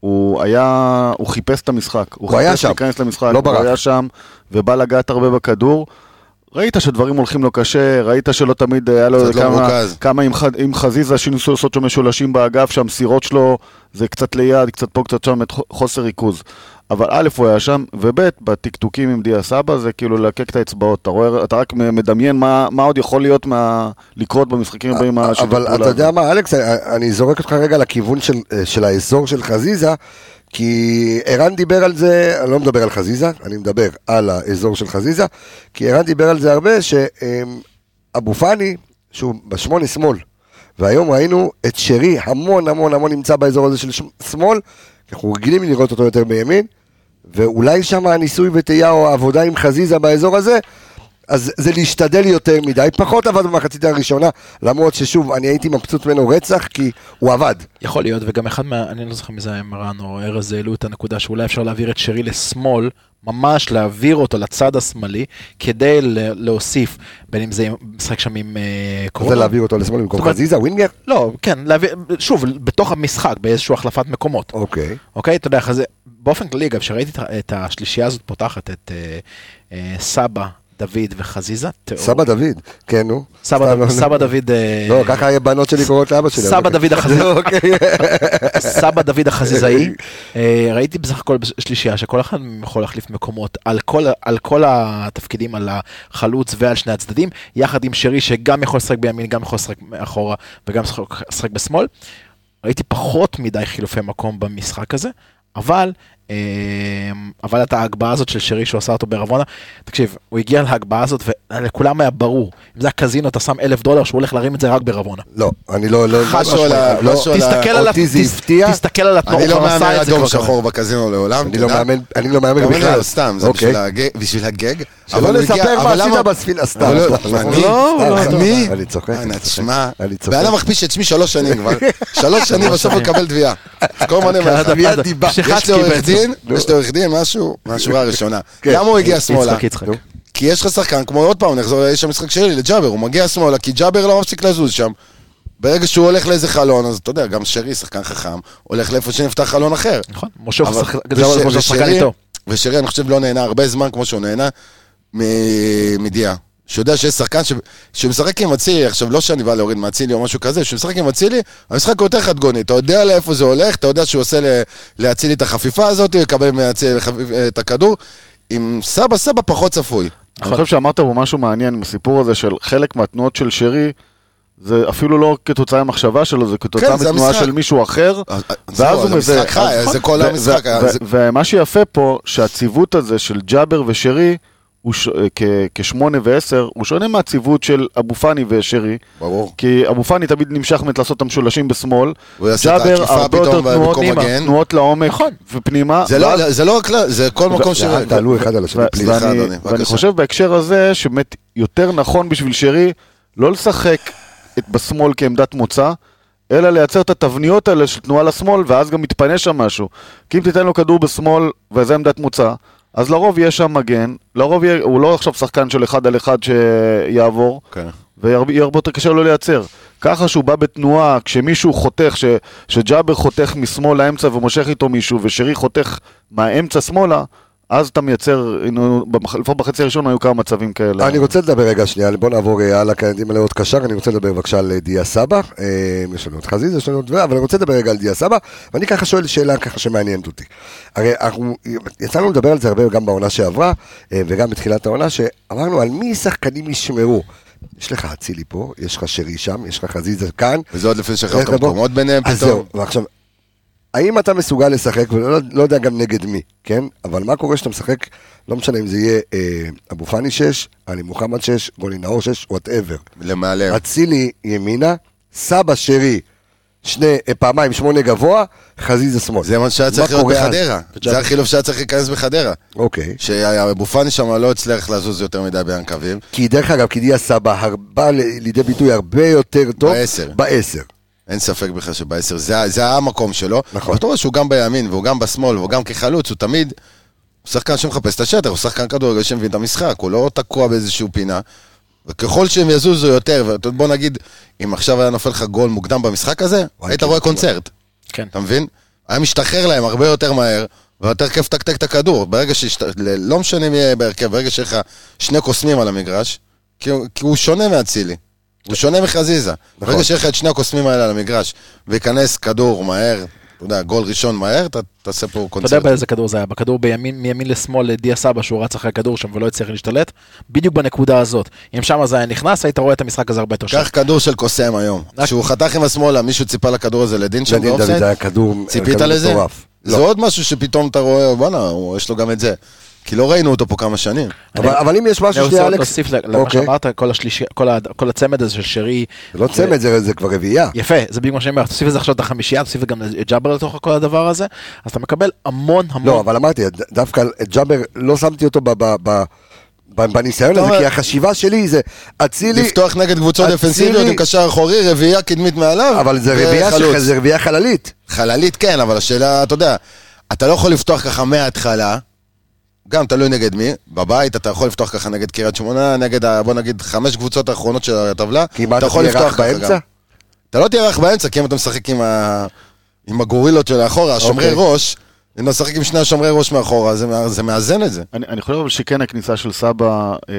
Speaker 4: הוא היה, הוא חיפש את המשחק. הוא,
Speaker 1: הוא היה
Speaker 4: חיפש
Speaker 1: שם.
Speaker 4: להיכנס למשחק,
Speaker 1: לא
Speaker 4: הוא
Speaker 1: ברח.
Speaker 4: היה שם, ובא לגעת הרבה בכדור. ראית שדברים הולכים לו קשה, ראית שלא תמיד היה לו
Speaker 5: קצת לא
Speaker 4: כמה,
Speaker 5: מרוכז.
Speaker 4: כמה עם, ח- עם חזיזה שניסו לעשות שם משולשים באגף, שהמסירות שלו זה קצת ליד, קצת פה, קצת שם, את ח- חוסר ריכוז. אבל א', הוא היה שם, וב', בטקטוקים עם דיה סבא זה כאילו ללקק את האצבעות, אתה רואה, אתה רק מדמיין מה, מה עוד יכול להיות מה, לקרות במשחקים הבאים. עם השיתוף
Speaker 1: אבל
Speaker 4: פעולה
Speaker 1: אתה יודע
Speaker 4: הזה.
Speaker 1: מה, אלכס, אה, אני זורק אותך רגע לכיוון של- אה, של האזור של חזיזה, כי ערן דיבר על זה, אני לא מדבר על חזיזה, אני מדבר על האזור של חזיזה, כי ערן דיבר על זה הרבה, שאבו פאני, שהוא בשמונה שמאל, והיום ראינו את שרי המון המון המון נמצא באזור הזה של ש- שמאל, כי אנחנו רגילים לראות אותו יותר בימין, ואולי שם הניסוי וטעייה או העבודה עם חזיזה באזור הזה, אז זה להשתדל יותר מדי, פחות עבד במחצית הראשונה, למרות ששוב, אני הייתי מבסוט ממנו רצח, כי הוא עבד.
Speaker 6: יכול להיות, וגם אחד מה... אני לא זוכר מי זה היה מרן או ארז, העלו את הנקודה שאולי אפשר להעביר את שרי לשמאל, ממש להעביר אותו לצד השמאלי, כדי ל- להוסיף, בין אם זה עם- משחק שם עם אה,
Speaker 1: רוצה
Speaker 6: קורונה.
Speaker 1: להעביר אותו לשמאל במקום
Speaker 6: זאת אומרת-
Speaker 1: חזיזה, ווינגר?
Speaker 6: לא, כן, להעביר, שוב, בתוך המשחק, באיזושהי החלפת מקומות.
Speaker 1: אוקיי.
Speaker 6: אוקיי, אתה יודע, אחרי זה, באופן כללי, אגב, כשראיתי את ה- את השלישייה הזאת פותחת את אה, אה, סבא, דוד וחזיזה, תיאור.
Speaker 1: סבא דוד, כן, נו.
Speaker 6: סבא,
Speaker 1: סתם,
Speaker 6: דוד-
Speaker 1: לא-
Speaker 6: סבא דוד, אה,
Speaker 1: לא, ככה הבנות שלי קוראות לאבא שלי.
Speaker 6: סבא
Speaker 1: אוקיי.
Speaker 6: דוד החזיזה.
Speaker 1: אוקיי.
Speaker 6: סבא דוד החזיזאי, אה, ראיתי בסך הכל שלישייה שכל אחד מהם יכול להחליף מקומות על כל, ה- על כל התפקידים, על החלוץ ועל שני הצדדים, יחד עם שרי שגם יכול לשחק בימין, גם יכול לשחק מאחורה וגם לשחק- לשחק בשמאל. ראיתי פחות מדי חילופי מקום במשחק הזה, אבל, אה, אבל את ההגבהה הזאת של שרי שעושה אותו בערבונה, תקשיב, הוא הגיע להגבהה הזאת ולכולם היה ברור, אם זה הקזינו אתה שם אלף דולר שהוא הולך להרים את זה רק בערבונה.
Speaker 1: לא, אני לא... לא-
Speaker 5: משהו
Speaker 1: לא-
Speaker 5: על ה-
Speaker 1: לא-
Speaker 5: משהו על ה-
Speaker 6: תסתכל עליו,
Speaker 1: אותי זה
Speaker 6: תס-
Speaker 1: הפתיע.
Speaker 6: תסתכל עליו,
Speaker 5: אני
Speaker 6: הוא
Speaker 5: לא
Speaker 6: כבר עשה
Speaker 5: מאמן
Speaker 6: את זה
Speaker 5: אדום
Speaker 6: כבר כמה
Speaker 5: שחור בקזינו לעולם,
Speaker 1: אני לא מאמן, אני לא מאמן
Speaker 5: בכלל.
Speaker 1: בכלל.
Speaker 5: לא, סתם, זה
Speaker 1: אוקיי.
Speaker 5: בשביל הגג- בשביל הגג.
Speaker 1: שלא
Speaker 5: אבל הוא הגיע-
Speaker 1: נספר מה
Speaker 5: אבל למה-
Speaker 1: עשית בספינה, סתם.
Speaker 5: אבל לא,
Speaker 1: סתם, סתם.
Speaker 5: אני-
Speaker 6: לא,
Speaker 1: סתם, סתם.
Speaker 5: אני,
Speaker 1: אני צוחק.
Speaker 5: אנא,
Speaker 1: אני צוחק.
Speaker 5: אה, תשמע,
Speaker 1: אני צוחק.
Speaker 5: ואללה מכפיש את שמי שלוש שנים כבר. שלוש שנים בסוף הוא מקבל תביעה. כל מיני
Speaker 6: קלעת
Speaker 5: מהחברים.
Speaker 6: מיד דיבה.
Speaker 5: יש
Speaker 6: שחצקי
Speaker 5: לו עורך
Speaker 6: בעצם.
Speaker 5: דין, יש לו עורך דין, משהו, מהשורה הראשונה.
Speaker 1: כן.
Speaker 5: למה הוא הגיע שמאלה?
Speaker 6: יצחק, יצחק.
Speaker 5: כי יש לך שחקן, כמו עוד פעם, נחזור לאיש המשחק שלי, לג'אבר, הוא מגיע שמאלה, כי ג'אבר לא מפסיק לזוז שם. ברגע שהוא הולך לאיזה חלון, אז אתה יודע, גם שרי, שחקן חכם, הולך לאיפה שנפתח חלון אחר.
Speaker 6: נכון, משה הוא
Speaker 5: אבל-
Speaker 6: שחק-
Speaker 5: וש-
Speaker 6: זה הוא משה הוא שחקן
Speaker 5: ושרי-
Speaker 6: איתו.
Speaker 5: ושרי, אני חושב, לא נהנה הרבה זמן כמו שהוא נהנה מ- מדיעה. שהוא יודע שיש שחקן ש- שמשחק עם אצילי, עכשיו לא שאני בא להוריד מאצילי או משהו כזה, כשמשחק עם אצילי, המשחק הוא יותר חדגוני, אתה יודע לאיפה זה הולך, אתה יודע שהוא עושה ל- לאצילי את החפיפה הזאת, הוא יקבל מאצילי לחפ- את הכדור, עם סבא סבא פחות צפוי.
Speaker 4: אני חושב שאמרת פה משהו מעניין עם הסיפור הזה של חלק מהתנועות של שרי, זה אפילו לא כתוצאה ממחשבה שלו, זה כתוצאה
Speaker 5: כן, זה
Speaker 4: מתנועה
Speaker 5: המשחק.
Speaker 4: של מישהו אחר.
Speaker 5: אז-
Speaker 4: ואז
Speaker 5: זהו,
Speaker 4: הוא
Speaker 5: אז
Speaker 4: מזה...
Speaker 5: המשחק חי,
Speaker 4: אז-
Speaker 5: זה כל
Speaker 4: ו-
Speaker 5: המשחק,
Speaker 4: ו-
Speaker 5: אז-
Speaker 4: ו- ומה שיפה פה, שהציוות הזה של ג'אבר ושרי, הוא ש- כ- כשמונה ועשר, הוא שונה מהציוות של אבו פאני ושרי.
Speaker 5: ברור.
Speaker 4: כי אבו פאני תמיד נמשך מת לעשות את המשולשים בשמאל.
Speaker 5: הוא יעשה את
Speaker 4: ג'אבר
Speaker 5: העקיפה
Speaker 4: הרבה
Speaker 5: פתאום
Speaker 4: יותר תנועות-
Speaker 5: במקום מגן.
Speaker 4: תנועות לעומק ופנימה.
Speaker 5: זה
Speaker 4: ואז-
Speaker 5: לא- זה לא רק, לה- זה כל מקום ש...
Speaker 1: אל תעלו אחד על השני,
Speaker 4: ו-
Speaker 1: פליז.
Speaker 5: סליחה,
Speaker 4: ואני-
Speaker 5: אדוני,
Speaker 4: ואני
Speaker 5: בבקשה.
Speaker 4: חושב בהקשר הזה, שבאמת יותר נכון בשביל שרי לא לשחק את בשמאל כעמדת מוצא, אלא לייצר את התבניות האלה של תנועה לשמאל, ואז גם מתפנה שם משהו. כי אם תיתן לו כדור בשמאל, וזה עמדת מוצא, אז לרוב יהיה שם מגן, לרוב יהיה, הוא לא עכשיו שחקן של אחד על אחד שיעבור,
Speaker 5: כן.
Speaker 4: ויהיה הרבה יותר קשה לו לייצר. ככה שהוא בא בתנועה, כשמישהו חותך, ש, שג'אבר חותך משמאל לאמצע ומושך איתו מישהו, ושרי חותך מהאמצע שמאלה, אז אתה מייצר, הנה, במח- לפחות בחצי הראשון היו כמה מצבים כאלה.
Speaker 1: אני רוצה לדבר רגע שנייה, בוא נעבור אה, הלאה, כי אין מלא עוד קשר, אני רוצה לדבר בבקשה על אה, דיה סבא, אה, יש לנו עוד חזיז, יש לנו עוד דבר, אבל אני רוצה לדבר רגע על דיה סבא, ואני ככה שואל שאלה ככה שמעניינת אותי. הרי אנחנו, יצאנו לדבר על זה הרבה גם בעונה שעברה, אה, וגם בתחילת העונה, שאמרנו על מי שחקנים ישמרו. יש לך אצילי פה, יש לך שרי שם, יש לך חזיזה כאן,
Speaker 5: וזה עוד לפני שחררת
Speaker 1: איך לבוא?
Speaker 5: מקומות ביניהם
Speaker 1: אה, אז
Speaker 5: פתאום.
Speaker 1: זהו, ועכשיו, האם אתה מסוגל לשחק, ולא לא יודע גם נגד מי, כן? אבל מה קורה כשאתה משחק, לא משנה אם זה יהיה אה, אבו פאני 6, עלי מוחמד 6, גולי נאור 6, וואטאבר.
Speaker 5: למעלה.
Speaker 1: אצילי ימינה, סבא שרי, שני, אה, פעמיים שמונה גבוה, חזיזה שמאל.
Speaker 5: זה מה שהיה צריך להיות
Speaker 1: קורה אז?
Speaker 5: בחדרה. זה החילוף שהיה צריך להיכנס בחדרה.
Speaker 1: אוקיי.
Speaker 5: שאבו פאני שם לא הצליח לזוז יותר מדי בין הקווים.
Speaker 1: כי דרך אגב, כי דיה סבא הר- בא ל- לידי ביטוי הרבה יותר טוב.
Speaker 5: בעשר.
Speaker 1: בעשר.
Speaker 5: אין ספק בכלל שבעשר, זה, ה- זה היה המקום שלו.
Speaker 1: נכון.
Speaker 5: אבל אתה רואה שהוא גם בימין, והוא גם בשמאל, והוא גם כחלוץ, הוא תמיד... הוא שחקן שמחפש את השטח, הוא שחקן כדורגל שמבין את המשחק, הוא לא תקוע באיזשהו פינה. וככל שהם יזוזו יותר, ואתה- בוא נגיד, אם עכשיו היה נופל לך גול מוקדם במשחק הזה,
Speaker 1: וואי,
Speaker 5: היית
Speaker 1: כן,
Speaker 5: רואה
Speaker 1: כן.
Speaker 5: קונצרט.
Speaker 6: כן.
Speaker 5: אתה מבין? היה משתחרר להם הרבה יותר מהר, ויותר כיף לתקתק את הכדור. ברגע שהשת... ל- לא משנה מי יהיה בהרכב, ברגע שיש לך שני קוסמים על המגרש, כי הוא, כי הוא שונה מאצילי. הוא שונה מחזיזה.
Speaker 1: נכון.
Speaker 5: ברגע שיש לך את שני הקוסמים האלה על המגרש, וייכנס כדור מהר, אתה יודע, גול ראשון מהר, אתה תעשה פה
Speaker 6: אתה יודע
Speaker 5: קונצרט.
Speaker 6: באיזה כדור זה היה, בכדור בימין, מימין לשמאל לדיה סבא שהוא רץ אחרי הכדור שם ולא הצליח להשתלט, בדיוק בנקודה הזאת. אם שם זה היה נכנס, היית רואה את המשחק הזה הרבה יותר
Speaker 5: קח כדור של קוסם היום.
Speaker 6: רק-
Speaker 5: כשהוא חתך עם השמאלה, מישהו ציפה לכדור הזה לדין שם
Speaker 1: דוד דוד
Speaker 5: באופסייד?
Speaker 1: היה כדור
Speaker 5: ציפית
Speaker 1: כדור
Speaker 5: לזה?
Speaker 1: מטורף.
Speaker 5: זה
Speaker 1: לא.
Speaker 5: עוד משהו שפתאום אתה רואה, בואנה, הוא- יש לו גם את זה. כי לא ראינו אותו פה כמה שנים.
Speaker 1: אבל אבל אם יש
Speaker 6: אני
Speaker 1: משהו
Speaker 6: רוצה
Speaker 1: שנייה,
Speaker 6: עוד
Speaker 1: אלכס...
Speaker 6: להוסיף ל- למה
Speaker 1: אוקיי.
Speaker 6: שאמרת, כל השלישי- כל ה- כל הצמד הזה של שרי.
Speaker 1: זה לא צמד, זה זה כבר רביעייה.
Speaker 6: יפה, זה בדיוק מה שאני אומר, תוסיף לזה עכשיו את החמישייה, תוסיף גם את ג'אבר לתוך כל הדבר הזה, אז אתה מקבל המון המון.
Speaker 1: לא, אבל אמרתי, ד- דווקא את ג'אבר, לא שמתי אותו ב- ב- ב- ב- בניסיון
Speaker 5: אתה
Speaker 1: הזה,
Speaker 5: אומר-
Speaker 1: כי החשיבה שלי זה אצילי,
Speaker 5: לפתוח נגד קבוצות
Speaker 1: אצילי-
Speaker 5: דפנסיביות עם קשר אחורי, רביעייה קדמית מעליו.
Speaker 1: אבל זה רביעייה
Speaker 5: וחלוץ.
Speaker 1: שלך, זה רביעייה חללית.
Speaker 5: חללית כן, אבל השאלה, אתה יודע, אתה לא יכול לפתוח ככה מההתחלה, גם תלוי נגד מי, בבית אתה יכול לפתוח ככה נגד קריית שמונה, נגד, ה- בוא נגיד, חמש קבוצות האחרונות של הטבלה,
Speaker 1: כי מה,
Speaker 5: אתה
Speaker 1: אתה
Speaker 5: יכול
Speaker 1: תהיה
Speaker 5: לפתוח
Speaker 1: רך
Speaker 5: ככה
Speaker 1: באמצע?
Speaker 5: גם. אתה לא תהיה רך באמצע, כי אם אתה משחק עם, ה... עם הגורילות של האחורה, השומרי
Speaker 1: אוקיי.
Speaker 5: ראש, אם אתה משחק עם שני השומרי ראש מאחורה, זה, מא- זה מאזן את זה.
Speaker 4: אני, אני חושב אבל שכן הכניסה של סבא אה,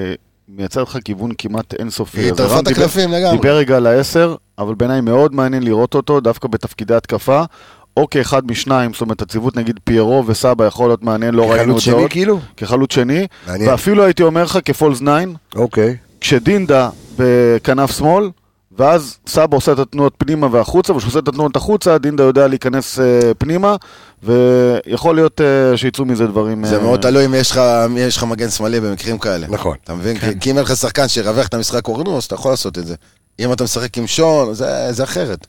Speaker 4: מייצר לך כיוון כמעט אינסופי.
Speaker 5: היא
Speaker 4: אז ערן
Speaker 5: טרפה את
Speaker 4: דיבר-
Speaker 5: הקלפים לגמרי.
Speaker 4: דיבר רגע על העשר, אבל בעיניי מאוד מעניין לראות אותו דווקא בתפקידי התקפה, או כאחד משניים, זאת אומרת הציבות נגיד פיירו וסבא יכול להיות מעניין, לא ראינו
Speaker 1: חלוץ
Speaker 4: את זה עוד.
Speaker 1: שני כאילו?
Speaker 4: כחלוץ שני,
Speaker 1: מעניין.
Speaker 4: ואפילו הייתי אומר לך כפולס 9,
Speaker 1: אוקיי.
Speaker 4: כשדינדה בכנף שמאל, ואז סבא עושה את התנועות פנימה והחוצה, וכשהוא עושה את התנועות החוצה, דינדה יודע להיכנס אה, פנימה, ויכול להיות אה, שיצאו מזה דברים...
Speaker 5: זה
Speaker 4: אה,
Speaker 5: מאוד תלוי אם יש לך, מי יש לך מגן שמאלי במקרים כאלה.
Speaker 1: נכון.
Speaker 5: אתה מבין? כי- כי אם אין לך שחקן שירווח את המשחק קורנו, אז אתה יכול לעשות את זה. אם אתה משחק עם שון, זה זה אחרת.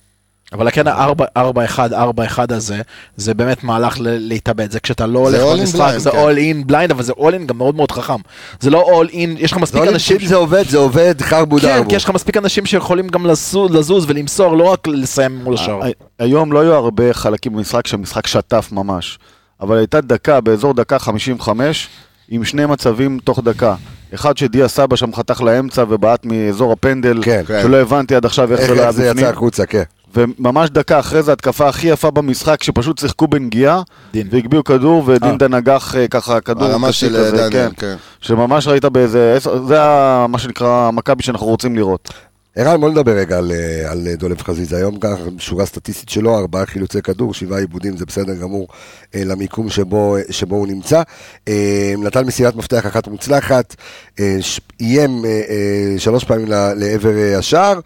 Speaker 6: אבל כן ה-4-1-4-1 הזה, זה באמת מהלך ל- להתאבד, זה כשאתה לא הולך
Speaker 5: all in
Speaker 6: למשחק,
Speaker 5: blind,
Speaker 6: זה
Speaker 5: כן.
Speaker 6: all in blind, אבל זה all in גם מאוד מאוד חכם. זה לא all in, יש לך
Speaker 1: זה
Speaker 6: מספיק
Speaker 1: עולים
Speaker 6: אנשים...
Speaker 1: שאם זה עובד, זה עובד, חרבו
Speaker 6: כן,
Speaker 1: דרבו.
Speaker 6: כי יש לך מספיק אנשים שיכולים גם לזוז, לזוז ולמסור, לא רק לסיים מול השער.
Speaker 4: הי- היום לא היו הרבה חלקים במשחק שהמשחק שטף ממש, אבל הייתה דקה, באזור דקה 55, עם שני מצבים תוך דקה. אחד שדיה סבא שם חתך לאמצע ובעט מאזור הפנדל,
Speaker 1: כן, כן.
Speaker 4: שלא הבנתי עד עכשיו איך זה לא
Speaker 1: איך
Speaker 4: היה
Speaker 1: זה יצא
Speaker 4: בפנים.
Speaker 1: החוצה, כן.
Speaker 4: וממש דקה אחרי זה התקפה הכי יפה במשחק, שפשוט שיחקו בנגיעה,
Speaker 6: דין.
Speaker 4: והגביהו כדור, ודינדה נגח אה, ככה כדור
Speaker 5: הרמה
Speaker 4: קשיק
Speaker 5: של
Speaker 4: כזה,
Speaker 5: אה, דניאל,
Speaker 4: כן.
Speaker 5: כן.
Speaker 4: שממש ראית באיזה, עשר- זה ה- מה שנקרא המכבי שאנחנו רוצים לראות.
Speaker 1: ערן, בוא נדבר רגע על, אה, על אה, דולב חזיזה. היום ככה, שורה סטטיסטית שלו, ארבעה חילוצי כדור, שבעה עיבודים, זה בסדר גמור אה, למיקום שבו, אה, שבו הוא נמצא. אה, נתן מסירת מפתח אחת מוצלחת, אה, ש- איים אה, אה, שלוש פעמים ל- לעבר אה, השער,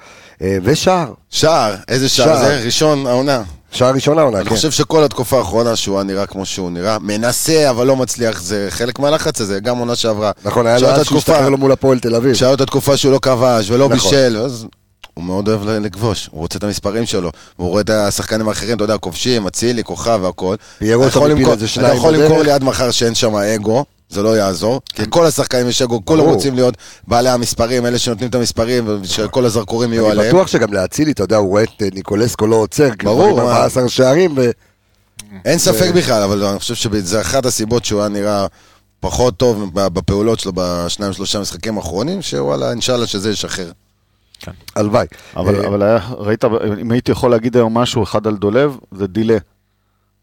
Speaker 1: אה, ושער.
Speaker 5: שער, איזה שער
Speaker 1: שער.
Speaker 5: זה? ראשון העונה.
Speaker 1: שער ראשון העונה,
Speaker 5: אני
Speaker 1: כן.
Speaker 5: חושב שכל התקופה האחרונה שהוא היה נראה כמו שהוא נראה, מנסה אבל לא מצליח, זה חלק מהלחץ הזה, גם עונה שעברה.
Speaker 1: נכון, היה לו
Speaker 5: שהייתה
Speaker 1: אז שהוא
Speaker 5: תקופה-
Speaker 1: השתחרר לו מול הפועל תל אביב.
Speaker 5: שהיה לו את התקופה שהוא לא כבש ולא
Speaker 1: כן. נכון.
Speaker 5: בישל, אז הוא מאוד אוהב ל- לכבוש, הוא רוצה את המספרים שלו, והוא רואה את השחקנים האחרים, אתה יודע, כובשים, אצילי, כוכב והכל.
Speaker 1: פיירו
Speaker 5: אתה יכול
Speaker 1: שם הפיל
Speaker 5: למכור-
Speaker 1: איזה שניים
Speaker 5: אתה יכול
Speaker 1: בדרך. כן.
Speaker 5: למכור לי עד מחר שאין שם אגו, זה לא יעזור, כי כל השחקנים ישגו, כולם
Speaker 1: ברור.
Speaker 5: רוצים להיות בעלי המספרים, אלה שנותנים את המספרים, ושכל הזרקורים יהיו
Speaker 1: אני
Speaker 5: עליהם.
Speaker 1: בטוח שגם לאצילי, אתה יודע, הוא רואה את אה, ניקולסקו לא עוצר, כי הוא
Speaker 5: ברור,
Speaker 1: עם
Speaker 5: מה?
Speaker 1: 14 שערים, ו...
Speaker 5: אין ספק בכלל, אבל אני חושב שזה אחת הסיבות שהוא היה נראה פחות טוב ב- בפעולות שלו בשניים שלושה משחקים האחרונים, שוואלה, אינשאללה שזה ישחרר.
Speaker 1: הלוואי.
Speaker 4: אבל,
Speaker 1: אה,
Speaker 4: אבל היה, ראית, אם הייתי יכול להגיד היום משהו אחד על דולב, זה דילה.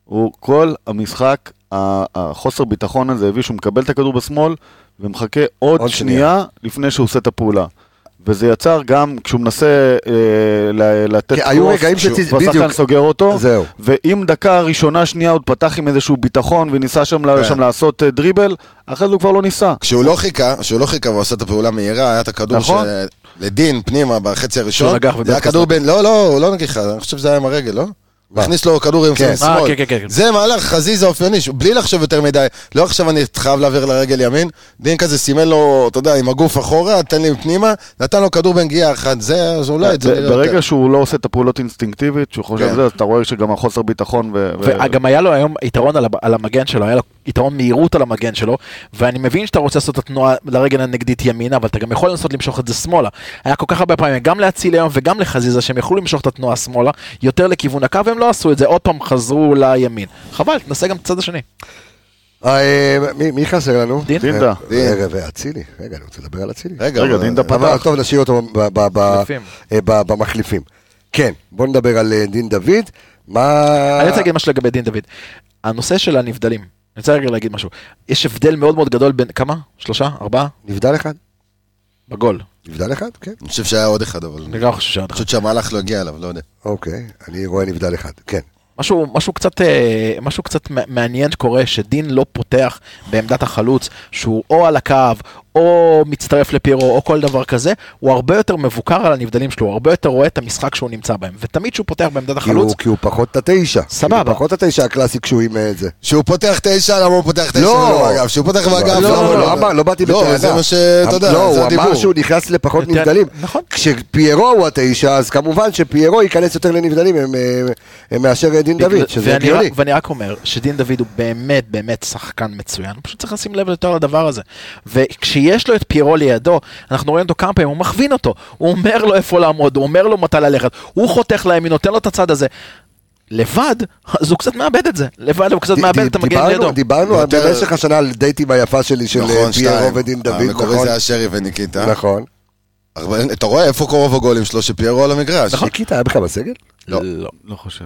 Speaker 4: הוא כל המשחק, ה- החוסר ביטחון הזה הביא שהוא מקבל את הכדור בשמאל ומחכה עוד,
Speaker 1: עוד
Speaker 4: עוד
Speaker 1: שנייה.
Speaker 4: שנייה, שנייה לפני שהוא עושה את הפעולה. וזה יצר גם כשהוא מנסה אה, ל- לתת
Speaker 1: כי היו רגעים
Speaker 4: כשהוא-
Speaker 1: שציז-
Speaker 4: והשחקן
Speaker 1: בדיוק.
Speaker 4: סוגר אותו,
Speaker 1: זהו.
Speaker 4: ואם דקה ראשונה, שנייה, עוד פתח עם איזשהו ביטחון וניסה שם, ל-
Speaker 5: כן.
Speaker 4: שם לעשות אה, דריבל, אחרי זה הוא כבר לא ניסה.
Speaker 5: כשהוא לא חיכה, כשהוא לא חיכה ועושה את הפעולה מהירה, היה את הכדור
Speaker 4: נכון.
Speaker 5: של- לדין פנימה בחצי
Speaker 6: שהוא
Speaker 5: הראשון.
Speaker 6: נגח
Speaker 5: זה היה
Speaker 6: ובעט
Speaker 5: כדור
Speaker 6: חזק.
Speaker 5: בין, לא, לא, הוא לא נגיחה, אני חושב שזה היה עם הרגל, לא? הוא הכניס לו כדור עם
Speaker 1: כן.
Speaker 6: אה,
Speaker 5: שמאל.
Speaker 6: כן, כן, כן.
Speaker 5: זה מהלך חזיז האופייני, שהוא- בלי לחשוב יותר מדי, לא עכשיו אני חייב להעביר לרגל ימין, דין כזה סימן לו, אתה יודע, עם הגוף אחורה, תן לי פנימה, נתן לו כדור בנגיעה אחת, זה, אז
Speaker 1: לא,
Speaker 5: אולי את זה
Speaker 4: ב-
Speaker 5: נראה יותר.
Speaker 4: אה, ברגע שהוא לא עושה את הפעולות אינסטינקטיבית, שהוא חושב
Speaker 5: כן.
Speaker 4: זה, אז אתה רואה שגם החוסר ביטחון ו... ו-
Speaker 6: וגם היה לו היום יתרון על, ה- על המגן שלו, היה לו יתרון מהירות על המגן שלו, ואני מבין שאתה רוצה לעשות את התנועה לרגל הנגדית ימינה, אבל אתה גם יכול לנסות למשוך את זה שמאלה. היה כל כך הרבה פעמים, גם להציל היום וגם לחזיזה, שהם יכלו למשוך את התנועה שמאלה, יותר לכיוון הקו, והם לא עשו את זה, עוד פעם חזרו לימין. חבל, תנסה גם את הצד השני.
Speaker 1: אה, מי- מי חסר לנו?
Speaker 6: דין?
Speaker 4: דינדה.
Speaker 5: דין.
Speaker 1: אה, ואצילי. רגע, אני רוצה לדבר על אצילי.
Speaker 5: רגע,
Speaker 4: רגע,
Speaker 5: אבל-
Speaker 4: דין דפ-
Speaker 1: אבל
Speaker 4: פתח.
Speaker 1: טוב, נשאיר אותו ב- ב- ב-
Speaker 6: מחליפים.
Speaker 1: אה, ב- במחליפים. כן, בוא נדבר על אה, דין דוד. מה...
Speaker 6: אני רוצה להגיד משהו לגבי דין דוד. הנושא של הנבדלים, אני רוצה רגע להגיד משהו. יש הבדל מאוד מאוד גדול בין, כמה? שלושה? ארבעה?
Speaker 1: נבדל אחד?
Speaker 6: בגול.
Speaker 1: נבדל אחד? כן.
Speaker 5: אני חושב שהיה עוד אחד, אבל...
Speaker 6: אני גם חושב שעוד
Speaker 5: אני
Speaker 6: אחד.
Speaker 5: חושב שהמהלך לא הגיע אליו, לא יודע.
Speaker 1: אוקיי, אני רואה נבדל אחד. כן.
Speaker 6: משהו, משהו קצת, אה, משהו קצת מע- מעניין שקורה, שדין לא פותח בעמדת החלוץ, שהוא או על הקו, או מצטרף לפיירו, או כל דבר כזה, הוא הרבה יותר מבוקר על הנבדלים שלו, הוא הרבה יותר רואה את המשחק שהוא נמצא בהם, ותמיד כשהוא פותח בעמדת
Speaker 1: כי הוא-
Speaker 6: החלוץ,
Speaker 1: כי הוא פחות את התשע.
Speaker 6: סבבה.
Speaker 1: כי הוא פחות את התשע הקלאסי כשהוא עם אה, זה.
Speaker 5: שהוא פותח תשע, למה הוא פותח תשע?
Speaker 1: לא.
Speaker 5: לא, אגב, שהוא פותח באגף,
Speaker 1: לא,
Speaker 5: למה
Speaker 1: לא,
Speaker 5: הוא
Speaker 1: לא, אמר, לא באתי בטענה.
Speaker 5: לא, זה מה שאתה יודע,
Speaker 1: לא,
Speaker 5: זה
Speaker 1: הוא אמר
Speaker 5: הדיבור.
Speaker 1: שהוא נכנס לפחות
Speaker 6: יותר-
Speaker 1: נבדלים.
Speaker 6: נכון.
Speaker 1: כשפיירו הוא התשע, אז כמובן שפיירו ייכנס יותר לנבדלים הם, אה, הם מאשר אה, דין דוד, שזה
Speaker 6: ואני, רק,
Speaker 1: הגיוני.
Speaker 6: ואני רק אומר שדין דוד הוא באמת באמת שחקן מצוין, הוא פשוט צריך לשים לב יותר לדבר הזה. וכשיש לו את פיירו לידו, אנחנו רואים אותו כמה פעמים, הוא מכווין אותו, הוא אומר לו איפה לעמוד, הוא אומר לו מתי ללכת, הוא חותך לימין, נותן לו את הצד הזה. לבד, אז הוא קצת מאבד את זה, לבד הוא קצת
Speaker 1: ד-
Speaker 6: מאבד
Speaker 1: ד-
Speaker 6: את המגן
Speaker 1: דיברנו-
Speaker 6: לידו.
Speaker 1: דיברנו על-
Speaker 5: יותר-
Speaker 1: במשך השנה על דייטים היפה שלי של אה, פיירו
Speaker 5: נכון, שתיים.
Speaker 1: ודין דוד,
Speaker 5: המקורי
Speaker 1: נכון?
Speaker 5: זה היה שרי וניקיטה.
Speaker 1: נכון.
Speaker 5: אבל אתה רואה איפה קרוב הגולים שלו שפיירו על המגרש.
Speaker 6: נכון.
Speaker 1: ניקיטה היה בכלל בסגל?
Speaker 5: לא.
Speaker 4: לא חושב.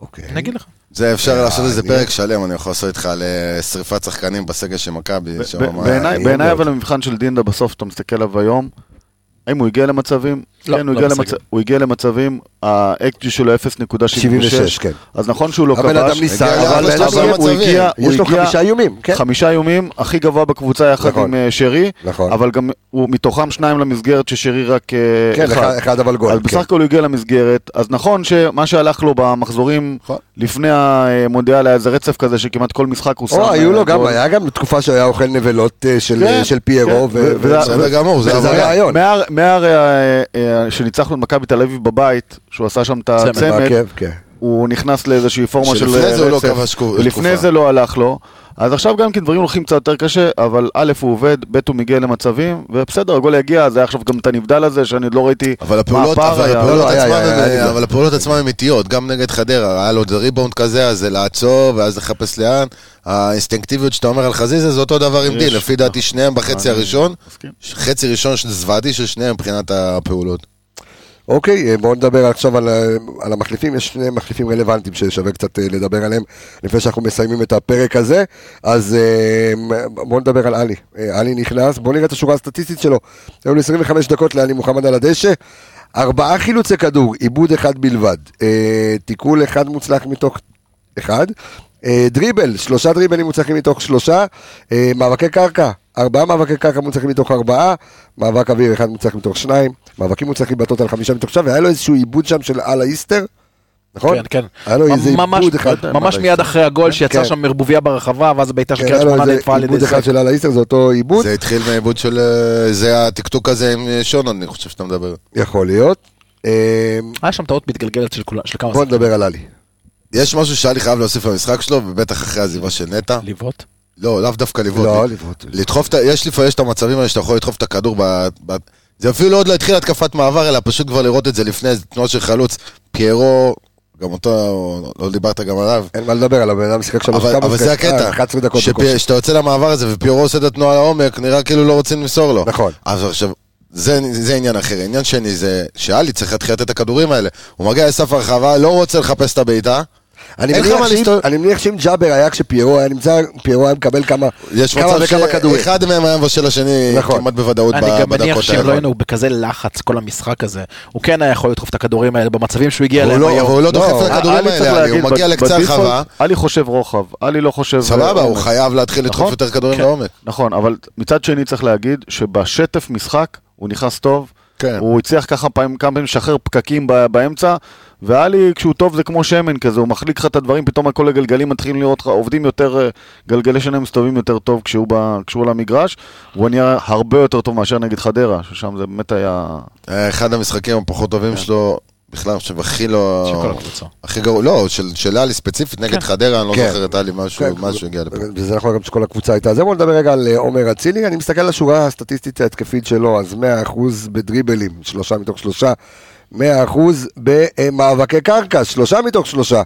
Speaker 1: אוקיי.
Speaker 6: אני אגיד לך.
Speaker 5: זה אפשר לעשות איזה
Speaker 1: מעניין.
Speaker 5: פרק שלם, אני יכול לעשות איתך על אה, שריפת שחקנים בסגל של מכבי. שם,
Speaker 1: לא,
Speaker 5: אה,
Speaker 4: ב-
Speaker 5: מה-
Speaker 4: בעיניי-
Speaker 1: מעניין
Speaker 4: בעיניי
Speaker 1: מאוד.
Speaker 4: אבל המבחן של דינדה בסוף, אתה מסתכל עליו היום, האם הוא הגיע למצבים?
Speaker 6: לא,
Speaker 4: כן, הוא
Speaker 6: לא
Speaker 4: הגיע
Speaker 6: בסגל.
Speaker 4: למצב- הוא הגיע למצבים, ה-XG שלו
Speaker 1: 76,
Speaker 4: 0.76,
Speaker 1: כן.
Speaker 4: אז נכון שהוא לא
Speaker 1: הבן אדם
Speaker 4: כבש,
Speaker 1: ניסה,
Speaker 5: הגיע
Speaker 1: אבל
Speaker 5: לארבע
Speaker 1: אין לו-
Speaker 5: שלושה
Speaker 4: אבל הוא
Speaker 5: מצבים.
Speaker 4: הגיע, הוא
Speaker 1: יש לו
Speaker 4: הגיע-
Speaker 1: חמישה איומים, כן.
Speaker 4: חמישה איומים, הכי גבוה בקבוצה יחד
Speaker 1: נכון.
Speaker 4: עם אה, שרי,
Speaker 1: נכון.
Speaker 4: אבל גם הוא מתוכם שניים למסגרת ששרי רק אה,
Speaker 1: כן,
Speaker 4: אחד.
Speaker 1: אחד- אחד אבל גול.
Speaker 4: אז
Speaker 1: כן.
Speaker 4: בסך הכל הוא הגיע למסגרת, אז נכון שמה שהלך לו במחזורים
Speaker 5: נכון.
Speaker 4: לפני המונדיאל היה איזה רצף כזה שכמעט כל משחק הוא שם.
Speaker 1: או, היו
Speaker 4: אה,
Speaker 1: לו גם,
Speaker 4: גול.
Speaker 1: היה גם תקופה שהוא היה אוכל נבלות אה, של-
Speaker 4: כן,
Speaker 1: של פיירו,
Speaker 4: כן.
Speaker 1: ו-
Speaker 4: ו- וזה-
Speaker 5: בסדר גמור, זה
Speaker 1: וזה
Speaker 5: עבודה.
Speaker 1: הרעיון.
Speaker 4: מהר- מהר אה, אה, שניצחנו את מכבי תל אביב בבית, שהוא עשה שם את
Speaker 6: צמד.
Speaker 4: הצמד,
Speaker 1: בעקב, כן.
Speaker 4: הוא נכנס לאיזושהי פורמה של אה,
Speaker 5: שלפני זה הוא לא כבש
Speaker 4: רצף,
Speaker 5: קו- תקופה.
Speaker 4: ולפני זה לא הלך לו, אז עכשיו גם כן דברים הולכים קצת יותר קשה, אבל א' הוא עובד, ב' הוא מגיע למצבים, ובסדר, הגול יגיע, אז היה עכשיו גם את הנבדל הזה, שאני עוד לא ראיתי
Speaker 5: אבל
Speaker 4: מה
Speaker 5: הפעולות,
Speaker 4: הפער
Speaker 5: אבל
Speaker 4: היה.
Speaker 5: הפעולות
Speaker 1: לא, היה,
Speaker 5: עצמן
Speaker 1: היה,
Speaker 5: הן-
Speaker 1: היה,
Speaker 5: אבל הפעולות עצמן הן איטיות, גם נגד חדרה, היה לו איזה ריבאונד כזה, אז זה לעצור, ואז לחפש לאן. האינסטינקטיביות שאתה אומר על חזיזה זה אותו דבר עם
Speaker 4: יש.
Speaker 5: דין, לפי דעתי שניהם בחצי הראשון,
Speaker 4: מסכים.
Speaker 5: חצי ראשון של זוועתי של שניהם מבחינת הפעולות.
Speaker 1: אוקיי, אה, בואו נדבר עכשיו על, ה- על המחליפים, יש שני מחליפים רלוונטיים ששווה קצת אה, לדבר עליהם לפני שאנחנו מסיימים את הפרק הזה, אז אה, בואו נדבר על עלי. אה, עלי נכנס, בואו נראה את השורה הסטטיסטית שלו. היו לו 25 דקות לעלי מוחמד על הדשא, ארבעה חילוצי כדור, עיבוד אחד בלבד, אה, תיקול אחד מוצלח מתוך אחד, אה, דריבל, שלושה דריבלים מוצלחים מתוך שלושה, אה, מאבקי קרקע, ארבעה מאבקי קרקע מוצלחים מתוך ארבעה, מאבק אוויר אחד מוצלח מתוך שניים, מאבקים מוצלחים בטוטל חמישה מתוך שלושה, והיה לו איזשהו עיבוד שם של אללה איסטר, נכון?
Speaker 6: כן, כן.
Speaker 1: היה לו איזה
Speaker 6: ממש- לא
Speaker 1: עיבוד אחד.
Speaker 6: ממש מיד אחרי הגול שיצר
Speaker 1: כן.
Speaker 6: שם ערבוביה ברחבה, ואז בעיטה של
Speaker 1: כן,
Speaker 6: קריית
Speaker 1: היה לו
Speaker 6: שמונה
Speaker 1: איזה
Speaker 6: נטפה על ידי
Speaker 1: עיבוד אחד
Speaker 6: זה.
Speaker 1: של אללה איסטר, זה אותו עיבוד,
Speaker 5: זה התחיל מעיבוד של... אה, זה הטקטוק הזה עם אה, שונון, אני חושב שאתה מדבר.
Speaker 1: יכול להיות. אה,
Speaker 6: היה שם טעות מתגלגלת של כולה- של כמה
Speaker 1: בוא נדבר על עלי.
Speaker 5: יש משהו שאלי חייב להוסיף למשחק שלו, ובטח אחרי העזיבה של נטע.
Speaker 6: לבעוט.
Speaker 5: לא, לאו דווקא לבעוט.
Speaker 1: לא, לבעוט.
Speaker 5: לדחוף את ה... יש לפעמים יש את המצבים האלה שאתה יכול לדחוף את הכדור ב... ב... זה אפילו עוד לא התחיל התקפת מעבר, אלא פשוט כבר לראות את זה לפני איזה תנועה של חלוץ. פיירו, גם אותו, לא דיברת גם עליו.
Speaker 1: אין מה לדבר על הבן אדם שיחק שלוש
Speaker 5: אבל, אבל זה הקטע,
Speaker 1: 11 אה, דקות
Speaker 5: שפי-
Speaker 1: בקושי.
Speaker 5: שאתה יוצא למעבר הזה ופיירו עושה את התנועה לעומק, נראה כאילו לא רוצים למסור לו.
Speaker 1: נכון.
Speaker 5: אז עכשיו, זה, זה עניין אחר. עניין שני זה שאלי צריך להתחיל לתת את הכדורים האלה. הוא מגיע לסף הרחבה, לא רוצה לחפש את הבעיטה.
Speaker 1: אני
Speaker 5: אין לך
Speaker 1: מניח
Speaker 5: מה
Speaker 1: שאם-
Speaker 5: להסתובב-
Speaker 1: אני מניח שאם ג'אבר היה כשפיירו היה נמצא, פיירו היה מקבל כמה
Speaker 5: יש
Speaker 1: כמה
Speaker 5: מצב
Speaker 1: וכמה כדורים.
Speaker 5: שאחד מהם היה מבשל השני
Speaker 1: נכון.
Speaker 5: כמעט בוודאות ב- בדקות
Speaker 6: אני גם מניח שהם לא
Speaker 5: האלה.
Speaker 6: היינו בכזה לחץ כל המשחק הזה. הוא כן היה יכול לדחוף את הכדורים האלה במצבים שהוא הגיע
Speaker 5: הוא
Speaker 6: אליהם
Speaker 5: לא-
Speaker 6: היום.
Speaker 5: אבל הוא לא דוחף את הכדורים
Speaker 4: אה, עלי צריך
Speaker 5: האלה, עלי. הוא
Speaker 4: להגיד,
Speaker 5: מגיע
Speaker 4: ב-
Speaker 5: לקצה
Speaker 4: בדיפולט,
Speaker 5: הרחבה,
Speaker 4: עלי חושב רוחב, עלי לא חושב...
Speaker 5: סבבה, הוא
Speaker 4: עומק.
Speaker 5: חייב להתחיל לדחוף
Speaker 4: נכון?
Speaker 5: יותר
Speaker 1: כן.
Speaker 5: כדורים לעומק.
Speaker 4: נכון, אבל מצד שני צריך להגיד שבשטף משחק הוא נכנס טוב,
Speaker 5: כן.
Speaker 4: הוא הצליח ככה פעמים, כמה פעמים לשחרר פקקים ב- באמצע, ואלי כשהוא טוב זה כמו שמן כזה, הוא מחליק לך את הדברים, פתאום על כל הגלגלים מתחילים לראות לך, עובדים יותר, אה, גלגלי שיניים מסתובבים יותר טוב כשהוא, ב, כשהוא על המגרש, הוא נהיה הרבה יותר טוב מאשר נגד חדרה, ששם זה באמת היה...
Speaker 5: אה, אחד המשחקים הפחות טובים
Speaker 1: כן.
Speaker 5: שלו, בכלל, אני חושב, הכי לא...
Speaker 6: של כל הקבוצה.
Speaker 5: הכי גרוע, לא, של- של אלי ספציפית נגד חדרה, אני לא
Speaker 1: כן.
Speaker 5: זוכר את אלי משהו,
Speaker 1: כן,
Speaker 5: משהו הגיע לפה.
Speaker 1: וזה נכון גם שכל הקבוצה הייתה. אז בואו נדבר רגע על אה, עומר אצילי, אני מסתכל על השורה הסטטיסטית ההתקפית שלו, אז 100% בדריבלים, שלושה מתוך שלושה. 100% במאבקי קרקע, שלושה מתוך שלושה.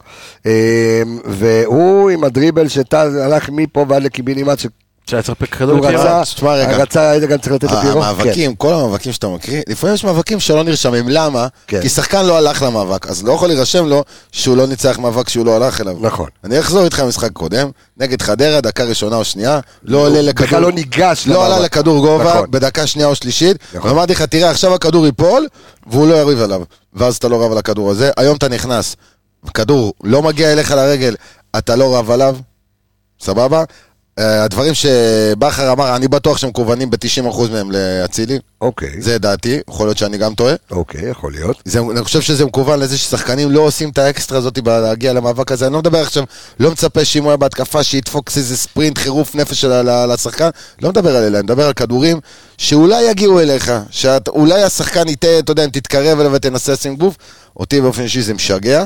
Speaker 1: אה, והוא עם הדריבל שטז הלך מפה ועד לקיבינימט, שהוא
Speaker 6: שהיה צריך פק כדור.
Speaker 1: רצה,
Speaker 5: תשמע רגע. אה,
Speaker 1: רצה, היה גם צריך לתת כן, לפירו.
Speaker 5: המאבקים, כל המאבקים שאתה מקריא, לפעמים יש מאבקים שלא נרשמים, למה?
Speaker 1: כן.
Speaker 5: כי שחקן לא הלך למאבק, אז לא יכול להירשם לו שהוא לא ניצח מאבק שהוא לא הלך אליו.
Speaker 1: נכון.
Speaker 5: אני אחזור איתך למשחק קודם, נגד חדרה, דקה ראשונה או שנייה, לא עולה לכדור.
Speaker 1: בכלל לא ניגש
Speaker 5: לא
Speaker 1: למאבק.
Speaker 5: עלה לכדור גובה
Speaker 1: נכון.
Speaker 5: בדקה שנייה או שלישית,
Speaker 1: נכון.
Speaker 5: ואמרתי לך, תראה, עכשיו הכדור ייפול, והוא לא יריב עליו. ואז אתה לא רב על הכדור הזה, היום אתה נכנס, כדור לא מגיע אליך לרגל, אתה לא רב עליו, סבבה? אה, הדברים שבכר אמר, אני בטוח שהם מכוונים ב-90% מהם לאצילי,
Speaker 1: אוקיי,
Speaker 5: זה דעתי, יכול להיות שאני גם טועה.
Speaker 1: אוקיי, יכול להיות.
Speaker 5: זה, אני חושב שזה מכוון לזה ששחקנים לא עושים את האקסטרה הזאת בלהגיע למאבק הזה. אני לא מדבר עכשיו, לא מצפה שאם הוא היה בהתקפה, שידפוק איזה ספרינט, חירוף נפש של ה- ל- לשחקן. לא מדבר על אלה, אני מדבר על כדורים שאולי יגיעו אליך, שאולי השחקן יטעה, אתה יודע, אם תתקרב אליו ותנסה לשים גוף. אותי באופן אישי זה משגע.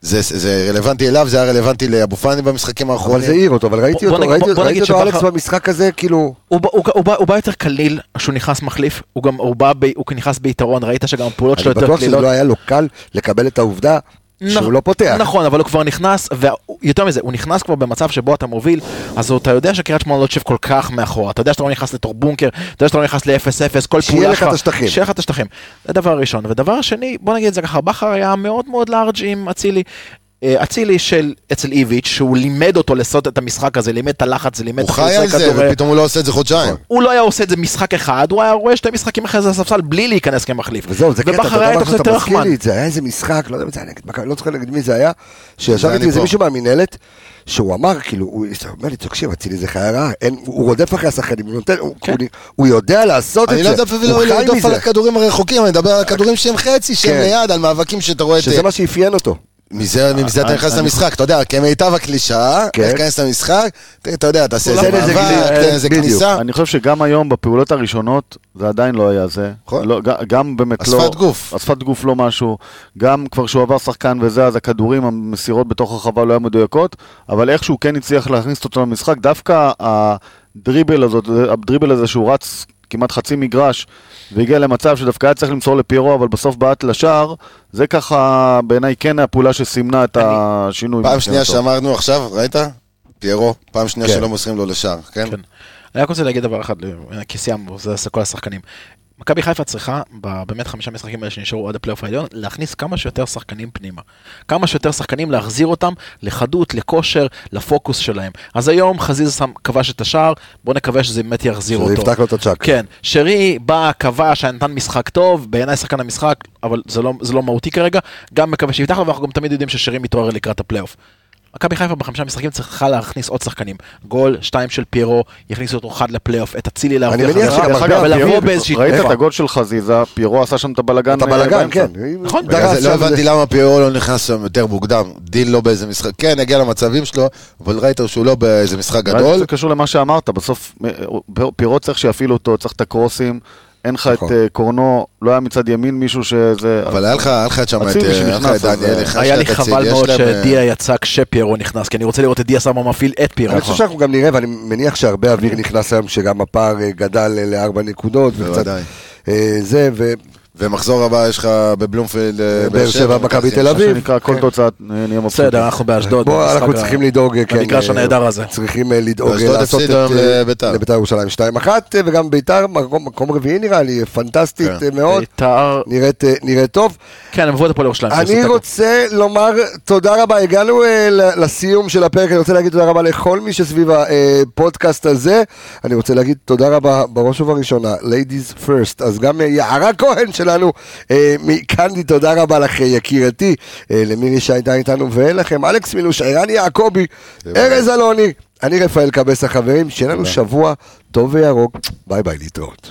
Speaker 5: זה, זה רלוונטי אליו, זה היה רלוונטי לאבו פאני במשחקים
Speaker 1: אבל זה
Speaker 5: האחרונים.
Speaker 1: העיר אותו, אבל ראיתי
Speaker 6: בוא
Speaker 1: אותו,
Speaker 6: נגיד-
Speaker 1: ראיתי
Speaker 6: בוא
Speaker 1: ראיתי
Speaker 6: נגיד
Speaker 1: אותו אלכס
Speaker 6: שבכר-
Speaker 1: במשחק הזה, כאילו...
Speaker 6: הוא בא- הוא בא- הוא בא- הוא בא יותר קליל כשהוא נכנס מחליף, הוא גם הוא בא, ב- הוא נכנס ביתרון, ראית שגם הפעולות שלו
Speaker 1: אני
Speaker 6: יותר
Speaker 1: בטוח שזה
Speaker 6: קלילות.
Speaker 1: לא היה לו קל לקבל את העובדה שהוא
Speaker 6: נכ-
Speaker 1: לא פותח.
Speaker 6: נכון, אבל הוא כבר נכנס, ויותר מזה, הוא נכנס כבר במצב שבו אתה מוביל, אז אתה יודע שקריית שמונה לא תשב כל כך מאחורה, אתה יודע שאתה לא נכנס לתור בונקר, אתה יודע שאתה לא נכנס ל-0-0, כל
Speaker 1: שיהיה
Speaker 6: פעולה
Speaker 1: לך את השטחים.
Speaker 6: שיהיה לך את השטחים. זה דבר ראשון. ודבר שני, בוא נגיד את זה ככה, בכר היה מאוד מאוד לארג' עם אצילי. אה, אצילי של אצל איביץ', שהוא לימד אותו לעשות את המשחק הזה, לימד את הלחץ, לימד את
Speaker 5: הוא חי על
Speaker 6: חילוצי
Speaker 5: זה,
Speaker 6: כדור-
Speaker 5: ופתאום הוא לא עושה את זה חודשיים.
Speaker 1: נכון.
Speaker 6: הוא לא היה עושה את זה משחק אחד, הוא היה רואה שתי משחקים אחרי זה לספסל בלי להיכנס כמחליף.
Speaker 1: וזהו, זה קטע,
Speaker 6: ובכר
Speaker 1: אתה
Speaker 6: היה
Speaker 1: יודע
Speaker 6: את
Speaker 1: משהו
Speaker 6: זה
Speaker 1: שאתה
Speaker 6: יותר
Speaker 1: מזכיר
Speaker 6: רחמן.
Speaker 1: לי את זה, היה איזה משחק, לא יודע אם זה היה נגד מכבי, לא זוכר נגד מי זה היה, שישב
Speaker 5: זה
Speaker 1: איתי
Speaker 5: אני
Speaker 1: איזה
Speaker 5: פה.
Speaker 1: מישהו מהמינהלת, שהוא אמר, כאילו, הוא אומר לי, תקשיב, אצילי זה חיה רעה, אין- הוא הוא רודף אחרי השחקנים, הוא נותן- הוא-
Speaker 6: כן.
Speaker 1: הוא- הוא יודע לעשות את זה, כן.
Speaker 5: אני לא יודע אפילו
Speaker 1: הוא חי
Speaker 5: לרדוף על
Speaker 1: מזה,
Speaker 5: הכדורים הרחוקים, אני מדבר על הכדורים שהם חצי,
Speaker 1: כן.
Speaker 5: שהם ליד, על מאבקים שאתה רואה את...
Speaker 1: שזה מה שאפיין אותו.
Speaker 5: מזה, מזה אתה
Speaker 4: אני-
Speaker 5: נכנס
Speaker 4: אני-
Speaker 5: למשחק, אתה יודע, כמיטב הקלישאה,
Speaker 1: כן.
Speaker 5: תיכנס למשחק, ת- אתה יודע, תעשה
Speaker 1: תן
Speaker 5: איזה
Speaker 1: איזה
Speaker 5: מאבק,
Speaker 1: גליל,
Speaker 5: תן איזה
Speaker 1: בדיוק.
Speaker 5: כניסה,
Speaker 4: אני חושב שגם היום בפעולות הראשונות זה עדיין לא היה זה.
Speaker 5: נכון.
Speaker 4: לא, ג- גם באמת לא...
Speaker 5: השפת גוף.
Speaker 4: השפת גוף לא משהו. גם כבר שהוא עבר שחקן וזה, אז הכדורים, המסירות בתוך הרחבה לא היו מדויקות, אבל איכשהו כן הצליח להכניס אותו למשחק, דווקא הדריבל הזאת, הדריבל הזה שהוא רץ כמעט חצי מגרש, והגיע למצב שדווקא היה צריך למסור לפיירו, אבל בסוף בעט לשער, זה ככה בעיניי כן הפעולה שסימנה את השינוי.
Speaker 5: פעם שנייה
Speaker 4: מבחינתו.
Speaker 5: שאמרנו עכשיו, ראית? פיירו, פעם שנייה
Speaker 1: כן.
Speaker 5: שלא מוסרים לו לשער, כן?
Speaker 6: כן. אני רק רוצה להגיד דבר אחד, כי סיימנו, זה כל השחקנים. מכבי חיפה צריכה, ב- באמת חמישה משחקים האלה שנשארו עד הפלייאוף העליון, להכניס כמה שיותר שחקנים פנימה. כמה שיותר שחקנים להחזיר אותם לחדות, לכושר, לפוקוס שלהם. אז היום חזיז שם, כבש את השער, בוא נקווה שזה באמת יחזיר
Speaker 1: שזה
Speaker 6: אותו.
Speaker 1: יפתח לו את הצ'אק.
Speaker 6: כן, שרי בא, כבש, נתן משחק טוב, בעיניי שחקן המשחק, אבל זה לא, זה לא מהותי כרגע, גם מקווה שיפתח לו, ואנחנו גם תמיד יודעים ששרי מתעורר לקראת הפלייאוף. מכבי חיפה בחמישה משחקים צריכה להכניס עוד שחקנים. גול, שתיים של פיירו, יכניס אותו חד לפלייאוף, את אצילי להרוויח
Speaker 1: מניח
Speaker 6: חזרה,
Speaker 1: שגם
Speaker 4: דרך אגב,
Speaker 6: ולבוא
Speaker 4: פיירו,
Speaker 6: באיזושהי
Speaker 4: ראית את
Speaker 6: תקופה.
Speaker 4: הגול של חזיזה, פיירו עשה שם את הבלגן. אה,
Speaker 1: את הבלגן, כן.
Speaker 6: אה, נכון,
Speaker 1: דרס
Speaker 5: בגלל זה לא
Speaker 1: שם זה-
Speaker 5: הבנתי למה פיירו לא נכנס היום יותר מוקדם, דין לא באיזה משחק, כן, הגיע למצבים שלו, אבל ראית שהוא לא באיזה משחק
Speaker 4: גדול.
Speaker 5: גדול.
Speaker 4: זה קשור למה שאמרת, בסוף אה, פיירו צריך שיפעיל אותו, צריך את הקרוסים. אין לך את
Speaker 1: נכון.
Speaker 4: אה, קורנו, לא היה מצד ימין מישהו שזה...
Speaker 5: אבל היה לך היה לך שם את
Speaker 4: אצילי
Speaker 5: אה, היה לך
Speaker 4: שנכנס,
Speaker 5: את דניאל,
Speaker 4: אז,
Speaker 5: לך
Speaker 6: היה לי
Speaker 5: שאתה
Speaker 6: חבל
Speaker 5: ציל, יש
Speaker 6: מאוד
Speaker 5: להם, אה,
Speaker 6: שדיה יצא כשפיירו נכנס, כי אני רוצה לראות את דיה סמה מפעיל את פיירו.
Speaker 1: אני חושב שאנחנו גם נראה, ואני מניח שהרבה אוויר נכנס היום, שגם הפער אה, גדל אה, לארבע נקודות, וקצת
Speaker 5: בוודאי.
Speaker 1: אה, זה, ובאר
Speaker 5: ומחזור הבא יש לך בבלומפילד, אה,
Speaker 1: שבע, מכבי תל
Speaker 4: מה
Speaker 1: אביב.
Speaker 4: שנקרא, כל תוצאה אה, נהיה מבסוט.
Speaker 6: בסדר, אנחנו באשדוד.
Speaker 1: בוא, אנחנו
Speaker 6: במשחק ה-
Speaker 1: צריכים לדאוג, אה, כן,
Speaker 6: במגרש
Speaker 1: אה,
Speaker 6: הנהדר הזה.
Speaker 1: צריכים אה, לדאוג, אה,
Speaker 5: אשדוד
Speaker 1: לעשות את...
Speaker 5: הפסידו היום
Speaker 1: אה,
Speaker 5: לביתר.
Speaker 1: לביתר ירושלים 2-1, אה, וגם ביתר, מקום מקום רביעי נראה לי, אה, פנטסטית
Speaker 5: כן.
Speaker 1: אה, מאוד,
Speaker 6: בית"ר-
Speaker 1: נראית, אה, נראית טוב.
Speaker 6: כן, הם עברו את הפועל ירושלים.
Speaker 1: אני
Speaker 6: שיעשו תיקו.
Speaker 1: רוצה לומר תודה רבה, הגענו אה, ל- לסיום של הפרק, אני רוצה להגיד תודה רבה לכל מי שסביב הפודקאסט הזה, אני רוצה להגיד תודה רבה בראש ובראשונה, ladies first, אז גם אה, יערה כהן שלנו אה, מקנדי, תודה רבה לך אה, יקירתי, אה, למירי שהייתה איתנו, ולכם אלכס מילוש, ערן יעקבי, ארז אלוני, אני רפאל קבס החברים, שיהיה לנו שבוע טוב וירוק, ביי ביי להתראות.